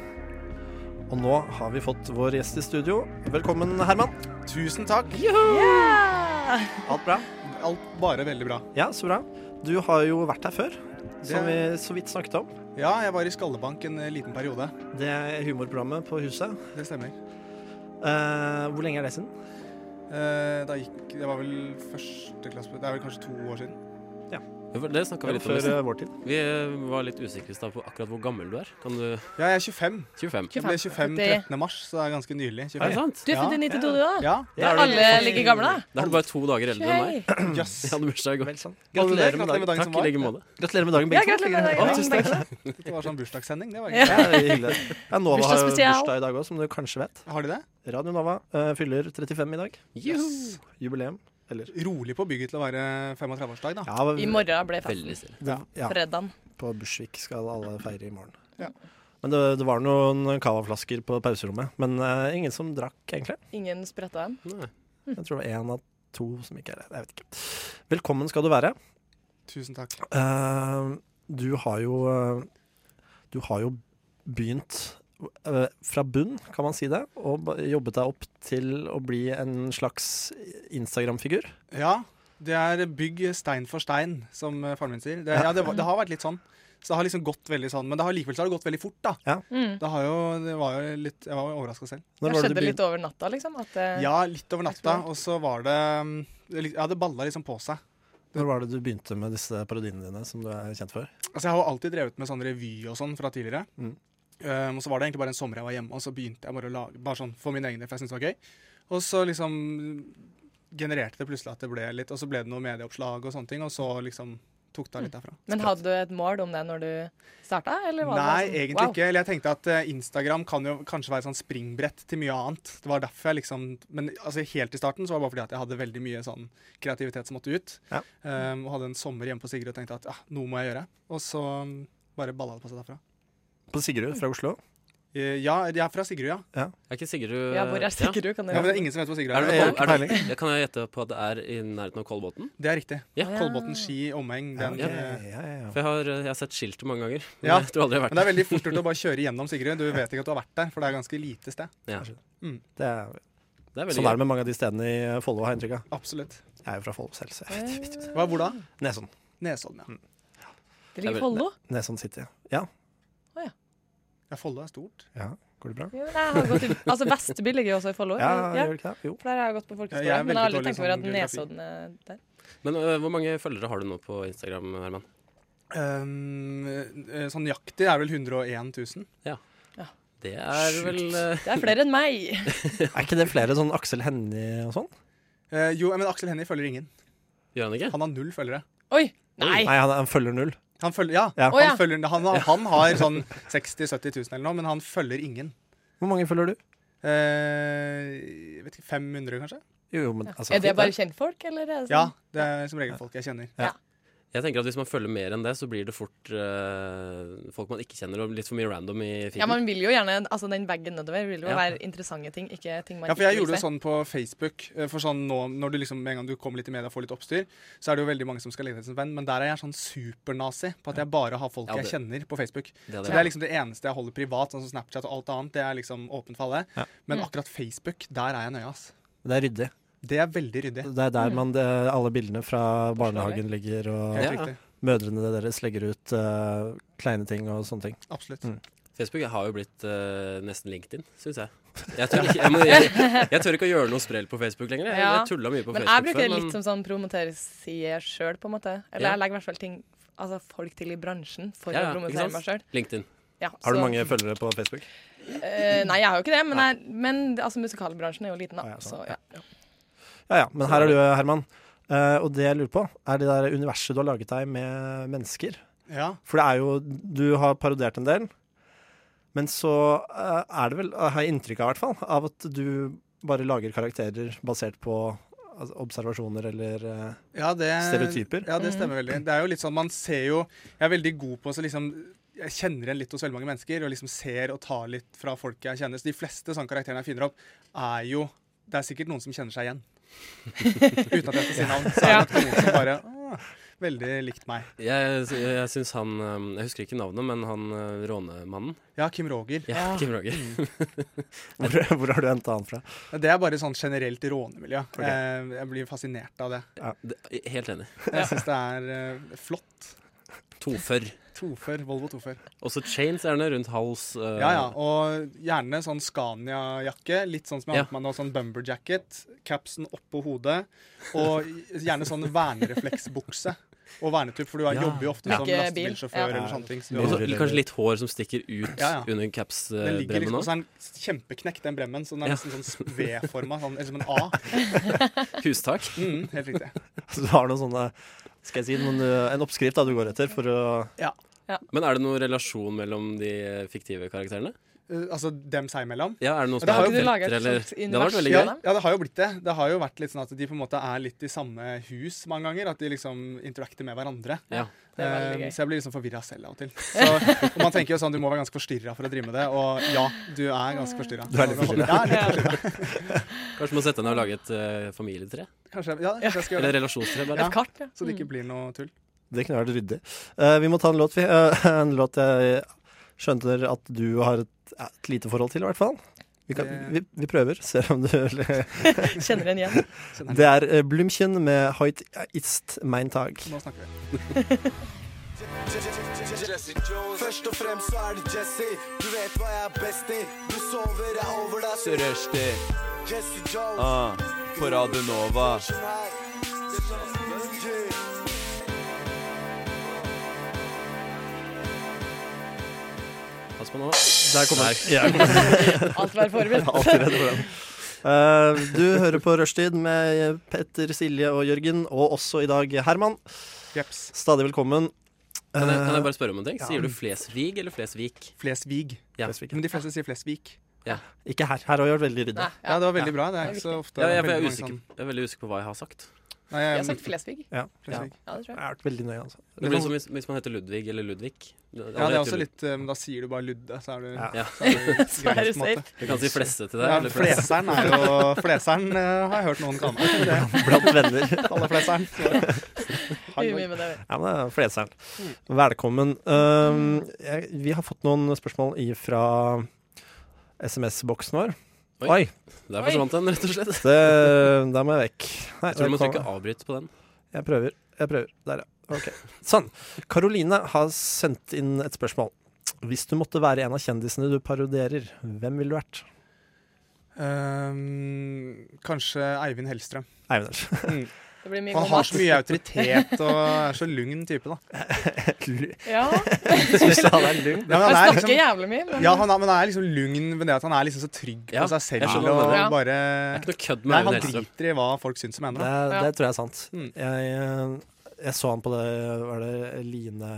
Speaker 7: Og nå har vi fått vår gjest i studio. Velkommen, Herman.
Speaker 2: Tusen takk.
Speaker 7: Alt bra?
Speaker 2: Alt bare veldig bra.
Speaker 7: Ja, så bra. Du har jo vært her før, som vi så vidt snakket om.
Speaker 2: Ja, jeg var i Skallebank en eh, liten periode.
Speaker 7: Det er humorprogrammet på huset.
Speaker 2: Det stemmer.
Speaker 7: Eh, hvor lenge er det siden?
Speaker 2: Eh, Da gikk Det var vel første klasse Det er vel kanskje to år siden.
Speaker 3: For Det snakka vi litt om. i
Speaker 7: Før
Speaker 3: sted.
Speaker 7: eh, vår tid.
Speaker 3: Vi eh, var litt usikre i stad på akkurat hvor gammel du er. Kan du
Speaker 2: Ja, jeg er 25.
Speaker 3: 25.
Speaker 2: Jeg ble 25
Speaker 6: Det-
Speaker 2: 13. mars, så det er ganske nylig.
Speaker 3: Er det
Speaker 2: 25.
Speaker 3: sant?
Speaker 6: du er født i 92, du òg?
Speaker 2: Ja.
Speaker 3: Da er du,
Speaker 6: Alle ligger gamle?
Speaker 3: da er du bare to dager eldre enn meg.
Speaker 2: Jøss.
Speaker 3: Jeg hadde bursdag i går.
Speaker 7: Vel sant.
Speaker 2: Gratulerer
Speaker 7: Gratulerer med dagen.
Speaker 2: med dagen
Speaker 3: Takk i
Speaker 2: som var.
Speaker 3: like måte.
Speaker 7: Gratulerer med dagen,
Speaker 6: Ja,
Speaker 7: begge to.
Speaker 6: gratulerer med
Speaker 7: Ja,
Speaker 6: dagen.
Speaker 7: tusen takk.
Speaker 2: Det var sånn bursdagssending. Det var
Speaker 6: Ja.
Speaker 2: greit.
Speaker 7: Ja, det er hyggelig. Ja, Nova har jo
Speaker 6: Bursdagsspesial.
Speaker 7: bursdag i dag òg, som du kanskje vet.
Speaker 2: Har de det?
Speaker 7: Radio Nova eh, fyller 35 i dag.
Speaker 2: Yes.
Speaker 7: Jubileum. Eller
Speaker 2: Rolig på bygget til å være 35-årsdag, da.
Speaker 7: ja,
Speaker 6: I morgen ble festen.
Speaker 3: Veldig stille.
Speaker 7: det, ja.
Speaker 6: Fredagen.
Speaker 7: på Bushvik skal alle feire i morgen.
Speaker 2: Ja.
Speaker 7: Men det, det var noen cavaflasker på pauserommet, men eh, ingen som drakk, egentlig.
Speaker 6: Ingen spretta dem.
Speaker 3: Nei.
Speaker 2: Mm.
Speaker 7: Jeg tror det var én av to som ikke er det. Jeg vet ikke. Velkommen skal du være.
Speaker 2: Tusen takk.
Speaker 7: Eh, du har jo eh, Du har jo begynt eh, fra bunn, kan man si det, og ba- jobbet deg opp til å bli en slags Instagram-figur.
Speaker 2: Ja, det er bygg stein for stein, som eh, faren min sier. Det, ja, det, var- det har vært litt sånn. Så det har liksom gått veldig sånn, men det har likevel så har det gått veldig fort, da.
Speaker 6: Mm.
Speaker 2: Det, har jo, det var jo litt Jeg var jo overraska selv.
Speaker 6: Det
Speaker 7: Når var det du
Speaker 6: skjedde litt
Speaker 7: begyn-
Speaker 6: over natta, liksom? At det,
Speaker 2: Ja, litt over natta, og så var det mm, det litt- Ja, det balla liksom på seg.
Speaker 7: når var det du begynte med disse parodiene dine, som du er kjent for?
Speaker 2: Altså, jeg har jo alltid drevet med sånn revy og sånn fra tidligere.
Speaker 7: Mm.
Speaker 2: Um, og så var det egentlig bare en sommer jeg var hjemme, og så begynte jeg bare å lage bare sånn for min egen del, for jeg syntes det var gøy. Og så liksom genererte det plutselig at det ble litt, og så ble det noen medieoppslag og sånne ting, og så liksom tok det av litt derfra.
Speaker 6: Men hadde du et mål om det når du starta? Eller var det
Speaker 2: Nei,
Speaker 6: bare sånn,
Speaker 2: egentlig ikke. Eller jeg tenkte at eh, Instagram kan jo kanskje være sånn springbrett til mye annet. Det var derfor jeg liksom Men altså, helt i starten så var det bare fordi at jeg hadde veldig mye sånn kreativitet som måtte ut.
Speaker 7: Ja.
Speaker 2: Um, og hadde en sommer hjemme på Sigrid og tenkte at ja, noe må jeg gjøre. Og så um, bare balla det på seg derfra.
Speaker 7: På Sigrud fra Oslo?
Speaker 2: Eh, ja, jeg er fra Sigrid, ja.
Speaker 3: Er ikke eh, Sigrid
Speaker 6: Ja, hvor er Sigurd? Kan du
Speaker 2: ja men det er ingen som vet hvor Sigrid
Speaker 3: Er
Speaker 2: er.
Speaker 3: det,
Speaker 7: Jeg har
Speaker 3: Kol-
Speaker 7: ikke
Speaker 3: er det, jeg kan jo gjette på at det er i nærheten av Kolbotn.
Speaker 2: Det er riktig.
Speaker 3: Ja.
Speaker 2: Kolbotn, Ski, omheng. Den,
Speaker 3: Ja.
Speaker 2: eh,
Speaker 7: ja, ja.
Speaker 3: For jeg har, jeg har sett skiltet mange ganger. Men
Speaker 2: Ja.
Speaker 3: jeg tror aldri jeg har
Speaker 2: Men det
Speaker 3: vært
Speaker 2: er veldig fort gjort å bare kjøre gjennom Sigrid. Du vet ikke at du har vært der, for det er ganske lite sted.
Speaker 3: der. Ja.
Speaker 7: Det er,
Speaker 3: Det er veldig
Speaker 7: sånn
Speaker 3: gøy.
Speaker 7: er det med mange av de stedene i eh, Follo, har jeg inntrykk av.
Speaker 2: Absolutt.
Speaker 7: Jeg er jo fra Follo selv, så jeg vet- vet
Speaker 2: Hva, hvor da?
Speaker 7: ikke. Nesodden.
Speaker 2: Nesodden,
Speaker 3: Mm.
Speaker 2: ja.
Speaker 6: Det
Speaker 3: Jeg
Speaker 6: ligger i
Speaker 3: vet-
Speaker 6: Follo?
Speaker 7: Nesodden City. Ja.
Speaker 2: Ja, Follo er stort.
Speaker 7: ja. Går det bra?
Speaker 6: Jo, nei, jeg har gått i- Altså, Vestby ligger jo også i Follo.
Speaker 7: Ja,
Speaker 6: ja.
Speaker 7: gjør det ikke det? Jo.
Speaker 6: For der har jeg gått på folkeskole.
Speaker 2: Ja, jeg er
Speaker 6: men jeg har
Speaker 2: veldig
Speaker 6: aldri tenkt
Speaker 2: dårlig
Speaker 6: over
Speaker 2: i
Speaker 6: at
Speaker 2: sånn
Speaker 6: Nesodden er der.
Speaker 3: Men øh, hvor mange følgere har du nå på Instagram, Herman?
Speaker 2: Um, eh, sånn nøyaktig er vel 101 000.
Speaker 3: Det er
Speaker 7: Sjukt.
Speaker 3: vel øh,
Speaker 6: Det er flere enn meg!
Speaker 7: Er ikke det flere sånn Aksel Hennie og sånn?
Speaker 2: Eh, jo, men Aksel Hennie følger ingen.
Speaker 3: Gjør han ikke?
Speaker 2: Han har null følgere.
Speaker 6: Oi! Nei!
Speaker 7: Nei, han, han følger null.
Speaker 2: Han følger, ja,
Speaker 7: Ja.
Speaker 6: Å, ja.
Speaker 2: Han, følger, han, har- han har sånn 60 000-70 000 eller noe, men han følger ingen.
Speaker 7: Hvor mange følger du?
Speaker 2: Eh, jeg vet ikke, 500 kanskje?
Speaker 7: Jo, jo, men altså,
Speaker 6: Er det bare kjentfolk, eller? Er det
Speaker 2: Ja,
Speaker 6: sånn?
Speaker 2: det er som regel folk jeg kjenner.
Speaker 3: Jeg tenker at Hvis man følger mer enn det, så blir det fort øh, folk man ikke kjenner, og litt for mye random i feeden.
Speaker 6: Ja, man vil jo gjerne Altså, den veggen nedover vil jo
Speaker 3: Ja.
Speaker 6: være interessante ting, ikke ting man
Speaker 2: Ja, for jeg
Speaker 6: ikke
Speaker 2: gjorde
Speaker 6: vil
Speaker 2: det sånn på Facebook. eh, For sånn nå, når du liksom, med en gang du kommer litt i media og får litt oppstyr, så er det jo veldig mange som skal legge deg som venn, men der er jeg sånn supernazi på at jeg bare har folk
Speaker 3: Ja,
Speaker 2: jeg
Speaker 3: det-
Speaker 2: kjenner på Facebook.
Speaker 3: det,
Speaker 2: Så det er liksom det eneste jeg holder privat, sånn som Snapchat og alt annet. Det er liksom åpent for alle.
Speaker 7: Ja.
Speaker 2: Men
Speaker 6: Mm.
Speaker 2: akkurat Facebook, der er jeg nøye, ass.
Speaker 7: Det er ryddig.
Speaker 2: Det er veldig ryddig.
Speaker 7: Det er
Speaker 6: Mm.
Speaker 7: der man, det, alle bildene fra barnehagen ligger, og
Speaker 2: Helt
Speaker 3: Ja.
Speaker 2: riktig.
Speaker 7: mødrene deres legger ut eh, kleine ting og sånne ting.
Speaker 2: Absolutt.
Speaker 7: Mm.
Speaker 3: Facebook har jo blitt øh, nesten LinkedIn, syns jeg. Jeg tør, ikke, jeg, må- jeg, jeg tør ikke å gjøre noe sprell på Facebook lenger. Jeg,
Speaker 6: Ja.
Speaker 3: jeg tulla mye på
Speaker 6: Men jeg
Speaker 3: Facebook
Speaker 6: bruker det
Speaker 3: før,
Speaker 6: litt som sånn promoterside sjøl, på en måte. Eller
Speaker 3: Ja.
Speaker 6: jeg legger i hvert fall ting Altså folk til i bransjen for
Speaker 3: Ja, ja,
Speaker 6: å
Speaker 3: ikke
Speaker 6: promotere
Speaker 3: sant?
Speaker 6: meg sjøl.
Speaker 2: sånn-
Speaker 3: LinkedIn.
Speaker 6: Ja,
Speaker 7: Har du
Speaker 6: så-
Speaker 7: mange følgere på Facebook?
Speaker 6: eh, nei, jeg har jo ikke det, men, jeg, men altså, musikalbransjen er jo liten, da.
Speaker 7: Ah, ja,
Speaker 6: så
Speaker 7: sånn.
Speaker 6: ja.
Speaker 7: Ja ja, men her er du, Herman. Eh, og det jeg lurer på, er det der universet du har laget deg med mennesker.
Speaker 2: Ja.
Speaker 7: For det er jo Du har parodiert en del. Men så eh, er det vel, har jeg inntrykk av i hvert fall, av at du bare lager karakterer basert på altså, observasjoner eller eh,
Speaker 2: Ja, det,
Speaker 7: Stereotyper?
Speaker 2: Ja, det stemmer veldig. Det er jo litt sånn, man ser jo Jeg er veldig god på å så liksom jeg kjenner igjen litt hos veldig mange mennesker, og liksom ser og tar litt fra folk jeg kjenner. Så de fleste sånne karakterene jeg finner opp, er jo Det er sikkert noen som kjenner seg igjen. Uten at jeg skal si navn. Så er det noen som bare «Å, Veldig likt meg.
Speaker 3: Jeg, jeg, jeg syns han øhm, Jeg husker ikke navnet, men han øh, rånemannen.
Speaker 2: Ja, Kim Roger.
Speaker 3: Ja, Kim Roger.
Speaker 7: hvor, hvor har du henta han fra?
Speaker 2: Det er bare sånn generelt rånemiljø.
Speaker 7: Ok.
Speaker 2: Eh, Jeg blir fascinert av det.
Speaker 3: Det- Helt enig.
Speaker 2: Jeg syns det er eh, flott.
Speaker 3: Tofør.
Speaker 2: Tofør, Volvo tofør.
Speaker 3: Også chains er det rundt hals. øh,
Speaker 2: Ja, ja. Og gjerne sånn Scania-jakke. Litt sånn som jeg
Speaker 3: Ja.
Speaker 2: har på meg nå, sånn bumberjacket. Capsen oppå hodet. Og gjerne sånn vernerefleksbukse. Og vernetupp, for du er-
Speaker 3: Ja.
Speaker 2: jobber jo ofte som
Speaker 6: Ikke bil.
Speaker 2: lastebilsjåfør
Speaker 7: Ja.
Speaker 2: eller sånne ting. Så du
Speaker 3: Og så
Speaker 2: har,
Speaker 3: litt- kanskje litt hår som stikker ut
Speaker 2: Ja, ja.
Speaker 3: under eh,
Speaker 2: den ligger
Speaker 3: caps-bremmen
Speaker 2: liksom,
Speaker 3: nå.
Speaker 2: så er den kjempeknekt, den bremmen. Så den er
Speaker 3: Ja.
Speaker 2: nesten sånn V-forma, sånn, eller som en A.
Speaker 3: Hustak.
Speaker 2: Mm, helt riktig.
Speaker 7: Så du har noen sånne Skal jeg si noen, eh, en oppskrift da du går etter for å
Speaker 3: Men er det noen relasjon mellom de fiktive karakterene?
Speaker 2: eh, altså dem seg imellom.
Speaker 3: Ja, er det noen som
Speaker 2: Da har
Speaker 3: er
Speaker 2: ikke du
Speaker 6: laget sånn et
Speaker 3: konflikter, eller
Speaker 6: slags
Speaker 3: Det hadde vært veldig
Speaker 2: Ja,
Speaker 3: gøy.
Speaker 6: univers.
Speaker 2: ja, det har jo blitt det. Det har jo vært litt sånn at de på en måte er litt i samme hus mange ganger. At de liksom interacter med hverandre.
Speaker 3: Ja.
Speaker 6: Det er veldig
Speaker 2: Eh,
Speaker 6: gøy.
Speaker 2: så jeg blir liksom forvirra selv av og til. Så, og man tenker jo sånn, du må være ganske forstyrra for å drive med det. Og ja, du er ganske forstyrra.
Speaker 7: Du er litt forstyrret.
Speaker 2: Ja, litt forstyrret.
Speaker 3: Kanskje må sette deg ned og lage et eh, familietre?
Speaker 2: Kanskje, ja, kanskje jeg skal gjøre
Speaker 3: Eller
Speaker 2: det.
Speaker 3: relasjonstre,
Speaker 6: Et
Speaker 3: bare.
Speaker 6: kart, ja.
Speaker 2: Så det ikke blir noe tull.
Speaker 7: Det kunne vært ryddig. Eh, vi må ta en låt, vi. Eh, en låt jeg skjønner at du har et, et lite forhold til, i hvert fall. Vi, kan, vi,
Speaker 2: Det-
Speaker 7: vi prøver, ser om du
Speaker 6: Kjenner en igjen.
Speaker 2: Kjenner
Speaker 7: Det er eh, Blümchen med Heut ist mein Tag.
Speaker 2: Nå snakker vi.
Speaker 8: Først og fremst så er det Jesse. Du vet hva jeg er best i. Du sover, jeg er over deg. Så rushtid. Jesse Jones.
Speaker 4: Ah, på Radio Nova.
Speaker 3: Pass på nå.
Speaker 7: Der kommer
Speaker 3: Nei.
Speaker 7: den. Ja, jeg
Speaker 6: Alt var
Speaker 7: er
Speaker 6: forberedt.
Speaker 7: alltid redd for den. Eh, du hører på Rushtid med Petter, Silje og Jørgen, og også i dag Herman.
Speaker 2: Jeps.
Speaker 7: Stadig velkommen.
Speaker 3: Kan jeg, kan
Speaker 7: Eh,
Speaker 3: jeg bare spørre om en ting?
Speaker 7: ja.
Speaker 3: Sier du Flesvig eller Flesvik?
Speaker 2: Flesvig.
Speaker 3: Ja.
Speaker 7: Flesvig, ja.
Speaker 2: Men de fleste sier Flesvig.
Speaker 7: Eh, Ikke her. Her har vi vært veldig ryddig.
Speaker 6: Nei,
Speaker 2: Ja,
Speaker 6: ja.
Speaker 2: det var veldig bra. Det er ikke så ofte
Speaker 3: Ja, jeg, jeg,
Speaker 2: veldig
Speaker 3: er
Speaker 2: mange
Speaker 3: usikker,
Speaker 2: sånn-
Speaker 3: jeg er veldig usikker på hva jeg har sagt.
Speaker 2: Nei,
Speaker 6: Jeg
Speaker 2: jeg,
Speaker 6: har sagt Flesvig.
Speaker 7: Ja. Ja.
Speaker 2: Flesvig.
Speaker 6: Ja, det tror
Speaker 7: Jeg
Speaker 6: jeg.
Speaker 7: har vært veldig nøye, altså.
Speaker 3: Det blir som hvis, hvis man heter Ludvig eller Ludvig. Alle
Speaker 2: sånn- Ja, det er
Speaker 3: heter
Speaker 2: også
Speaker 3: Lud-
Speaker 2: litt eh, Men da sier du bare Ludde, så er du
Speaker 7: Ja.
Speaker 3: Ja.
Speaker 2: Så er du
Speaker 6: Så er
Speaker 2: greit,
Speaker 6: du
Speaker 2: på en måte.
Speaker 3: Jeg kan si fleste til deg.
Speaker 2: Ja,
Speaker 3: eller flest.
Speaker 2: fleseren er jo Fleseren eh, har jeg hørt noen kalle meg. Det
Speaker 7: Blant venner.
Speaker 2: kaller fleseren. så-
Speaker 6: Vi er mye med det.
Speaker 7: Ja, men det er Fleseren. Velkommen. Um, jeg, vi har fått noen spørsmål fra SMS-boksen vår.
Speaker 3: Oi.
Speaker 7: Oi!
Speaker 3: Der forsvant den, rett og slett.
Speaker 7: det, der må jeg vekk. Nei,
Speaker 3: Jeg tror du må
Speaker 7: jeg,
Speaker 3: trykke avbryt på den.
Speaker 7: jeg prøver. Jeg prøver. Der, ja. Ok. Sånn. Karoline har sendt inn et spørsmål. Hvis du måtte være en av kjendisene du parodierer, hvem ville du vært?
Speaker 2: Um, kanskje Eivind Hellstrøm.
Speaker 7: Eivind Ernst.
Speaker 6: Mm. Det blir mye
Speaker 2: Han
Speaker 6: god
Speaker 2: har
Speaker 6: mat.
Speaker 2: så mye autoritet og er så lugn type, da.
Speaker 6: Ja,
Speaker 7: Syns du han er lugn?
Speaker 2: Ja, men han er
Speaker 6: jeg snakker
Speaker 2: liksom,
Speaker 6: jævlig mye. men-
Speaker 2: ja, han er, men han er liksom lugn ved det at han er liksom så trygg på
Speaker 3: Ja,
Speaker 2: seg
Speaker 3: jeg
Speaker 2: selv
Speaker 3: skjønner
Speaker 2: og
Speaker 3: hva
Speaker 6: du mener.
Speaker 2: bare
Speaker 3: Det er ikke noe kødd med
Speaker 2: Nei,
Speaker 3: Eivind
Speaker 2: han
Speaker 3: Hellstrøm.
Speaker 2: driter i hva folk syns og mener.
Speaker 7: Det,
Speaker 2: Da.
Speaker 7: det tror jeg er sant.
Speaker 2: Mm.
Speaker 7: Jeg, eh, jeg så han på det Var det Line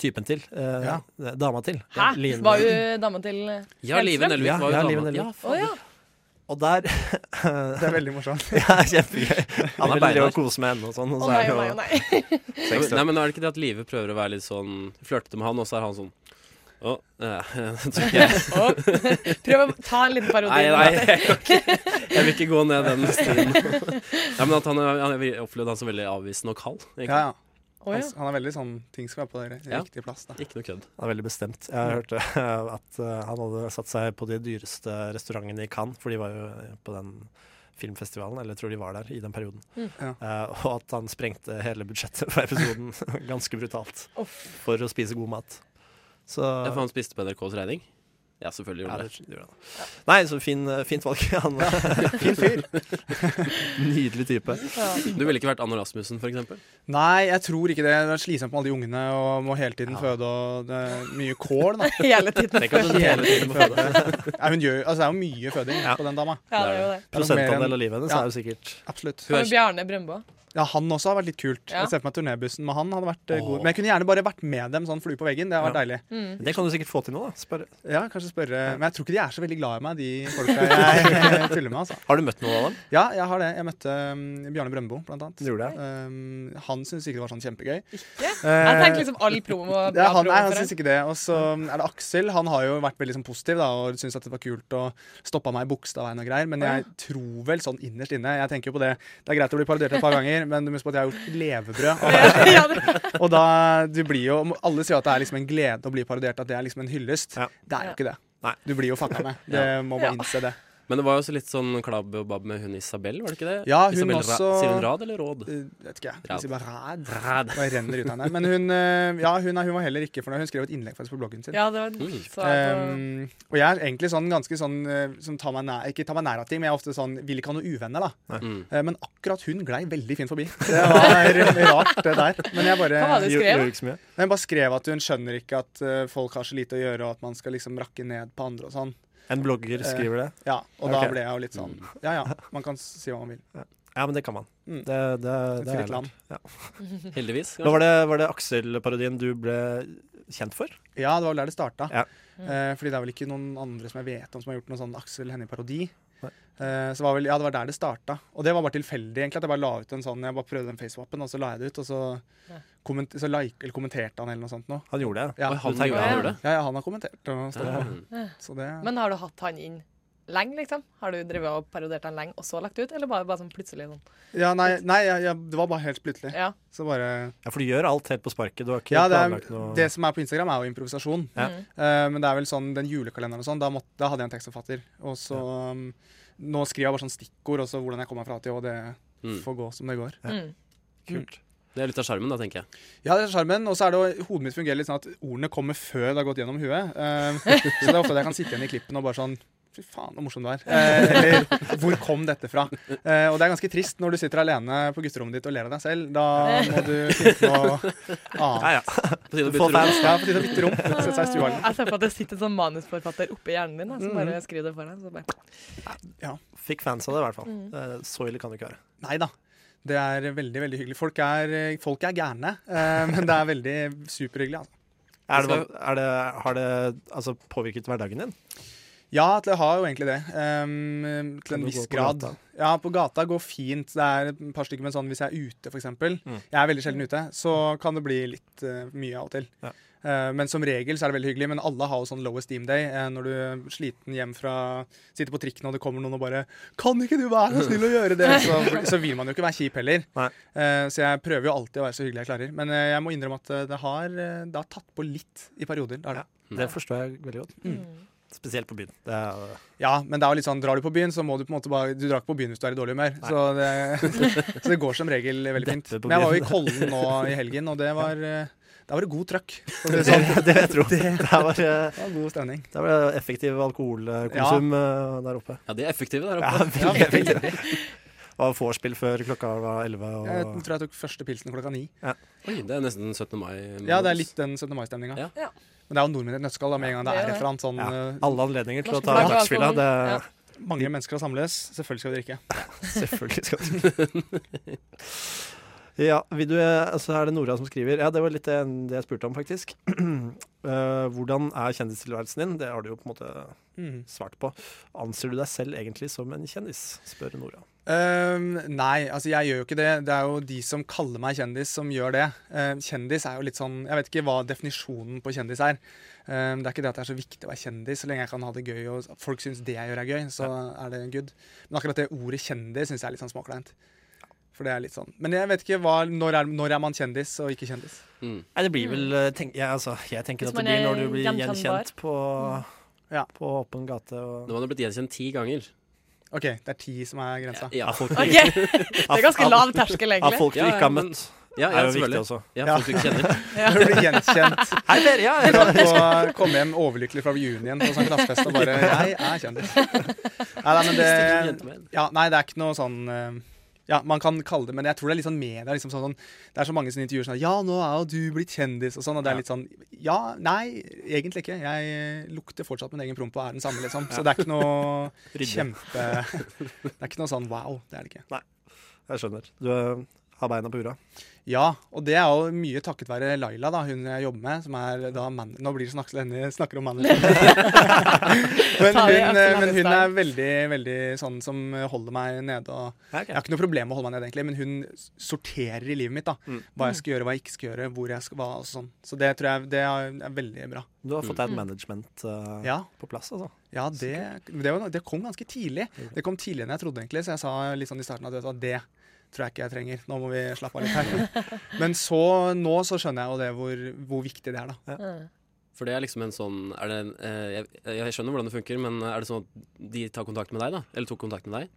Speaker 7: Typen til. Eh,
Speaker 2: Ja.
Speaker 7: det- Dama til.
Speaker 6: Hæ?
Speaker 7: Line.
Speaker 6: Var jo dama til
Speaker 3: Ja, Live
Speaker 6: Hellstrøm?
Speaker 3: Nelvik
Speaker 7: Ja,
Speaker 3: var
Speaker 7: ja,
Speaker 3: jo
Speaker 7: Live
Speaker 3: dama.
Speaker 7: Nelvik.
Speaker 3: Ja,
Speaker 6: Å ja.
Speaker 7: Og der
Speaker 2: Det er veldig morsomt.
Speaker 7: Ja, kjempegøy. Han
Speaker 3: er
Speaker 7: er veldig
Speaker 3: beinhard.
Speaker 7: å kose med henne og sånn. Og
Speaker 6: Å
Speaker 7: så
Speaker 6: nei,
Speaker 7: er det
Speaker 6: å nei, å
Speaker 7: jo
Speaker 6: nei.
Speaker 3: Ja, men- Nei, men er det ikke det at Live prøver å være litt sånn Flørtete med han, og så er han sånn Å, eh, tror ikke jeg.
Speaker 6: Prøv å ta en liten parodi.
Speaker 3: Nei, nei, jeg, kan ikke, jeg vil ikke gå ned den stien. Ja, men at han, er- han, Jeg opplevde han som veldig avvisende og kald.
Speaker 2: Ja,
Speaker 3: egentlig.
Speaker 2: ja.
Speaker 6: Å, ja.
Speaker 2: Han, han er veldig sånn Ting skal være på det
Speaker 3: Ja.
Speaker 2: riktige plass. Da.
Speaker 3: Ikke noe kødd.
Speaker 7: han er veldig bestemt. Jeg hørte eh, at eh, han hadde satt seg på de dyreste restaurantene i Cannes, for de var jo eh, på den filmfestivalen, eller jeg tror de var der i den perioden.
Speaker 6: Mm.
Speaker 2: Ja.
Speaker 7: Eh, og at han sprengte hele budsjettet for episoden ganske brutalt
Speaker 6: Uff.
Speaker 7: for å spise god mat. Så
Speaker 3: Ja, for han spiste på NRKs regning? Ja, selvfølgelig
Speaker 7: Ja,
Speaker 3: gjorde han
Speaker 7: det gjorde han. Nei, så fin, eh, fint valg. Han, fin fyr. Nydelig type.
Speaker 6: Ja.
Speaker 3: det. Du ville ikke vært Anne Rasmussen, for eksempel?
Speaker 2: Nei, jeg tror ikke det. Det er slitsomt med alle de ungene og må hele tiden
Speaker 7: Ja.
Speaker 2: føde og det er mye kål. Da.
Speaker 6: Hele tiden.
Speaker 3: Tenk at hun hele tiden må føde.
Speaker 2: Nei, hun gjør, altså, det er jo mye føding
Speaker 7: Ja.
Speaker 2: på den dama.
Speaker 6: Ja, det er jo det.
Speaker 2: Det er nok mer enn-
Speaker 7: Prosentandel av livet hennes
Speaker 2: Ja.
Speaker 7: er jo sikkert
Speaker 2: Absolutt.
Speaker 6: Og Bjarne Brøndbå.
Speaker 2: Ja, han også har vært litt kult.
Speaker 6: Ja.
Speaker 2: Jeg ser for meg turnébussen med han hadde vært
Speaker 3: Åh.
Speaker 2: eh, god. Men jeg kunne gjerne bare vært med dem sånn flue på veggen. Det hadde vært deilig.
Speaker 6: Mm.
Speaker 7: Det kan du sikkert få til nå, da. Spør.
Speaker 2: Ja, kanskje spørre Men jeg tror ikke de er så veldig glad i meg, de folka jeg tuller med, altså.
Speaker 7: Har du møtt noen av dem?
Speaker 2: Ja, jeg har det. Jeg møtte um, Bjarne Brøndbo, blant annet.
Speaker 7: Gjorde
Speaker 2: Um, han syntes ikke det var sånn kjempegøy.
Speaker 6: Ikke?
Speaker 2: Eh,
Speaker 6: Jeg tenkte liksom all promo var bra
Speaker 2: ja, han,
Speaker 6: promo
Speaker 2: nei, han
Speaker 6: for
Speaker 2: syns
Speaker 6: deg.
Speaker 2: ikke det. Og så mm, er det Aksel. Han har jo vært veldig sånn positiv da, og syntes at det var kult og stoppa meg i Bogstadveien og greier. Men jeg tror vel sånn innerst inne Jeg tenker jo på det. Det er greit å bli parodiert et par ganger, men du må huske på at jeg har gjort levebrød. av det.
Speaker 6: Ja, det-
Speaker 2: Og da du blir jo Alle sier at det er liksom en glede å bli parodiert, at det er liksom en hyllest.
Speaker 7: Ja.
Speaker 2: Det er jo ikke det.
Speaker 7: Nei.
Speaker 2: Du blir jo fucka med. Det må
Speaker 6: Ja.
Speaker 2: bare innse det.
Speaker 3: Men det var jo også litt sånn klabb og babb med hun Isabel, var det ikke det?
Speaker 2: Ja, hun
Speaker 3: Isabel Ra
Speaker 2: også-
Speaker 3: sier hun rad eller råd?
Speaker 2: Eh, vet ikke, jeg.
Speaker 3: Rad.
Speaker 2: Hvis jeg bare rad.
Speaker 3: Rad.
Speaker 2: Bare renner ut av henne. Men hun, eh, ja, hun, er- hun var heller ikke fornøyd. Hun skrev et innlegg faktisk på bloggen sin.
Speaker 6: ja, det var så
Speaker 3: Mm.
Speaker 6: jeg på-
Speaker 2: Ehm, og jeg er egentlig sånn ganske sånn eh, som tar meg nær, Ikke tar meg nær av ting, men jeg er ofte sånn vil ikke ha noen uvenner, da.
Speaker 3: Mm.
Speaker 2: Eh, men akkurat hun glei veldig fint forbi. Det var rart, det der. Men jeg bare,
Speaker 6: Hva var det du skrev?
Speaker 7: ikke så mye.
Speaker 2: jeg bare skrev at hun skjønner ikke at eh, folk har så lite å gjøre, og at man skal liksom rakke ned på andre og sånn.
Speaker 7: En blogger skriver det.
Speaker 2: Ja, Og da
Speaker 7: Ok.
Speaker 2: sånn,
Speaker 7: Mm.
Speaker 2: ble jeg jo litt sånn Ja ja, man kan si hva man vil.
Speaker 7: Ja, men det kan man.
Speaker 2: Mm.
Speaker 7: Det, det,
Speaker 2: Et
Speaker 7: det er
Speaker 2: fritt land.
Speaker 7: lurt. Ja.
Speaker 3: Heldigvis.
Speaker 7: Hva var det, var det Aksel-parodien du ble kjent for?
Speaker 2: Ja, det var vel der det starta.
Speaker 7: Ja.
Speaker 6: Mm.
Speaker 2: Eh, fordi det er vel ikke noen andre som jeg vet om som har gjort noen sånn Aksel Hennie-parodi.
Speaker 7: Nei.
Speaker 2: Eh, så var vel, ja, det var der det starta. Og det var bare tilfeldig, egentlig. At jeg bare la ut en sånn Jeg bare prøvde den facewappen, og så la jeg det ut. Og så, komment, så like, eller kommenterte han eller noe sånt noe.
Speaker 7: Han gjorde det.
Speaker 2: Ja,
Speaker 3: Oi, han,
Speaker 7: du tenker-
Speaker 3: gjorde- han gjorde det?
Speaker 2: ja, ja han har kommentert. Og står det.
Speaker 3: Mm.
Speaker 2: Så det
Speaker 6: Men har du hatt han inn lenge, liksom? Har du drevet og parodert han lenge, og så lagt ut, eller bare, bare sånn plutselig sånn?
Speaker 2: Ja, nei, nei jeg, jeg, det var bare helt plutselig.
Speaker 6: Ja.
Speaker 2: Så bare
Speaker 7: Ja, For du gjør alt helt på sparket. Du har ikke
Speaker 2: Ja, det,
Speaker 7: planlagt
Speaker 2: er,
Speaker 7: noe
Speaker 2: det som er på Instagram, er jo improvisasjon.
Speaker 7: Ja.
Speaker 6: Mm.
Speaker 2: Eh, men det er vel sånn den julekalenderen og sånn, da, måtte, da hadde jeg en tekstforfatter. Og så um, Nå skriver jeg bare sånn stikkord, og så hvordan jeg kommer meg fra til, og det
Speaker 3: Mm.
Speaker 2: får gå som det går.
Speaker 6: Mm.
Speaker 7: kult.
Speaker 3: Det er litt av sjarmen, da, tenker jeg.
Speaker 2: Ja, det er sjarmen. Og så er det jo- hodet mitt fungerer litt sånn at ordene kommer før det har gått gjennom huet. Eh, så det er ofte at jeg kan sitte igjen i klippen og bare sånn Fy faen, så morsom du er. Eh, eller hvor kom dette fra? Eh, og det er ganske trist når du sitter alene på gutterommet ditt og ler av deg selv. Da må du finne på noe annet.
Speaker 7: Ja, ja.
Speaker 3: På tide å bytte rom.
Speaker 7: Få fans.
Speaker 2: Ja, på tide å bytte rom. Sette seg i stua. eller noe.
Speaker 6: Jeg ser på at det sitter en sånn manusforfatter oppi hjernen din, da,
Speaker 7: Mm.
Speaker 6: som bare skriver det for deg. Så bare.
Speaker 7: Fikk fans av det, i hvert fall. Det- Så ille kan det ikke være.
Speaker 2: Nei da. Det er veldig veldig hyggelig. Folk er, folk er gærne, eh, men det er veldig superhyggelig. Altså.
Speaker 7: Er det, er det, har det altså, påvirket hverdagen din?
Speaker 2: Ja, det har jo egentlig det. ehm, til
Speaker 7: Kan
Speaker 2: en
Speaker 7: du
Speaker 2: viss
Speaker 7: gå på
Speaker 2: grad.
Speaker 7: gata?
Speaker 2: Ja, på gata går fint. Det er et par stykker, men sånn hvis jeg er ute, f.eks.
Speaker 7: Mm.
Speaker 2: Jeg er veldig sjelden ute, så kan det bli litt eh, mye av og til.
Speaker 7: Ja.
Speaker 2: Eh, men som regel så er det veldig hyggelig. Men alle har jo sånn low esteem day eh, når du er sliten hjem fra Sitter på trikken, og det kommer noen og bare 'Kan ikke du være så snill å gjøre det?' Så, så vil man jo ikke være kjip heller.
Speaker 7: Nei.
Speaker 2: Eh, så jeg prøver jo alltid å være så hyggelig jeg klarer. Men eh, jeg må innrømme at eh, det har, eh, det har tatt på litt i perioder. Det har det.
Speaker 7: Det forstår jeg veldig godt. Spesielt på byen. Det er,
Speaker 2: Ja, men det er jo litt sånn, drar du på byen, så må du på en måte bare Du drar ikke på byen hvis du er i dårlig humør. Så det, så det går som regel veldig fint.
Speaker 7: Deppe på
Speaker 2: Men jeg var jo
Speaker 7: byen.
Speaker 2: i Kollen nå i helgen, og det var eh, Da var det god trøkk. for å si
Speaker 7: det,
Speaker 2: Det, sånn.
Speaker 7: det vil jeg tro. Det var, eh,
Speaker 2: det var god stemning.
Speaker 7: det var effektiv alkoholkonsum eh, der oppe.
Speaker 3: Ja, de er effektive der
Speaker 7: Ja,
Speaker 3: oppe.
Speaker 7: veldig, veldig. Det var vorspiel før klokka var elleve.
Speaker 2: Jeg
Speaker 7: Og...
Speaker 2: tror jeg tok første pilsen klokka ni.
Speaker 3: Oi, det er nesten 17. mai.
Speaker 2: Ja, det er litt den 17. mai-stemninga.
Speaker 3: Ja.
Speaker 6: Ja.
Speaker 2: Men det er jo nordmenn i et nøtteskall. da, Med en gang det
Speaker 6: Det er
Speaker 2: er et
Speaker 6: det.
Speaker 2: eller annet sånn
Speaker 7: Ja.
Speaker 2: eh,
Speaker 7: Alle anledninger til å
Speaker 6: Norske
Speaker 7: ta
Speaker 6: flagg og
Speaker 7: dagsfylla.
Speaker 6: alkohol.
Speaker 7: Det
Speaker 6: Ja.
Speaker 2: Mange mennesker har samles. Selvfølgelig skal vi drikke.
Speaker 7: selvfølgelig skal du Ja, vil du, altså er det Nora som skriver. Ja, det var litt det, det jeg spurte om, faktisk. Eh, hvordan er kjendistilværelsen din? Det har du jo på en måte
Speaker 2: Mm.
Speaker 7: svart på. Anser du deg selv egentlig som en kjendis? spør Nora.
Speaker 2: Øhm, nei, altså jeg gjør jo ikke det. Det er jo de som kaller meg kjendis, som gjør det. Øhm, kjendis er jo litt sånn Jeg vet ikke hva definisjonen på kjendis er. Øhm, det er ikke det at det er så viktig å være kjendis, så lenge jeg kan ha det gøy og folk syns det jeg gjør er gøy, så er det good. Men akkurat det ordet kjendis syns jeg er litt sånn småkleint. For det er litt sånn Men jeg vet ikke hva Når er, når er man kjendis og ikke kjendis?
Speaker 3: Mm.
Speaker 7: Nei, det blir vel eh, tenk, ja, altså, Jeg tenker
Speaker 6: Hvis
Speaker 7: at det
Speaker 6: man
Speaker 7: blir når
Speaker 6: er
Speaker 7: du blir
Speaker 6: gjenkjennbar.
Speaker 7: gjenkjent på,
Speaker 2: Ja.
Speaker 7: på åpen gate.
Speaker 3: Når
Speaker 7: Og,
Speaker 3: man har blitt gjenkjent ti ganger.
Speaker 2: OK, det er ti som er grensa.
Speaker 3: Ja,
Speaker 7: av folk,
Speaker 6: OK! Det er ganske lav terskel,
Speaker 7: av
Speaker 6: egentlig.
Speaker 7: folk du
Speaker 3: Ja,
Speaker 7: ikke har
Speaker 3: men-
Speaker 7: møtt.
Speaker 3: ja,
Speaker 7: Det
Speaker 3: ja
Speaker 7: er jo viktig
Speaker 3: selvfølgelig.
Speaker 7: også.
Speaker 3: Ja,
Speaker 2: Ja.
Speaker 3: folk du ikke kjenner.
Speaker 2: Når du blir gjenkjent,
Speaker 7: Hei, dere! Ja,
Speaker 2: du kan få komme hjem overlykkelig fra reunion på sånn knappfest og bare 'Jeg er kjendis'. Nei, nei, men det, Ja, nei, det er ikke noe sånn eh, Ja, man kan kalle det Men jeg tror det er litt sånn media liksom sånn, Det er så mange som intervjuer sånn Ja, nå er jo du blitt kjendis og sånn Og det er litt sånn Ja, nei, egentlig ikke Jeg eh, lukter fortsatt min egen promp og er den samme liksom Så det er ikke noe kjempe Det er ikke noe sånn wow, det er det ikke
Speaker 7: Jeg skjønner. Du eh, har beina på ura.
Speaker 2: Ja, og det er jo mye takket være Laila, da, hun jeg jobber med, som er da man Nå blir det snakk henne snakker om management. men,
Speaker 6: Ta det,
Speaker 2: hun, eh,
Speaker 6: Aksel
Speaker 2: men hun er
Speaker 6: Hannestad.
Speaker 2: veldig, veldig sånn som holder meg nede og Jeg har ikke noe problem med å holde meg nede, egentlig, men hun s- sorterer i livet mitt. da
Speaker 7: Mm.
Speaker 2: Hva jeg skal gjøre, hva jeg ikke skal gjøre, hvor jeg skal hva og sånn. Så det tror jeg det er, er veldig bra.
Speaker 7: Du har fått deg et management eh,
Speaker 2: Ja,
Speaker 7: på plass, altså.
Speaker 2: ja det, det, var, det kom ganske tidlig. Det kom tidligere enn jeg trodde, egentlig, så jeg sa litt sånn i starten at vet du hva, det tror jeg ikke jeg trenger. Nå må vi slappe av litt her. Men så, nå så skjønner jeg jo det hvor, hvor viktig det er, da.
Speaker 6: Mm.
Speaker 3: For det er liksom en sånn er det, en, eh, jeg, jeg skjønner hvordan det funker, men er det sånn at de tar kontakt med deg, da? Eller tok kontakt med deg?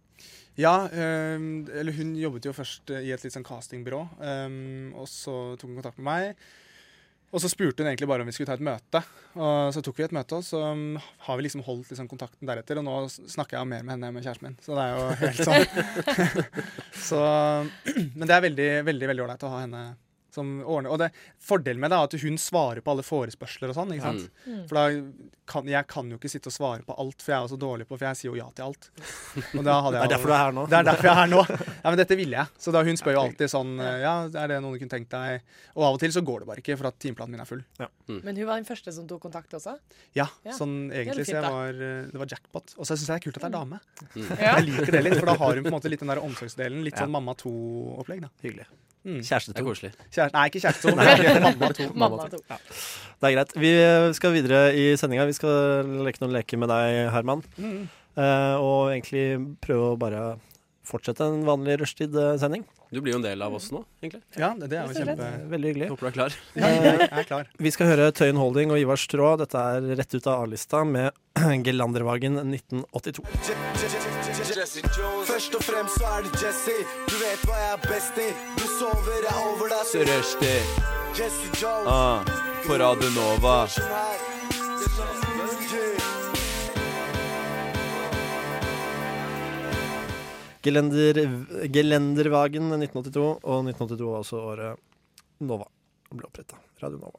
Speaker 2: Ja, øhm, eller hun jobbet jo først i et litt sånn castingbyrå, øhm, og så tok hun kontakt med meg. Og så spurte hun egentlig bare om vi skulle ta et møte, og så tok vi et møte, og så øhm, har vi liksom holdt liksom kontakten deretter, og nå s- snakker jeg mer med henne enn med kjæresten min, så det er jo helt sånn. så, men det er veldig, veldig, veldig ålreit å ha henne Som ordner. Og det, fordelen med det er at hun svarer på alle forespørsler og sånn.
Speaker 3: Mm.
Speaker 2: ikke sant?
Speaker 7: Mm.
Speaker 2: For da kan, jeg kan jo ikke sitte og svare på alt, for jeg er også dårlig på For jeg sier jo ja til alt. Og da hadde
Speaker 7: Det
Speaker 2: jeg
Speaker 7: er derfor du er her nå.
Speaker 2: det er derfor jeg er her nå. Ja, men dette ville jeg. Så da hun spør jo alltid sånn Ja, er det noe du kunne tenkt deg? Og av og til så går det bare ikke, for at timeplanen min er full.
Speaker 6: Men hun var den første som tok kontakt også.
Speaker 2: Ja,
Speaker 6: Ja.
Speaker 2: sånn
Speaker 6: Det
Speaker 2: egentlig. Så
Speaker 6: er litt fint, da.
Speaker 2: jeg
Speaker 6: Mm.
Speaker 2: var, eh, det var jackpot. Og så syns jeg det er kult at det er dame.
Speaker 6: Ja.
Speaker 2: Jeg liker det litt, for da har hun på en måte litt den der omsorgsdelen. Litt sånn mamma to-opplegg, da.
Speaker 7: Hyggelig.
Speaker 2: Mm.
Speaker 7: Kjæreste
Speaker 3: Det er
Speaker 7: to.
Speaker 3: koselig.
Speaker 2: Kjæreste Nei, ikke kjæreste, men mamma to.
Speaker 6: Mamma tok.
Speaker 7: Det er greit. Vi eh, skal videre i sendinga. Vi skal leke noen leker med deg, Herman.
Speaker 2: Mm.
Speaker 7: Eh, og egentlig prøve å bare fortsette en vanlig rushtid-sending.
Speaker 3: Du blir jo en del av oss nå, egentlig.
Speaker 2: Ja, det, det er jo kjempe
Speaker 7: Veldig hyggelig. Eh,
Speaker 3: Håper du er klar.
Speaker 2: ja, Jeg er klar.
Speaker 7: Vi skal høre Tøyen Holding og Ivar Strå. Dette er rett ut av A-lista med Gelandervagen 1982.
Speaker 8: Jesse Jones. Først og fremst så er det Jesse. Du vet hva jeg er best i. Du sover, jeg er over deg. Så
Speaker 4: Rushdie
Speaker 8: Jesse Jones.
Speaker 4: ah, på Radio Nova.
Speaker 8: Sånn her. Yeah.
Speaker 7: Gelender, Gelendervagen 1982, og 1982 var også året Nova ble oppretta. Radio Nova.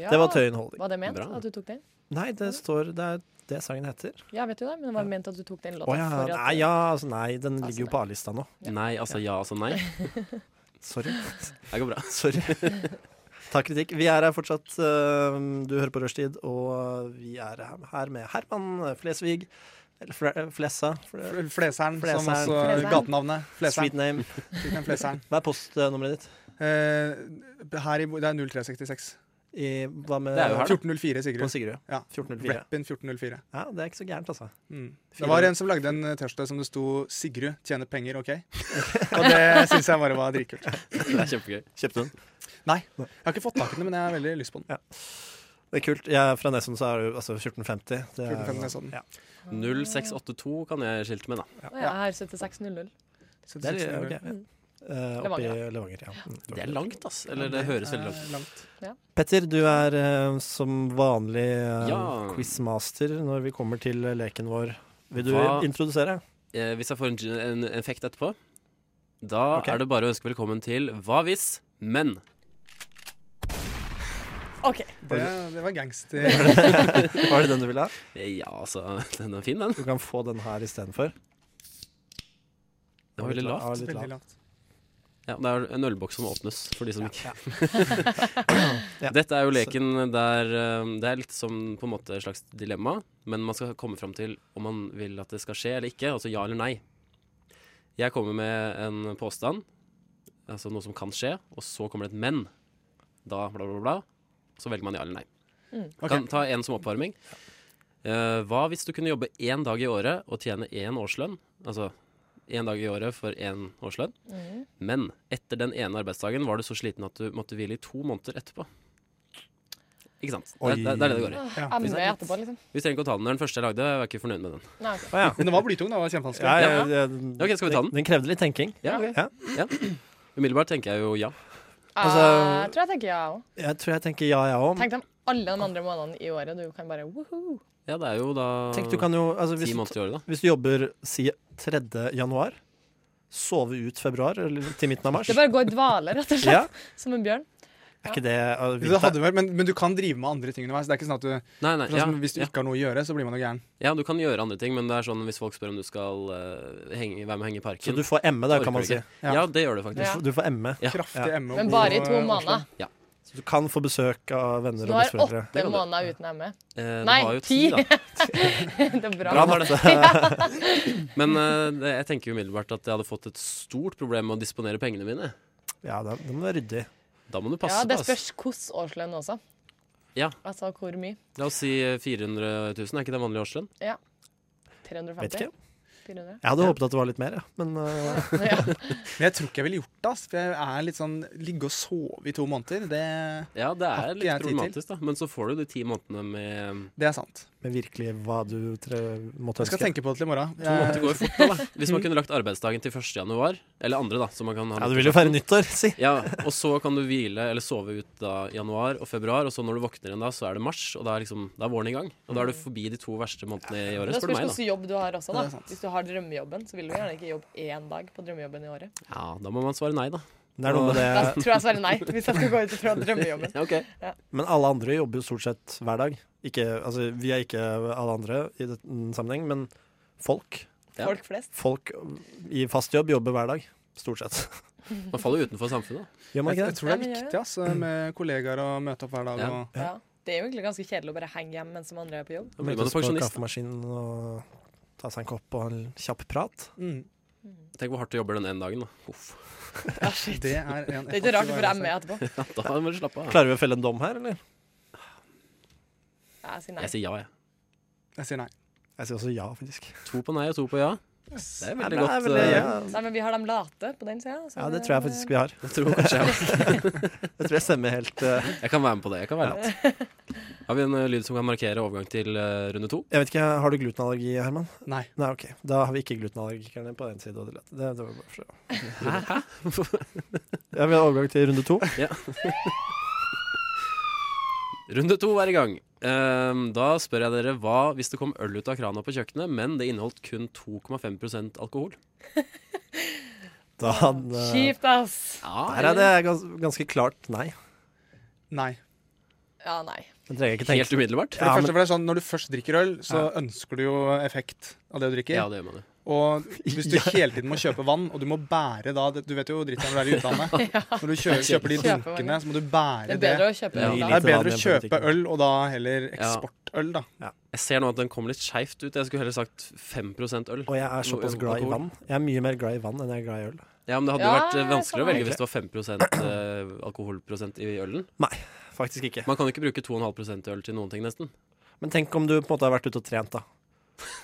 Speaker 6: Ja.
Speaker 7: Det var Tøyen Holding.
Speaker 6: Var det ment
Speaker 3: Bra.
Speaker 6: at du tok den?
Speaker 7: Nei, det står Det er det sangen heter.
Speaker 6: Ja, vet du det, men det var ment at du tok den låta.
Speaker 7: Å ja.
Speaker 6: for at-
Speaker 7: Nei, ja, altså, nei, den
Speaker 6: Altså,
Speaker 7: ligger jo
Speaker 6: nei.
Speaker 7: på A-lista nå.
Speaker 6: Ja.
Speaker 3: Nei, altså ja, altså nei.
Speaker 7: Sorry.
Speaker 3: Det går bra.
Speaker 7: Sorry. Ta kritikk. Vi er her fortsatt. eh, Du hører på Rushtid, og eh, vi er her med Herman Flesvig. Eller Fle- Flessa. Fle-
Speaker 2: Fleseren, som
Speaker 7: Fleseren.
Speaker 2: også
Speaker 6: Fleseren.
Speaker 2: gatenavnet.
Speaker 7: Sweet
Speaker 2: Fleseren.
Speaker 7: name.
Speaker 2: Sweet name Fleseren.
Speaker 7: Hva er postnummeret ditt?
Speaker 2: Eh, her i bo- Det er 0366.
Speaker 7: I, hva med
Speaker 3: Det er jo her, da.
Speaker 2: 1404,
Speaker 7: På
Speaker 2: Sigrud.
Speaker 7: Sigrud.
Speaker 2: Ja.
Speaker 7: 1404.
Speaker 2: Rappen 1404.
Speaker 7: Ja, det er ikke så gærent, altså.
Speaker 2: Mm. Det
Speaker 7: Fire
Speaker 2: var
Speaker 7: år.
Speaker 2: en som lagde en eh, T-skjorte som det sto 'Sigrud tjener penger, OK?' Og det syns jeg bare var dritkult.
Speaker 3: Det er kjempegøy.
Speaker 7: Kjøpte den.
Speaker 2: Jeg har ikke fått tak i den, men jeg har veldig lyst på den.
Speaker 7: Det er kult. Jeg er fra Nesund, så er det jo altså 1450. Det er,
Speaker 2: 1450 er sånn.
Speaker 7: Ja.
Speaker 3: 0682 kan jeg skilte med, da.
Speaker 6: Å ja, her 7600.
Speaker 2: Så
Speaker 7: Det er,
Speaker 2: synes
Speaker 7: ok,
Speaker 2: jeg-
Speaker 7: ja. Eh, oppe i Levanger, ja. Mm.
Speaker 3: Det er langt, ass. Eller det høres veldig langt ut.
Speaker 2: Eh, langt.
Speaker 7: Petter, du er eh, som vanlig eh,
Speaker 3: Ja.
Speaker 7: quizmaster når vi kommer til eh, leken vår. Vil du
Speaker 3: Hva-
Speaker 7: introdusere?
Speaker 3: Eh, hvis jeg får en, gin- en effekt etterpå, da
Speaker 7: Ok.
Speaker 3: er det bare å ønske velkommen til Hva hvis, men.
Speaker 2: Det, det var gangster.
Speaker 7: Var det den du ville ha?
Speaker 3: Eh, Ja, altså, den er fin, den.
Speaker 7: Du kan få den her istedenfor.
Speaker 3: Det var veldig lavt.
Speaker 7: litt
Speaker 2: Veldig
Speaker 7: lavt.
Speaker 2: lavt.
Speaker 3: Ja, det er en ølboks som åpnes, for de som ikke
Speaker 7: Ja.
Speaker 3: Dette er jo leken der eh, Det er litt som på en måte et slags dilemma, men man skal komme fram til om man vil at det skal skje eller ikke. Altså ja eller nei. Jeg kommer med en påstand, altså noe som kan skje, og så kommer det et men. Da bla, bla, bla. Så velger man ja eller nei.
Speaker 2: Ok.
Speaker 3: Kan ta en som oppvarming. Eh, hva hvis du kunne jobbe én dag i året og tjene én årslønn? Altså én dag i året for én årslønn. Men etter den ene arbeidsdagen var du så sliten at du måtte hvile i to måneder etterpå. Ikke sant? Det,
Speaker 7: Oi.
Speaker 3: er- det, er- det er det det går i.
Speaker 6: Amme etterpå, liksom.
Speaker 3: Vi trenger ikke å ta den. Det er Den første jeg lagde, jeg var ikke fornøyd med den.
Speaker 6: Nei, ok.
Speaker 7: Å ja.
Speaker 2: Men den var blytung. Den var kjempevanskelig.
Speaker 7: Ja, ja, ja.
Speaker 3: Ok, skal vi ta den?
Speaker 7: Den krevde litt tenking.
Speaker 3: Ja, ok.
Speaker 7: Ja.
Speaker 3: Ja. Umiddelbart tenker jeg jo ja.
Speaker 7: Altså-
Speaker 6: Ah, tror jeg tenker ja òg.
Speaker 7: Jeg tror jeg tenker ja, jeg òg.
Speaker 6: Tenk deg om alle de andre månedene i året. Du kan bare woho.
Speaker 3: Ja, det er jo da
Speaker 7: Tenk, du kan jo altså,
Speaker 3: ti
Speaker 7: hvis, du,
Speaker 3: måneder i året, da.
Speaker 7: hvis du jobber si 3. januar, sove ut februar eller til midten av mars.
Speaker 6: Det bare går i dvale, rett og slett.
Speaker 7: Ja,
Speaker 6: Som en bjørn.
Speaker 7: er ikke det uh,
Speaker 2: Det hadde vært, men, men du kan drive med andre ting underveis. Det er ikke sånn at du,
Speaker 3: Nei, nei,
Speaker 2: for sånn
Speaker 3: ja,
Speaker 2: som Hvis du
Speaker 3: ja.
Speaker 2: ikke har noe å gjøre, så blir man jo gæren.
Speaker 3: ja, du kan gjøre andre ting, men det er sånn hvis folk spør om du skal eh, henge, være med og henge i
Speaker 7: Så
Speaker 3: parken
Speaker 7: du får emme, da,
Speaker 3: Orker
Speaker 7: kan man
Speaker 3: du
Speaker 7: si.
Speaker 3: ikke. Ja, det gjør du faktisk.
Speaker 6: Ja.
Speaker 7: Du får emme.
Speaker 3: Ja.
Speaker 2: Kraftig
Speaker 7: Ja.
Speaker 2: emme og
Speaker 6: Men
Speaker 2: god,
Speaker 6: bare i
Speaker 2: eh,
Speaker 6: to måneder.
Speaker 7: Så du kan få besøk av venner
Speaker 6: Du
Speaker 7: og
Speaker 6: har
Speaker 7: besteforeldre.
Speaker 6: åtte måneder uten ME.
Speaker 3: Eh,
Speaker 6: Nei,
Speaker 3: du har jo ti,
Speaker 6: ti.
Speaker 3: da.
Speaker 6: Det er bra.
Speaker 7: Bra,
Speaker 3: var
Speaker 7: Marte.
Speaker 3: Men eh, det, jeg tenker jo umiddelbart at jeg hadde fått et stort problem med å disponere pengene mine.
Speaker 7: Ja, da, da må du være ryddig.
Speaker 3: Da må du passe
Speaker 6: Ja, det
Speaker 3: på. ass.
Speaker 6: spørs hvordan årslønn også.
Speaker 3: Ja.
Speaker 6: Altså hvor mye.
Speaker 3: La oss si eh, 400 000, er ikke det vanlig årslønn?
Speaker 7: Vet ikke.
Speaker 6: 350? 400?
Speaker 7: Jeg hadde håpet at det var litt mer, ja. Men uh,
Speaker 6: Ja.
Speaker 2: Men jeg tror ikke jeg ville gjort det. ass, For jeg er litt sånn Ligge og sove i to måneder, det,
Speaker 3: Ja, det
Speaker 2: Har
Speaker 3: er
Speaker 2: ikke jeg
Speaker 3: litt
Speaker 2: tid til.
Speaker 3: problematisk, da. Men så får du de ti månedene med
Speaker 2: det er sant.
Speaker 7: men virkelig hva du tre, måtte
Speaker 2: Jeg skal
Speaker 7: ønske.
Speaker 2: tenke på det til i morgen.
Speaker 3: To måneder
Speaker 2: Jeg-
Speaker 3: går jo fort, da. da. Hvis man kunne lagt arbeidsdagen til 1. januar, eller andre, da, så man kan ha
Speaker 7: Ja,
Speaker 3: litt
Speaker 7: du vil jo feire nyttår, si.
Speaker 3: Ja, og så kan du hvile eller sove ut da januar og februar, og så når du våkner igjen da, så er det mars, og da er, liksom, da er våren i gang. Og da er du forbi de to verste månedene i
Speaker 6: Men
Speaker 3: året,
Speaker 6: det
Speaker 3: spør du
Speaker 6: spørs
Speaker 3: meg, da.
Speaker 6: hvilken jobb du har også.
Speaker 2: Ja, det er
Speaker 6: da
Speaker 2: sant.
Speaker 6: Hvis du har drømmejobben, så vil du gjerne ikke jobbe én dag på drømmejobben i året.
Speaker 3: Ja, da må man svare nei, da.
Speaker 7: Det er noe med
Speaker 6: Da
Speaker 7: det.
Speaker 6: tror jeg svarer nei, hvis jeg skal gå ut og tro at drømmejobben.
Speaker 3: Ja, ok.
Speaker 7: Men alle andre jobber jo stort sett hver dag. Ikke, altså, vi er ikke alle andre i den sammenheng, men folk.
Speaker 3: Ja.
Speaker 6: Folk flest.
Speaker 7: Folk i fast jobb jobber hver dag. Stort sett.
Speaker 3: Man faller jo utenfor samfunnet.
Speaker 7: Gjør man
Speaker 2: Jeg,
Speaker 7: ikke
Speaker 2: jeg
Speaker 7: det?
Speaker 2: tror det er
Speaker 6: Ja, men gjør
Speaker 2: viktig ass, eh, med kollegaer å møte opp hver dag.
Speaker 3: Ja.
Speaker 2: Og,
Speaker 6: Ja. Det er jo egentlig ganske kjedelig å bare henge hjem mens de andre er på jobb.
Speaker 3: Da blir man
Speaker 7: Møtes
Speaker 3: jo
Speaker 7: på
Speaker 3: pensjonist.
Speaker 7: kaffemaskinen og ta seg en kopp og en kjapp prat.
Speaker 2: mm,
Speaker 3: Tenk hvor hardt du jobber den ene dagen. Da. Uff.
Speaker 6: Ja, Ah, shit.
Speaker 2: det er en
Speaker 6: Det er ikke rart hvorfor jeg er med E etterpå.
Speaker 3: Ja, da må du slappe av.
Speaker 7: Klarer vi å felle en dom her, eller?
Speaker 6: Jeg sier nei.
Speaker 3: Jeg sier ja, jeg.
Speaker 2: Jeg sier nei.
Speaker 7: Jeg sier også ja, faktisk.
Speaker 3: To på nei og to på ja. Det er veldig
Speaker 7: Ja, det er
Speaker 3: godt.
Speaker 7: veldig-
Speaker 3: eh,
Speaker 7: ja.
Speaker 6: Nei, men vi har dem late på den sida.
Speaker 7: Ja, det tror jeg faktisk vi har.
Speaker 3: Jeg tror eh, kanskje jeg,
Speaker 7: Det tror jeg stemmer helt eh,
Speaker 3: jeg kan være med på det. Jeg kan være latt. Har vi en eh, lyd som kan markere overgang til eh, runde to?
Speaker 7: Jeg vet ikke, Har du glutenallergi, Herman?
Speaker 2: Nei.
Speaker 7: Nei, ok. Da har vi ikke glutenallergikerne på den siden av det. Det, det var bare for å Ja, Vi har overgang til runde to.
Speaker 3: Runde to er i gang. Ehm, da spør jeg dere hva hvis det kom øl ut av krana på kjøkkenet, men det inneholdt kun 2,5 alkohol?
Speaker 7: Da hadde
Speaker 6: Kjipt, ass.
Speaker 7: Der er det gans ganske klart nei.
Speaker 2: nei.
Speaker 6: Ja, nei.
Speaker 7: Det trenger jeg ikke
Speaker 3: Helt
Speaker 7: tenke.
Speaker 3: umiddelbart?
Speaker 7: Ja,
Speaker 2: For det
Speaker 7: men-
Speaker 2: første, for det er sånn, Når du først drikker øl, så ønsker du jo effekt av det du drikker.
Speaker 3: Ja, det gjør man jo.
Speaker 2: Og hvis du
Speaker 7: Ja.
Speaker 2: hele tiden må kjøpe vann, og du må bære da det- Du vet jo dritten når du er i utlandet. Når du kjøper, kjøper de
Speaker 6: Kjøper
Speaker 2: dunkene, så må du
Speaker 6: Det
Speaker 2: bære
Speaker 6: er
Speaker 2: det.
Speaker 6: bedre å kjøpe
Speaker 3: Ja.
Speaker 6: øl
Speaker 2: Det
Speaker 6: da.
Speaker 2: er
Speaker 7: Lite
Speaker 2: bedre å
Speaker 7: vann igjen på
Speaker 2: kjøpe
Speaker 7: butikken.
Speaker 2: øl, og da heller
Speaker 3: Ja. Mm.
Speaker 2: eksportøl, da.
Speaker 3: Jeg ser nå at den kom litt skeivt ut. Jeg skulle heller sagt 5 øl.
Speaker 7: Og jeg er såpass glad i vann. Jeg er mye mer glad i vann enn jeg er glad i øl.
Speaker 3: Ja, Men det hadde jo
Speaker 6: Ja,
Speaker 3: vært eh, vanskelig å
Speaker 6: samme
Speaker 3: velge hvis det var 5 eh, alkoholprosent i ølen.
Speaker 7: Faktisk ikke.
Speaker 3: Man kan jo ikke bruke 2,5 øl til noen ting, nesten.
Speaker 7: Men tenk om du på en måte har vært ute og trent, da.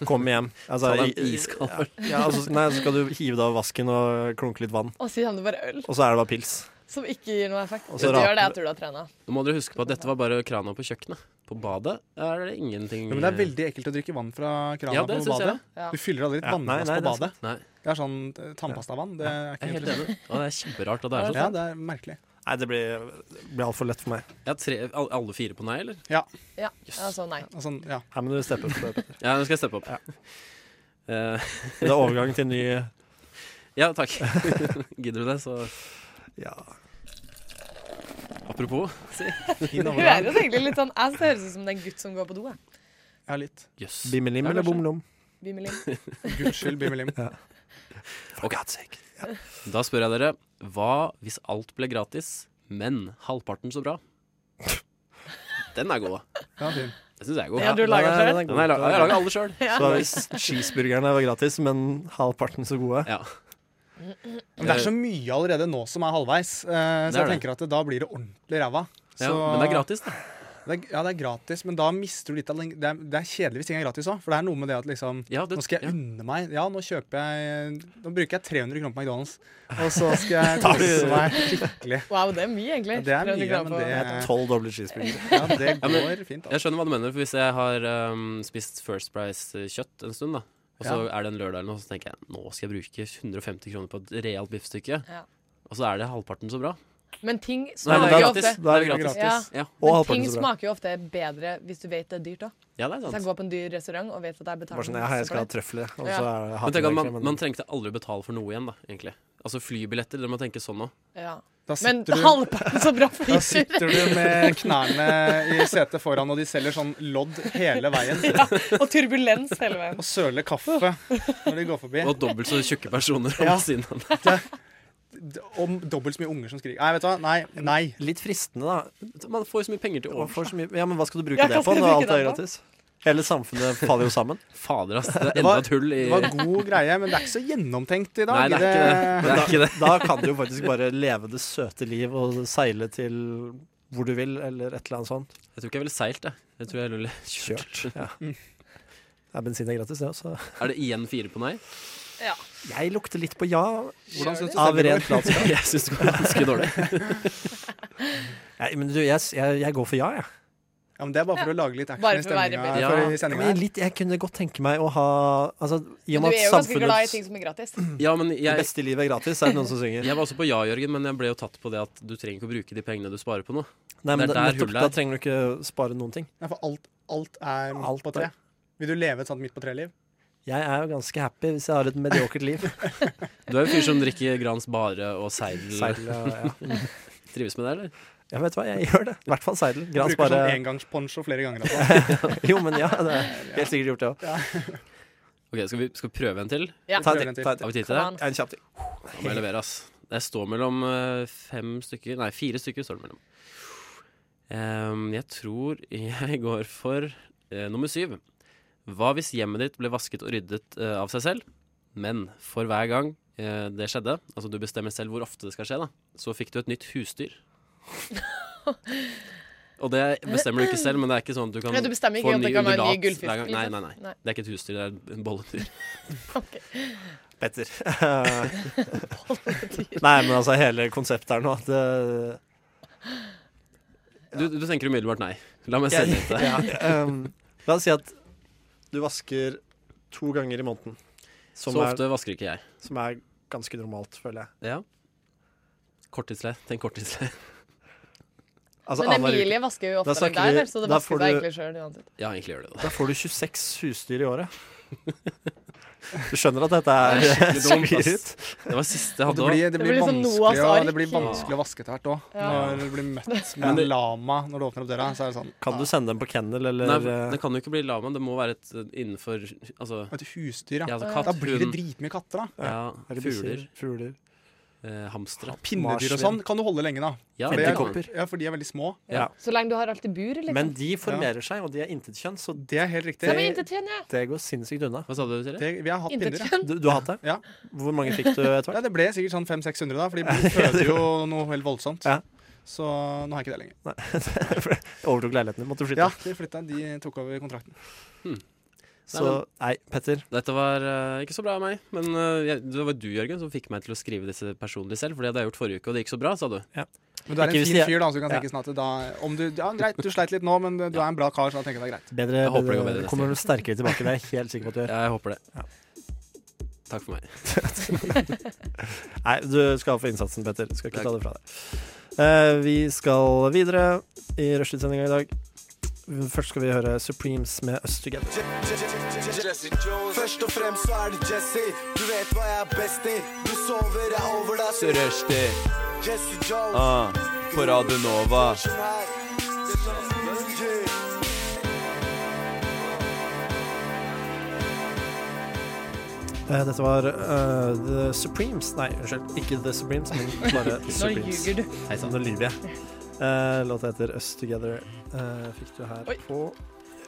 Speaker 7: Kom hjem.
Speaker 3: Ta
Speaker 7: Altså,
Speaker 3: deg en
Speaker 7: i- i-
Speaker 3: iskald øl.
Speaker 7: Ja, altså, nei, så skal du hive deg av vasken og klunke litt vann.
Speaker 6: Og så kommer det bare øl,
Speaker 7: Og så er det bare pils.
Speaker 6: som ikke gir noe effekt.
Speaker 7: Og
Speaker 6: Det
Speaker 7: så
Speaker 6: gjør
Speaker 7: raper
Speaker 6: det jeg
Speaker 7: du.
Speaker 6: tror du har trena.
Speaker 3: Nå må dere huske på at dette var bare krana på kjøkkenet. På badet er det ingenting
Speaker 2: Ja, men det er veldig ekkelt å drikke vann fra krana
Speaker 3: Ja, det
Speaker 2: på
Speaker 3: syns jeg.
Speaker 2: badet.
Speaker 6: Ja.
Speaker 2: Du fyller aldri et
Speaker 7: Ja, nei, nei,
Speaker 2: vannglass på
Speaker 7: det er
Speaker 2: badet.
Speaker 3: Nei,
Speaker 2: Det er sånn eh, tannpastavann. Det er
Speaker 3: jeg
Speaker 2: ikke
Speaker 3: er helt
Speaker 2: helt
Speaker 3: enig. Og det er kjemperart at det er sånn.
Speaker 2: Ja, det er merkelig.
Speaker 7: Nei, det blir, det blir altfor lett for meg.
Speaker 3: Jeg har tre, al- alle fire på nei, eller?
Speaker 6: Ja,
Speaker 3: Jøss.
Speaker 6: altså nei.
Speaker 2: Altså, ja.
Speaker 7: Her må du steppe opp. Petter.
Speaker 3: Ja, nå skal jeg steppe opp. Eh,
Speaker 7: Det er overgang til ny
Speaker 3: ja, takk. Gidder du det, så
Speaker 7: Ja.
Speaker 3: apropos.
Speaker 2: Fin overgang.
Speaker 6: Høres egentlig litt sånn Jeg ser ut som den gutt som går på do, jeg.
Speaker 2: Ja, litt.
Speaker 3: Jøss.
Speaker 7: Bimmelim
Speaker 3: Ja,
Speaker 7: eller
Speaker 3: kanskje.
Speaker 7: bomlom?
Speaker 6: Bimmelim.
Speaker 2: Guds skyld, bimmelim.
Speaker 7: For God's sake.
Speaker 3: Da spør jeg dere, hva hvis alt ble gratis, men halvparten så bra? Den er god, da.
Speaker 2: Ja, fin.
Speaker 3: Den syns jeg er god.
Speaker 6: Ja, du lager
Speaker 7: den er-
Speaker 6: selv?
Speaker 7: den er god.
Speaker 3: Den har jeg laget- jeg har laga alle sjøl.
Speaker 7: Så da hvis cheeseburgerne var gratis, men halvparten så gode
Speaker 3: Ja.
Speaker 2: Men det er så mye allerede nå som er halvveis, eh,
Speaker 3: Det er
Speaker 2: så jeg
Speaker 3: det.
Speaker 2: tenker at da blir det ordentlig ræva.
Speaker 3: ja,
Speaker 2: Så-
Speaker 3: men det er gratis, da.
Speaker 2: Det er, ja, det er gratis, men da mister du litt av den- det er, det er kjedelig hvis ting er gratis òg. For det er noe med det at liksom
Speaker 3: Ja, det,
Speaker 2: Nå skal jeg
Speaker 3: ja.
Speaker 2: unne meg. Ja, nå kjøper jeg Nå bruker jeg 300 kroner på McDonald's, og så skal jeg
Speaker 7: Tar du-
Speaker 2: kose meg skikkelig.
Speaker 6: Wow, det er mye, egentlig.
Speaker 2: Ja, det er
Speaker 6: 300
Speaker 2: mye,
Speaker 6: gram
Speaker 2: men det
Speaker 6: på-
Speaker 2: er
Speaker 3: Eh.
Speaker 7: Tolv doble cheeseburgere.
Speaker 2: Ja, det
Speaker 3: Ja, men-
Speaker 2: går fint. Altså.
Speaker 3: Jeg skjønner hva du mener, for hvis jeg har um, spist First Price-kjøtt en stund, da, og så er det en lørdag eller noe, så tenker jeg nå skal jeg bruke 150 kroner på et realt biffstykke,
Speaker 6: Ja.
Speaker 3: og så er det halvparten så bra.
Speaker 6: Men ting
Speaker 3: Nei, men
Speaker 6: smaker jo
Speaker 3: det
Speaker 6: ofte
Speaker 3: er
Speaker 7: Da er det
Speaker 3: Det er
Speaker 6: Ja.
Speaker 7: gratis.
Speaker 3: Ja,
Speaker 7: Og
Speaker 6: Men
Speaker 7: halvparten
Speaker 6: ting
Speaker 7: så bra.
Speaker 6: smaker jo ofte bedre hvis du vet det er dyrt òg.
Speaker 3: ja det er
Speaker 6: Hvis jeg
Speaker 3: sant.
Speaker 6: går på en dyr restaurant og vet at jeg betaler
Speaker 7: Bare sånn, ja, jeg
Speaker 6: masse
Speaker 7: skal ha
Speaker 6: for det.
Speaker 7: trøfler, og
Speaker 6: Ja.
Speaker 7: så er det
Speaker 3: Men tenk at
Speaker 7: hatten,
Speaker 3: man, man trengte aldri betale for noe igjen, da, egentlig. Altså flybilletter, dere må tenke sånn nå.
Speaker 6: Ja.
Speaker 2: Da
Speaker 6: Men
Speaker 2: sitter du
Speaker 6: halvparten så bra
Speaker 2: da
Speaker 6: flytur!
Speaker 2: sitter du med knærne i setet foran, og de selger sånn lodd hele veien.
Speaker 6: Ja, og turbulens hele veien.
Speaker 2: Og søler kaffe når de går forbi.
Speaker 3: Og dobbelt så tjukke personer
Speaker 2: Ja.
Speaker 3: ved siden av deg.
Speaker 2: D- Om dobbelt så mye unger som skriker. Nei, vet du hva. Nei. nei.
Speaker 7: Litt fristende, da.
Speaker 3: Man får jo så mye penger til
Speaker 7: Og
Speaker 3: overs.
Speaker 7: får så mye, ja, men hva skal du bruke
Speaker 6: Ja, hva
Speaker 7: det på
Speaker 6: skal du
Speaker 7: når
Speaker 6: bruke
Speaker 7: alt er
Speaker 6: det på?
Speaker 7: gratis? Hele samfunnet faller jo sammen.
Speaker 3: Fader, ass. Det er enda
Speaker 2: var-
Speaker 3: et hull i
Speaker 2: Det var god greie, men det er ikke så gjennomtenkt i dag.
Speaker 3: Nei, det er ikke det. det, er ikke det.
Speaker 7: Da kan du jo faktisk bare leve det søte liv og seile til hvor du vil, eller et eller annet sånt.
Speaker 3: Jeg tror ikke jeg ville seilt, jeg. Jeg tror jeg ville kjørt.
Speaker 7: Kjørt. Ja. Ja, bensin er gratis, det også.
Speaker 3: Er det igjen fire på nei?
Speaker 6: Ja.
Speaker 7: Jeg lukter litt på ja
Speaker 2: Hvordan synes du
Speaker 7: av
Speaker 2: selv det går?
Speaker 7: rent latskap.
Speaker 3: Jeg syns det går ganske dårlig.
Speaker 7: Ja, men du, jeg, jeg, jeg går for ja, jeg.
Speaker 2: Ja, men det er bare for å lage litt
Speaker 6: Bare for
Speaker 2: action i
Speaker 6: å være
Speaker 2: stemninga.
Speaker 6: bedre.
Speaker 2: Ja.
Speaker 3: Ja.
Speaker 2: i
Speaker 7: Ja,
Speaker 2: sendingen
Speaker 7: men
Speaker 2: her.
Speaker 7: litt, jeg kunne godt tenke meg å ha altså, I og
Speaker 6: Men du
Speaker 7: med
Speaker 6: er
Speaker 7: at
Speaker 6: jo ganske glad i
Speaker 7: samfunnets
Speaker 6: ting som er gratis.
Speaker 3: Ja, men
Speaker 7: det
Speaker 3: jeg,
Speaker 7: beste livet er gratis, er det noen som synger.
Speaker 3: Jeg var også på ja, Jørgen, men jeg ble jo tatt på det at du trenger ikke å bruke de pengene du sparer på noe.
Speaker 7: Nei, men
Speaker 3: Det er
Speaker 7: da-
Speaker 3: der
Speaker 7: nettopp,
Speaker 3: hullet
Speaker 7: da
Speaker 3: er.
Speaker 7: trenger du ikke spare noen ting.
Speaker 2: Ja, for alt, alt er midt
Speaker 7: Alt
Speaker 2: på
Speaker 7: er-
Speaker 2: tre. Vil du leve et sånt midt på tre-liv?
Speaker 7: Jeg er jo ganske happy hvis jeg har et mediokert liv.
Speaker 3: Du er en fyr som drikker Grans Bare og Seidel.
Speaker 7: Seidel, ja. ja.
Speaker 3: Trives med det, eller?
Speaker 7: Jeg vet hva, jeg gjør det. I hvert fall seidel.
Speaker 2: Du
Speaker 7: Grans
Speaker 2: bruker
Speaker 7: bare
Speaker 2: sånn engangsponcho flere ganger. Altså.
Speaker 7: Jo, men ja, det er helt sikkert gjort, det òg.
Speaker 3: Ok, Skal vi skal vi prøve en til?
Speaker 7: Ta en til. ta en til.
Speaker 3: Har vi tid til det?
Speaker 6: Come on.
Speaker 7: En kjapp til.
Speaker 3: Da må jeg levere, ass. Det står mellom eh, fem stykker Nei, fire stykker står det mellom. Ehm, jeg tror jeg går for eh, nummer syv. Hva hvis hjemmet ditt ble vasket og ryddet eh, av seg selv, men for hver gang eh, det skjedde, altså du bestemmer selv hvor ofte det skal skje, da, så fikk du et nytt husdyr. og det bestemmer du ikke selv, men det er ikke sånn at du kan
Speaker 6: Ja, du bestemmer ikke
Speaker 3: få
Speaker 6: at
Speaker 3: en ny
Speaker 6: det kan være ny
Speaker 3: undulat
Speaker 6: gullfisk,
Speaker 3: hver gang. Nei,
Speaker 6: liksom.
Speaker 3: nei, nei,
Speaker 6: Nei.
Speaker 3: Det er ikke et husdyr, det er en bolledyr.
Speaker 7: Petter. Nei, men altså, hele konseptet er nå at eh,
Speaker 3: Du, du tenker umiddelbart nei. La meg
Speaker 7: Jeg-
Speaker 3: sende det til deg.
Speaker 7: ja, um, La oss si at du vasker to ganger i måneden. Som,
Speaker 3: Så
Speaker 7: er,
Speaker 3: ofte vasker ikke jeg.
Speaker 7: som er ganske normalt, føler jeg.
Speaker 3: Ja. Korttidsleie. Tenk korttidsleie.
Speaker 7: Altså,
Speaker 6: Men
Speaker 7: annenhver uke.
Speaker 6: Emilie vasker jo oftere
Speaker 7: Da
Speaker 6: enn
Speaker 7: snakker
Speaker 6: deg,
Speaker 7: vi-
Speaker 6: vel, så det
Speaker 7: da
Speaker 6: vasker seg
Speaker 7: får du-
Speaker 6: egentlig sjøl uansett.
Speaker 3: Ja, egentlig gjør det det.
Speaker 7: Da får du 26 husdyr i året. Du skjønner at dette er
Speaker 3: Det er skikkelig dumt,
Speaker 7: sklir
Speaker 3: ass.
Speaker 7: ut?
Speaker 3: Det var siste jeg
Speaker 2: Og
Speaker 3: hadde
Speaker 2: det
Speaker 3: òg.
Speaker 2: blir, det
Speaker 6: Det
Speaker 2: blir,
Speaker 6: blir sånn Noahs
Speaker 2: vanskelig, å-
Speaker 6: ark.
Speaker 2: det blir vanskelig å vaske etter hvert òg.
Speaker 6: Ja.
Speaker 2: Når du blir møtt med en lama når du åpner opp døra, så er det sånn
Speaker 7: Kan du sende dem på kennel, eller
Speaker 3: Nei,
Speaker 7: eh,
Speaker 3: det kan jo ikke bli lama. Det må være et eh, innenfor Altså,
Speaker 2: ah, Et husdyr,
Speaker 3: ja,
Speaker 2: ja.
Speaker 3: altså
Speaker 2: Da
Speaker 3: katt,
Speaker 2: blir det
Speaker 3: hund,
Speaker 2: dritmye katter, da.
Speaker 3: ja,
Speaker 7: er det
Speaker 3: fugler,
Speaker 7: bikkjer, fugler.
Speaker 3: eh, hamstere.
Speaker 2: Pinnedyr og sånn kan du holde lenge, da.
Speaker 3: Ja,
Speaker 2: For,
Speaker 3: det
Speaker 2: det
Speaker 3: kan man.
Speaker 2: er, ja, for de er veldig små.
Speaker 6: Så lenge du har alt i bur, liksom.
Speaker 7: Men de formerer seg, og de er intetkjønn, så
Speaker 2: Det er helt
Speaker 6: Nei,
Speaker 2: riktig.
Speaker 6: men intet tjener jeg.
Speaker 7: det går sinnssykt unna.
Speaker 3: Hva sa du, Silje?
Speaker 2: Det, vi har hatt
Speaker 6: Intet
Speaker 2: pinner. ja.
Speaker 6: kjønn.
Speaker 7: Du, du har hatt det?
Speaker 2: Ja.
Speaker 7: Hvor mange fikk du etter hvert?
Speaker 2: Ja, det ble sikkert sånn 500-600, da, for de føder jo noe helt voldsomt.
Speaker 7: Ja.
Speaker 2: Så nå har jeg ikke det lenger.
Speaker 7: Overtok leiligheten din, måtte flytte.
Speaker 2: Ja, de flytta. De tok over kontrakten.
Speaker 7: Så nei, Petter,
Speaker 3: Dette var eh, ikke så bra av meg, men eh, jeg, det var du, Jørgen, som fikk meg til å skrive disse personlig selv. For det hadde jeg gjort forrige uke, og det gikk så bra, sa du.
Speaker 2: Men du
Speaker 7: Ikke
Speaker 2: er en
Speaker 7: hvis
Speaker 2: fin
Speaker 7: de-
Speaker 2: fyr, da, så du kan
Speaker 7: Ja.
Speaker 2: tenke sånn at da, om du Ja, greit, du sleit litt nå, men du er en bra kar, så da tenker jeg det er greit.
Speaker 7: bedre,
Speaker 3: Jeg håper det går bedre neste
Speaker 7: bedre, Eh, kommer du sterkere tilbake. Det er jeg helt sikker på at du gjør.
Speaker 3: Jeg håper det. Takk for meg.
Speaker 7: Nei, du skal ha for innsatsen, Petter. Skal ikke
Speaker 3: Takk.
Speaker 7: ta det fra deg. Eh, vi skal videre i rushtidssendinga i dag. Først skal vi høre Supremes med Us Together.
Speaker 8: Jesse Jones. Først og fremst så er det Jesse. Du vet hva jeg er best i. Du sover, jeg over deg. Så
Speaker 9: Rushdie
Speaker 8: Jesse Jones.
Speaker 9: ah, på Radio Nova.
Speaker 8: Som her. Yeah.
Speaker 7: Eh, dette var eh, The Supremes. Nei, unnskyld. Ikke The Supremes, men bare
Speaker 6: Nå
Speaker 7: Supremes.
Speaker 6: ljuger du.
Speaker 7: Hei sann, nå lyver jeg. Eh, låta heter Us Together. Eh, fikk du her
Speaker 6: Oi.
Speaker 7: på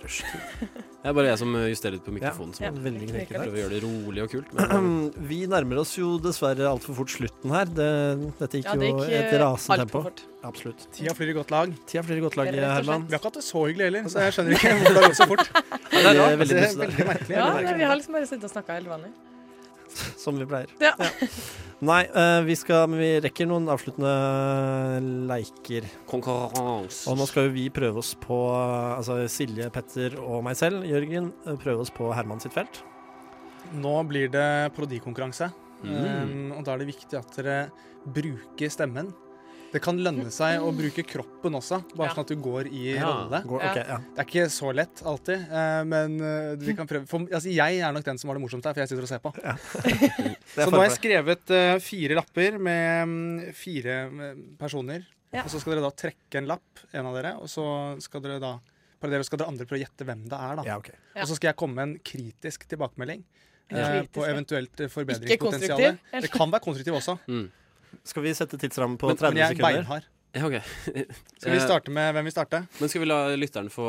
Speaker 7: rushtid.
Speaker 3: Det er bare jeg som eh, justerer litt på
Speaker 7: Ja,
Speaker 3: mikrofonen. som
Speaker 7: veldig knekende.
Speaker 3: prøver å gjøre det rolig og kult. Men
Speaker 7: Vi nærmer oss jo dessverre altfor fort slutten her. Det, dette gikk
Speaker 6: Ja, det
Speaker 7: jo
Speaker 6: gikk
Speaker 7: i et
Speaker 6: eh,
Speaker 7: rasende
Speaker 6: alt
Speaker 7: tempo.
Speaker 6: for fort.
Speaker 7: Absolutt.
Speaker 2: Tida flyr i godt lag.
Speaker 7: Tida flyr i godt lag,
Speaker 6: Rett og slett.
Speaker 7: Herman.
Speaker 2: Vi har ikke hatt det så hyggelig heller, så Altså, jeg skjønner ikke hvorfor det har gått så fort.
Speaker 7: Det er
Speaker 2: rart.
Speaker 7: veldig
Speaker 2: det er
Speaker 7: mysig,
Speaker 2: veldig merkelig.
Speaker 6: Ja,
Speaker 2: veldig
Speaker 6: nei,
Speaker 2: merkelig.
Speaker 6: vi har liksom bare sittet og snakka helt vanlig.
Speaker 7: da, som vi pleier.
Speaker 6: Ja.
Speaker 7: Nei, eh, vi skal, men vi rekker noen avsluttende eh, leiker.
Speaker 3: eh, konkurranse.
Speaker 7: Og nå skal jo vi prøve oss på eh, altså Silje, Petter og meg selv, Jørgen, eh, prøve oss på Herman sitt felt.
Speaker 2: Nå blir det parodikonkurranse,
Speaker 3: Mm.
Speaker 2: um, og da er det viktig at dere bruker stemmen. Det kan lønne seg å bruke kroppen også, bare
Speaker 6: Ja.
Speaker 2: sånn at du går i
Speaker 3: Ja.
Speaker 2: rolle.
Speaker 7: Går,
Speaker 6: Ja.
Speaker 7: ok, ja.
Speaker 2: Det er ikke så lett alltid, eh, men eh, vi kan prøve. For, altså, jeg er nok den som har det morsomst her, for jeg sitter og ser på. Så nå har jeg skrevet eh, fire lapper med mm, fire mm, personer.
Speaker 6: Ja.
Speaker 2: Og så skal dere da trekke en lapp, en av dere, og så skal dere da bare dere, og så skal dere andre prøve å gjette hvem det er. da.
Speaker 7: Ja, ok.
Speaker 6: Ja.
Speaker 2: Og så skal jeg komme med en kritisk tilbakemelding. eh,
Speaker 6: Kritisk,
Speaker 2: på
Speaker 6: ja.
Speaker 2: eventuelt eh,
Speaker 6: Ikke konstruktiv.
Speaker 2: forbedringspotensialet. Det kan være konstruktiv også,
Speaker 3: Mm.
Speaker 7: Skal vi sette tidsramme på
Speaker 2: men, men
Speaker 7: 30
Speaker 2: jeg er
Speaker 7: sekunder?
Speaker 2: beinhard.
Speaker 3: Ja, ok.
Speaker 2: Skal vi
Speaker 3: Eh,
Speaker 2: starte med hvem vil starte?
Speaker 3: Men skal vi la lytteren få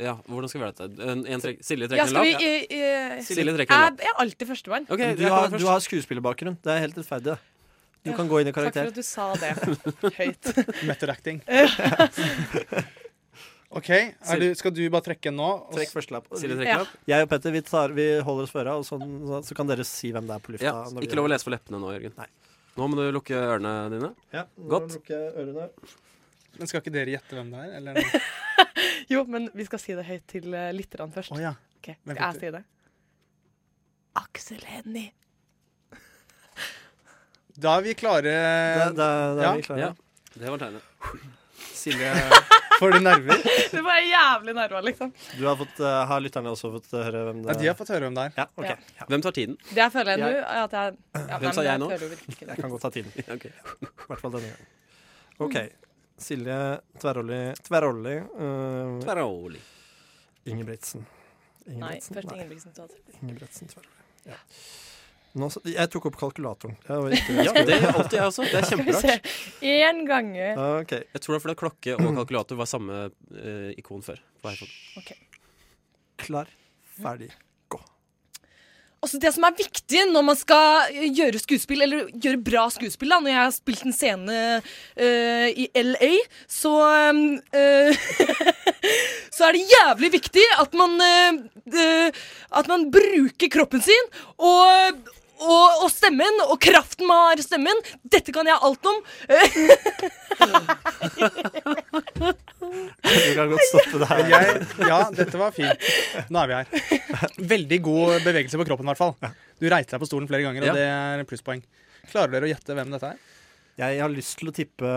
Speaker 3: Ja, hvordan skal vi gjøre dette? En, en trek, Silje
Speaker 6: Ja,
Speaker 3: trekker en
Speaker 6: skal vi
Speaker 3: lapp.
Speaker 6: i- i-
Speaker 3: Silje trekker en
Speaker 6: Jeg jeg er alltid førstemann.
Speaker 3: Ok,
Speaker 7: Du
Speaker 3: jeg
Speaker 7: har,
Speaker 3: kommer
Speaker 7: du
Speaker 3: først.
Speaker 7: har skuespillerbakgrunn. Det er helt rettferdig. det. Du
Speaker 6: Ja,
Speaker 7: kan gå inn i
Speaker 6: Takk for
Speaker 7: karakter.
Speaker 6: at du sa det høyt.
Speaker 2: Method acting. OK, er du, skal du bare trekke en nå? og
Speaker 7: Trekk første lapp.
Speaker 3: Silje trekker
Speaker 6: Ja.
Speaker 3: lapp.
Speaker 7: Jeg og Petter vi, tar, vi holder oss for øra, og sånn, så, så kan dere si hvem det er på lufta.
Speaker 3: Ja,
Speaker 7: når vi-
Speaker 3: ikke lov å lese for leppene nå, Jørgen.
Speaker 7: Nei.
Speaker 3: Nå må du lukke ørene dine.
Speaker 7: Ja, nå
Speaker 3: Godt.
Speaker 7: lukker jeg ørene.
Speaker 2: Men skal ikke dere gjette hvem det er? Eller?
Speaker 6: Jo, men vi skal si det høyt til eh, lytterne først.
Speaker 2: Å ja.
Speaker 6: Ok,
Speaker 2: Hvem
Speaker 6: Skal jeg
Speaker 2: fikk
Speaker 6: si det? Aksel Hennie.
Speaker 2: Da er vi klare.
Speaker 7: Da, da, da
Speaker 2: Ja.
Speaker 7: er vi klare.
Speaker 3: Ja. Det var tegnet.
Speaker 7: Silje
Speaker 2: Får du nerver?
Speaker 6: Du var jævlig nerva, liksom.
Speaker 7: Du har, fått, eh, har lytterne også fått eh, høre hvem det
Speaker 2: Ja, de har fått høre om det her.
Speaker 7: Ja, ok.
Speaker 6: Ja.
Speaker 7: Ja.
Speaker 3: Hvem tar tiden?
Speaker 6: Det føler jeg nå
Speaker 7: Jeg-
Speaker 6: at jeg ja,
Speaker 3: Hvem sa jeg nå?
Speaker 7: Jeg kan godt ta tiden.
Speaker 3: Ok.
Speaker 7: I hvert fall denne gangen. OK. Silje Tverrolli Tverrolli eh,
Speaker 3: Tverroli.
Speaker 7: Ingebrigtsen.
Speaker 6: Nei,
Speaker 7: Ingebrigtsen?
Speaker 6: først Ingebrigtsen. så at-
Speaker 7: Ingebrigtsen Tverrolli. Ja. Nå, så, jeg tok opp kalkulatoren. Jeg var ikke,
Speaker 3: Ja, det gjør alltid jeg også. Det er kjemperart.
Speaker 6: Én gange.
Speaker 7: OK.
Speaker 3: Jeg tror det er fordi klokke og
Speaker 7: Mm.
Speaker 3: kalkulator var samme eh, ikon før. På iPhone.
Speaker 7: Klar, ferdig.
Speaker 6: Også Altså, det som er viktig når man skal eh, gjøre skuespill, eller gjøre bra skuespill da, Når jeg har spilt en scene eh, i LA, så um, eh, Så er det jævlig viktig at man eh, eh, At man bruker kroppen sin og, og, og stemmen og kraften man har i stemmen. Dette kan jeg alt om.
Speaker 7: Du kan godt stoppe det her.
Speaker 2: Jeg, ja, dette var fint. Nå er vi her. Veldig god bevegelse på kroppen, i hvert fall. Du reiste deg på stolen flere ganger,
Speaker 3: Ja.
Speaker 2: og det er plusspoeng. Klarer dere å gjette hvem dette er?
Speaker 7: Jeg har lyst til å tippe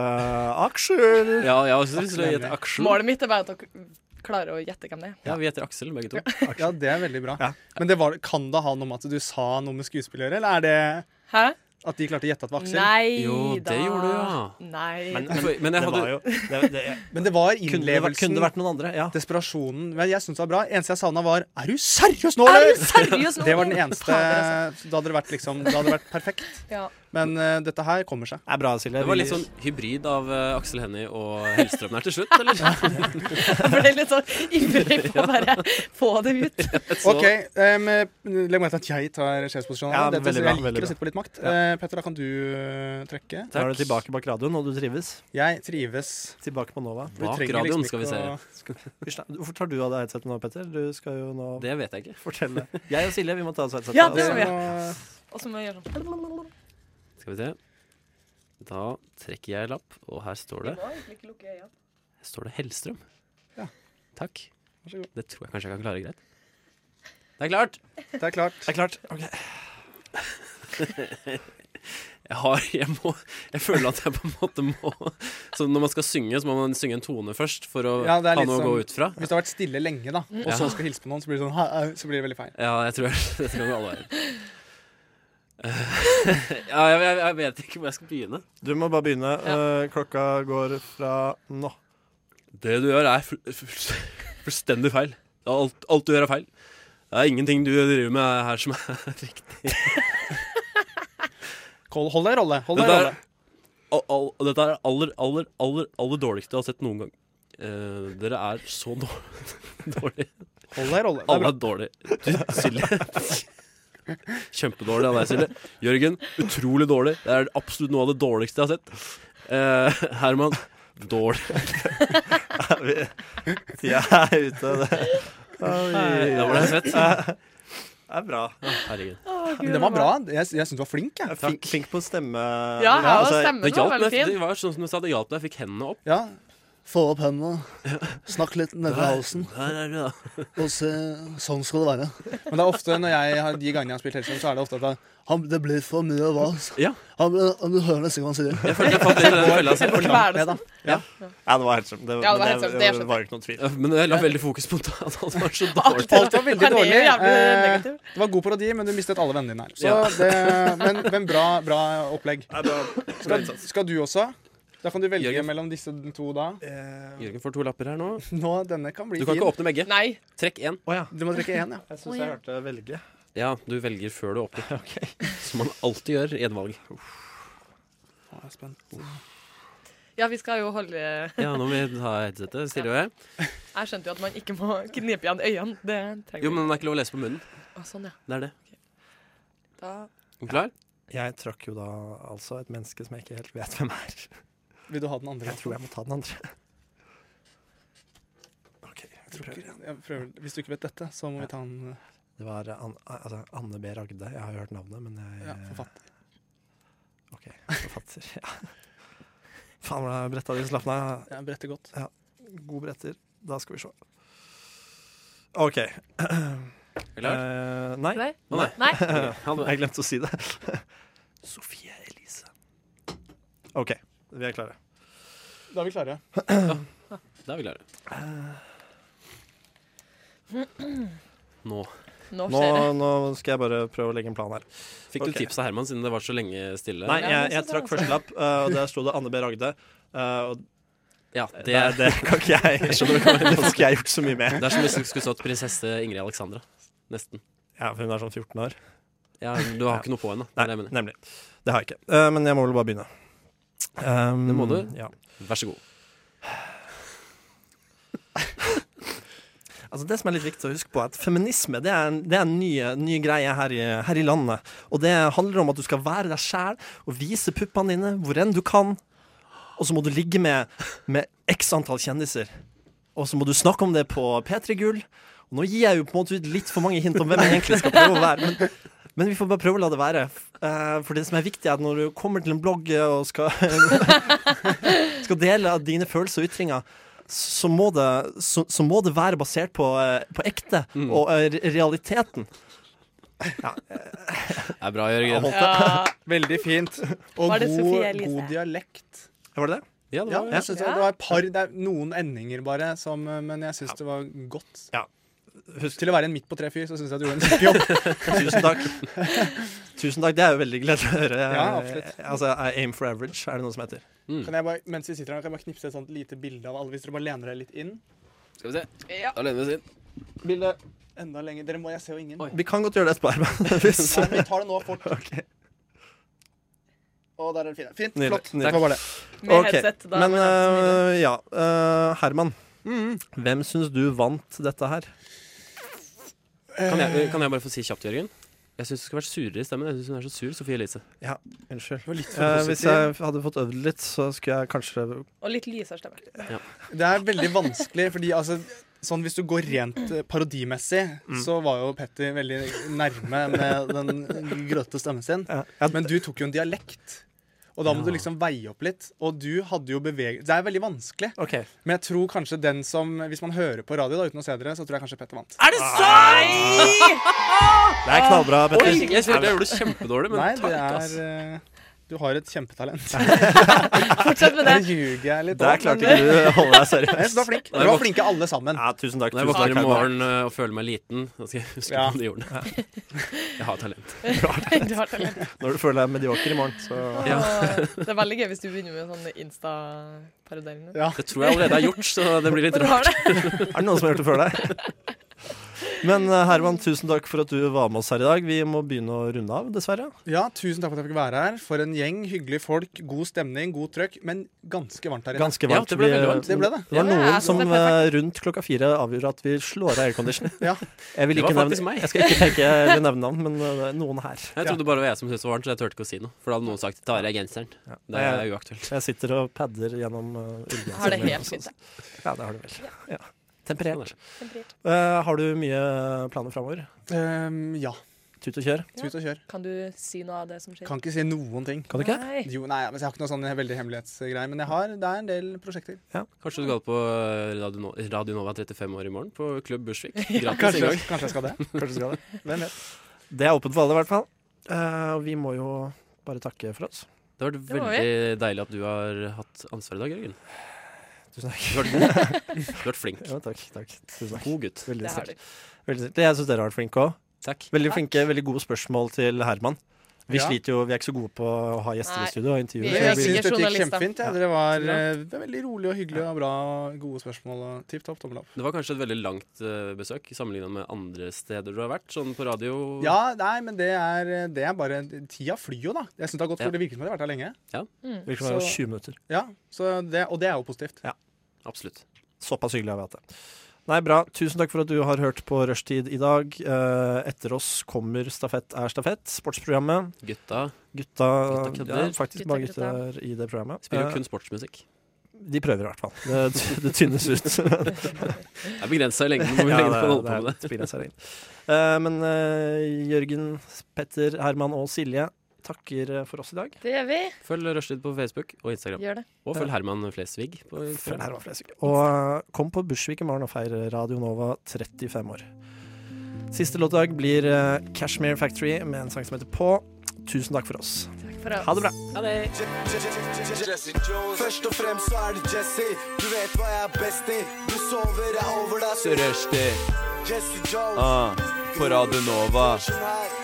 Speaker 7: aksjer.
Speaker 3: Ja, jeg har også lyst til å gjette Aksel.
Speaker 6: Målet mitt er bare at dere klarer å gjette hvem det er.
Speaker 3: Ja, vi heter Aksel, begge to.
Speaker 2: Ja, det er veldig bra.
Speaker 7: Ja.
Speaker 2: Men det var, kan det ha noe med at du sa noe med skuespill å gjøre, eller er det
Speaker 6: Hæ?
Speaker 2: at de klarte å gjette at det var Aksel?
Speaker 6: Nei
Speaker 3: Jo, det
Speaker 6: da.
Speaker 3: gjorde du, ja.
Speaker 6: Nei.
Speaker 7: Men,
Speaker 3: For- Men jeg
Speaker 7: det
Speaker 3: hadde
Speaker 7: var jo det, det,
Speaker 2: Men
Speaker 7: kunne, det
Speaker 2: det var
Speaker 7: vært,
Speaker 2: innlevelsen,
Speaker 7: kunne det vært noen andre? Ja.
Speaker 2: desperasjonen Men jeg syns det var bra. Eneste jeg savna, var Er du seriøs nå,
Speaker 6: er du
Speaker 2: eller?!
Speaker 6: seriøs nå?
Speaker 2: Det var den eneste
Speaker 6: Fader, altså.
Speaker 2: Da hadde det vært liksom Da hadde det vært perfekt.
Speaker 6: Ja.
Speaker 2: Men eh, dette her kommer seg.
Speaker 7: Det er bra, Silje.
Speaker 3: Det var
Speaker 7: Vi-
Speaker 3: litt sånn hybrid av eh, Aksel Hennie og Hellstrøm her til slutt, eller?
Speaker 6: Jeg ble litt sånn ivrig på å bare få det ut.
Speaker 3: Så-
Speaker 2: OK. Um, Legg merke til at jeg tar sjefsposisjonen.
Speaker 7: Ja,
Speaker 2: Dette-
Speaker 7: veldig bra,
Speaker 2: jeg
Speaker 7: veldig
Speaker 2: liker
Speaker 7: bra.
Speaker 2: å sitte på litt makt.
Speaker 7: Ja.
Speaker 2: Eh, Petter, da kan du eh, trekke.
Speaker 7: Da er du tilbake bak radioen, og du trives.
Speaker 2: Jeg trives.
Speaker 7: Tilbake på Nova.
Speaker 2: Du
Speaker 3: Bak
Speaker 2: trenger
Speaker 3: radioen, skal
Speaker 2: liksom
Speaker 3: vi
Speaker 2: ikke
Speaker 3: se.
Speaker 2: å-
Speaker 7: Hysj, nei, Hvorfor tar du av deg headsetet nå, Petter? Du skal jo nå
Speaker 3: Det vet jeg ikke.
Speaker 7: fortelle. Jeg og Silje, vi må ta oss headsetet.
Speaker 6: Ja,
Speaker 7: av.
Speaker 6: det må vi.
Speaker 2: må-
Speaker 6: Og så må jeg gjøre sånn.
Speaker 3: Skal vi se. Da trekker jeg lapp, og her står det Her står det Hellstrøm.
Speaker 2: Ja.
Speaker 3: Takk.
Speaker 2: Vær så god.
Speaker 3: Det tror jeg kanskje jeg kan klare greit. Det er klart!
Speaker 2: Det er klart.
Speaker 7: Det er klart. Ok.
Speaker 3: Jeg har Jeg må Jeg føler at jeg på en måte må Så når man skal synge, så må man synge en tone først for å
Speaker 2: Ja, det er
Speaker 3: ha
Speaker 2: litt
Speaker 3: noe å gå
Speaker 2: sånn-
Speaker 3: ut fra.
Speaker 2: Hvis det har vært stille lenge, da, og så skal hilse på noen, så blir det sånn «Hæ, au», Så blir det veldig feil.
Speaker 3: Ja, jeg tror dette kan gå alle veier. Eh, ja, jeg, jeg, jeg vet ikke hvor jeg skal begynne.
Speaker 7: Altså, Du må bare begynne. Eh, klokka går fra nå.
Speaker 3: Det du gjør er full, full, fullstendig feil. Alt, alt du gjør er feil. Det er ingenting du driver med her som er riktig.
Speaker 2: Hold hold deg i rolle. Hold deg
Speaker 3: Dette
Speaker 2: i
Speaker 3: er,
Speaker 2: rolle.
Speaker 3: al, al, dette er aller, aller, aller, aller dårligste jeg har sett noen gang. Eh, dere er så dår- dårlige.
Speaker 2: Hold deg i rolle. Det er
Speaker 3: Alle
Speaker 2: bra.
Speaker 3: er dårlige. Du, Silje. Kjempedårlig av deg, Silje. Jørgen, utrolig dårlig. Det er absolutt noe av det dårligste jeg har sett. Eh, Herman, dårlig.
Speaker 7: Tida er ute. Det,
Speaker 3: Da ble jeg svett.
Speaker 7: det er bra.
Speaker 3: Herregud.
Speaker 2: Men det var bra. Jeg, jeg syns du var flink. Jeg.
Speaker 7: Flink, flink på stemme.
Speaker 6: Ja, ja
Speaker 7: altså,
Speaker 3: Det
Speaker 6: stemmen var
Speaker 3: hjalp
Speaker 6: veldig
Speaker 3: meg.
Speaker 6: fin.
Speaker 3: Det var sånn som jeg sa, det hjalp meg. Jeg fikk hendene opp.
Speaker 2: Ja. Få opp hendene, snakk litt nedi halsen,
Speaker 3: Her er du, da.
Speaker 2: og se Sånn skal det være. Men det er ofte når jeg har de gangene jeg har spilt Hellstrøm, så er det ofte at jeg, han, det blir for mye vas.
Speaker 3: Ja.
Speaker 2: Han, han, du hører nesten hva han sier.
Speaker 3: Jeg følte jeg falt litt i den fella.
Speaker 2: For langt ned, da.
Speaker 7: Ja, det var Hellstrøm. Det,
Speaker 6: Ja, det var
Speaker 7: men
Speaker 6: Hellstrøm, det
Speaker 7: det,
Speaker 6: skjønte jeg.
Speaker 7: var jo ikke noen tvil.
Speaker 3: Men jeg la veldig fokus på at alt var så dårlig.
Speaker 2: Alt
Speaker 6: Han
Speaker 2: var veldig
Speaker 6: er jo
Speaker 2: dårlig.
Speaker 6: jævlig
Speaker 2: Eh,
Speaker 6: negativ.
Speaker 2: det var god parodi, men du mistet alle vennene dine her. Så
Speaker 3: Ja.
Speaker 2: det, men, men bra, bra opplegg.
Speaker 7: Nei, det var,
Speaker 2: Skal, skal du også? Da kan du velge
Speaker 3: Jørgen.
Speaker 2: mellom disse to da.
Speaker 3: Jørgen får to lapper her nå.
Speaker 2: Nå, denne kan bli
Speaker 3: Du kan
Speaker 2: fin.
Speaker 3: ikke åpne begge.
Speaker 6: Nei.
Speaker 3: Trekk én.
Speaker 7: Å ja.
Speaker 2: Du må trekke én, ja.
Speaker 7: Jeg syns jeg hørte velge.
Speaker 3: Ja, du velger før du åpner. Som man alltid gjør i et valg.
Speaker 2: Jeg er spent.
Speaker 6: Ja, vi skal jo holde Jeg
Speaker 3: Ja, nå må vi ta headsetet. Stille og jeg.
Speaker 6: skjønte jo at man ikke må knipe igjen øynene. Det trenger
Speaker 3: Jo, men den er ikke lov å lese på munnen.
Speaker 6: Å, sånn, ja.
Speaker 3: Det er det.
Speaker 6: Da...
Speaker 3: Er du Klar?
Speaker 7: Jeg trakk jo da altså et menneske som jeg ikke helt vet hvem er.
Speaker 2: Vil du ha den andre?
Speaker 7: Jeg tror jeg må ta den andre. OK, jeg
Speaker 2: Jeg tror
Speaker 7: prøver.
Speaker 2: ikke- jeg prøver. Hvis du ikke vet dette, så må vi ta en
Speaker 7: Det var An altså, Anne B. Ragde. Jeg har jo hørt navnet, men jeg
Speaker 2: ja, forfatter.
Speaker 7: Ok, forfatter. ja. Faen, hvor er bretta di slapp ned.
Speaker 2: Jeg bretter godt.
Speaker 7: God bretter. Da skal vi se. OK.
Speaker 3: Er du Klar?
Speaker 7: Eh, nei.
Speaker 6: Nei.
Speaker 3: Å, nei.
Speaker 6: Nei.
Speaker 7: Jeg glemte å si det. Sofie Elise. OK, vi er klare.
Speaker 2: Da er vi klare.
Speaker 3: Da er vi klare. Nå.
Speaker 6: Nå
Speaker 7: Nå,
Speaker 6: skjer det.
Speaker 7: nå skal jeg bare prøve å legge en plan her.
Speaker 3: Fikk du
Speaker 7: Ok.
Speaker 3: tips av Herman, siden det var så lenge stille?
Speaker 7: Nei,
Speaker 6: men
Speaker 7: jeg,
Speaker 6: så
Speaker 7: jeg
Speaker 6: bra,
Speaker 7: trakk
Speaker 6: altså.
Speaker 7: første lapp, eh, og der sto det Anne B. Ragde. eh, og
Speaker 3: Ja, Eh, det,
Speaker 7: det,
Speaker 3: er,
Speaker 7: det kan ikke jeg
Speaker 3: Jeg skjønner hva du mener.
Speaker 7: Det får ikke jeg gjort så mye med.
Speaker 3: det er som hvis det skulle stått prinsesse Ingrid Alexandra. Nesten.
Speaker 7: Ja, for Hun er sånn 14 år.
Speaker 3: Ja, du har ikke noe på henne. det
Speaker 7: Nei,
Speaker 3: er det jeg mener.
Speaker 7: nemlig. Det har jeg ikke. Eh, men jeg må vel bare begynne. Um,
Speaker 3: Det må du.
Speaker 7: Ja.
Speaker 3: Vær så god.
Speaker 7: Altså Det som er litt viktig å huske på, er at feminisme det er, en- det er en ny, ny greie her i, her i landet. Og det handler om at du skal være deg sjæl og vise puppene dine hvor enn du kan. Og så må du ligge med, med x antall kjendiser. Og så må du snakke om det på P3 Gull. Og nå gir jeg jo på en måte ut litt for mange hint om hvem jeg egentlig skal prøve å være. Men, men vi får bare prøve å la det være. Eh, For det som er viktig, er at når du kommer til en blogg og skal, skal dele av dine følelser og ytringer, så må det, så, så må det være basert på, eh, på ekte og eh, re- realiteten.
Speaker 3: Det er bra, Jørgen.
Speaker 5: Ja.
Speaker 2: Veldig fint. Og
Speaker 5: Var det Sofie
Speaker 2: god,
Speaker 5: Elise?
Speaker 2: god dialekt.
Speaker 7: Var det det?
Speaker 3: Ja, det
Speaker 2: Ja,
Speaker 3: var
Speaker 2: jeg synes det, var- det var et par, det er noen endinger bare, som, eh, men jeg syns det var godt.
Speaker 7: Ja.
Speaker 2: Til å være en midt på tre-fyr, så syns jeg du gjorde en kjempejobb.
Speaker 7: Tusen takk. Tusen takk, Det er jo veldig gledelig å høre.
Speaker 2: Ja, absolutt.
Speaker 7: altså, I aim for average, er det noe som heter.
Speaker 2: Kan jeg bare, mens vi sitter her, kan jeg bare knipse et sånt lite bilde av alle, hvis dere bare lener dere litt inn?
Speaker 3: Skal vi se. Da lener vi oss inn.
Speaker 2: Enda lenger. Dere må, jeg ser jo ingen.
Speaker 3: Oi.
Speaker 2: Nei,
Speaker 7: Vi kan godt gjøre det etterpå, Herman. Hvis
Speaker 2: men vi tar det nå fort.
Speaker 7: Ok.
Speaker 2: Og der er det fint. Fint,
Speaker 7: Nydelig,
Speaker 2: flott.
Speaker 7: nydelig.
Speaker 2: Det var bare det.
Speaker 5: Med
Speaker 7: Ok,
Speaker 5: headset. Da,
Speaker 7: Men
Speaker 5: med headset og videre.
Speaker 7: øh, ja, øh, Herman. Hvem syns du vant dette her?
Speaker 2: Eh.
Speaker 3: Kan jeg, kan jeg bare få si kjapt, Jørgen? Jeg syns du skal være surere i stemmen. Jeg syns hun er så sur, Sofie Elise.
Speaker 7: Unnskyld.
Speaker 2: Det var litt for
Speaker 7: Eh, hvis
Speaker 2: positivt.
Speaker 7: jeg hadde fått øvd litt, så skulle jeg kanskje
Speaker 6: Og litt lysere stemme.
Speaker 2: Det er veldig vanskelig, fordi altså Sånn Hvis du går rent eh, parodimessig,
Speaker 7: Mm.
Speaker 2: så var jo Petter veldig nærme med den grøtete stemmen sin.
Speaker 7: ja, ja,
Speaker 2: Men du tok jo en dialekt, og da må du liksom veie opp litt. Og du hadde jo beveget Det er veldig vanskelig,
Speaker 7: OK.
Speaker 2: men jeg tror kanskje den som Hvis man hører på radio da uten å se dere, så tror jeg kanskje Petter vant.
Speaker 3: Er det sant?!
Speaker 7: Det er knallbra, Petter.
Speaker 3: Oi, jeg følte jeg gjorde det kjempedårlig, men
Speaker 2: Nei, det
Speaker 3: takk, ass.
Speaker 2: er eh, Du har et kjempetalent.
Speaker 6: Fortsett med det.
Speaker 2: Der ljuger jeg litt.
Speaker 7: Der
Speaker 2: også,
Speaker 7: klarte
Speaker 2: men-
Speaker 7: ikke du å holde deg
Speaker 2: Nei, så
Speaker 7: seriøs.
Speaker 2: Du var flink. Dere var flinke alle sammen.
Speaker 7: Ja, tusen takk.
Speaker 3: Når jeg
Speaker 7: Tusen
Speaker 3: våkner
Speaker 7: takk
Speaker 3: i
Speaker 7: Herman.
Speaker 3: morgen ø, og føler meg liten, da skal jeg huske
Speaker 2: Ja.
Speaker 3: på de ordene. Jeg har talent.
Speaker 6: Du har talent.
Speaker 7: Når du føler deg medioker i morgen, så
Speaker 3: Ja.
Speaker 6: Åh, Det er veldig gøy hvis du begynner med sånne Insta-parodier.
Speaker 2: Ja.
Speaker 3: Det tror jeg allerede er gjort, så det blir litt
Speaker 6: Du
Speaker 3: rart.
Speaker 6: har det.
Speaker 7: Er det noen som har gjort det før deg? Men eh, Herman, tusen takk for at du var med oss her i dag. Vi må begynne å runde av, dessverre.
Speaker 2: Ja, Tusen takk for at jeg fikk være her. For en gjeng hyggelige folk. God stemning, god trøkk, men ganske varmt her inne.
Speaker 7: Ganske
Speaker 3: Ja,
Speaker 7: varmt.
Speaker 3: det ble
Speaker 7: Vi-
Speaker 3: veldig varmt.
Speaker 2: Det ble det.
Speaker 7: Det var
Speaker 6: Ja, jeg
Speaker 7: noen
Speaker 6: synes
Speaker 7: som
Speaker 6: det er perfekt.
Speaker 7: eh, rundt klokka fire avgjorde at vi slår av aircondition.
Speaker 2: Ja.
Speaker 7: Jeg, vil
Speaker 3: Det var
Speaker 7: ikke nevne,
Speaker 3: faktisk meg.
Speaker 7: jeg skal ikke tenke eller nevne navn, men eh, det er noen her.
Speaker 3: Jeg trodde bare det var jeg som syntes det var varmt, så jeg turte ikke å si noe. For da hadde noen sagt 'tar jeg genseren'. Det
Speaker 7: Nei,
Speaker 3: er
Speaker 7: jeg-
Speaker 3: uaktuelt.
Speaker 7: Jeg sitter og padder gjennom uh, ullgenseren.
Speaker 6: Har det
Speaker 7: min,
Speaker 6: helt
Speaker 7: så-
Speaker 6: fint, jeg.
Speaker 7: Ja, det har du vel. Ja. Temperert.
Speaker 3: Sånn er det.
Speaker 7: Eh, har du mye planer framover?
Speaker 2: Ehm, ja.
Speaker 7: Tut og kjør?
Speaker 2: Tut og kjør.
Speaker 6: Kan du si noe av det som skjer?
Speaker 2: Kan ikke si noen ting.
Speaker 7: Kan du ikke?
Speaker 6: Nei.
Speaker 2: Jo, nei, men Jeg har ikke noe sånn veldig hemmelighetsgreie, men jeg har, det er en del prosjekter.
Speaker 3: Kanskje du skal på eh, Radio Nova, Radio Nova 35 år i morgen, på Klubb Bursvik. Gratis
Speaker 2: Kanskje,
Speaker 3: inngang.
Speaker 2: kanskje jeg skal det. Kanskje skal det. Hvem vet.
Speaker 7: Det er åpent for alle, i hvert fall. Eh, og vi må jo bare takke for oss.
Speaker 3: Det har
Speaker 6: Det
Speaker 3: vært
Speaker 6: må vi.
Speaker 3: veldig deilig at du har hatt ansvar i dag, Jørgen.
Speaker 7: Tusen takk.
Speaker 3: Du har vært god. Du har vært flink.
Speaker 7: Ja, takk, takk. Tusen takk.
Speaker 3: God gutt.
Speaker 7: Veldig
Speaker 6: Det har
Speaker 7: sterkt.
Speaker 6: du.
Speaker 7: Veldig sterkt. Jeg syns dere har vært flinke òg.
Speaker 3: Takk.
Speaker 7: Veldig flinke, veldig gode spørsmål til Herman. Vi
Speaker 2: Ja.
Speaker 7: sliter jo, vi er ikke så gode på å ha gjester
Speaker 6: Nei.
Speaker 7: i studio og intervjuer.
Speaker 6: Vi
Speaker 7: så
Speaker 2: Jeg
Speaker 6: blir-
Speaker 2: syns dette gikk
Speaker 6: journalister.
Speaker 2: kjempefint. Ja. Dere var eh, det var veldig rolig og hyggelig og bra. og Gode spørsmål og tipp topp tommel opp.
Speaker 3: Det var kanskje et veldig langt eh, besøk sammenligna med andre steder du har vært, sånn på radio.
Speaker 2: Ja, nei, men det er, det er bare Tida flyr jo, da. Jeg synes Det har gått
Speaker 3: Ja.
Speaker 2: for det virker som jeg har vært her lenge.
Speaker 6: Mm.
Speaker 7: vi virker som det er
Speaker 2: Så-
Speaker 7: 20 minutter.
Speaker 2: Ja, så det, Og det er jo positivt.
Speaker 3: Absolutt.
Speaker 7: Såpass hyggelig har vi hatt det. Nei, bra. Tusen takk for at du har hørt på Rushtid i dag. Eh, etter oss kommer Stafett er stafett, sportsprogrammet.
Speaker 3: Gutta
Speaker 7: Gutta,
Speaker 3: Gutta kødder.
Speaker 7: ja, faktisk
Speaker 6: Gutta
Speaker 7: bare
Speaker 6: kødder.
Speaker 7: gutter i det programmet.
Speaker 3: spiller jo
Speaker 7: Eh,
Speaker 3: kun sportsmusikk.
Speaker 7: de prøver i hvert fall. Det, det tynnes ut.
Speaker 3: Det er begrensa i lengden hvor
Speaker 7: Ja,
Speaker 3: lenge
Speaker 7: det
Speaker 3: du
Speaker 7: er-
Speaker 3: kan holde på med det.
Speaker 7: det er begrenset regn. Eh, men eh, Jørgen, Petter, Herman og Silje takker eh, for oss i dag.
Speaker 6: Det gjør vi.
Speaker 3: Følg Rushtid på Facebook og Instagram.
Speaker 6: Gjør det.
Speaker 3: Og følg Herman Flesvig på
Speaker 7: Følg
Speaker 3: Instagram.
Speaker 7: Herman Flesvig. Og eh, kom på Bursvik i morgen og feir Radio Nova 35 år. Siste låtdag blir eh, Cashmere Factory med en sang som heter På. Tusen takk for oss.
Speaker 6: Takk.
Speaker 1: For å
Speaker 7: Ha det bra.
Speaker 9: Jesse Jones. Først og fremst så er det Jesse. Du vet hva jeg er best i. Du sover, jeg over deg.
Speaker 8: Rushdie
Speaker 9: Jesse Jones.
Speaker 8: ah, på Radio Nova.
Speaker 9: Kjør her.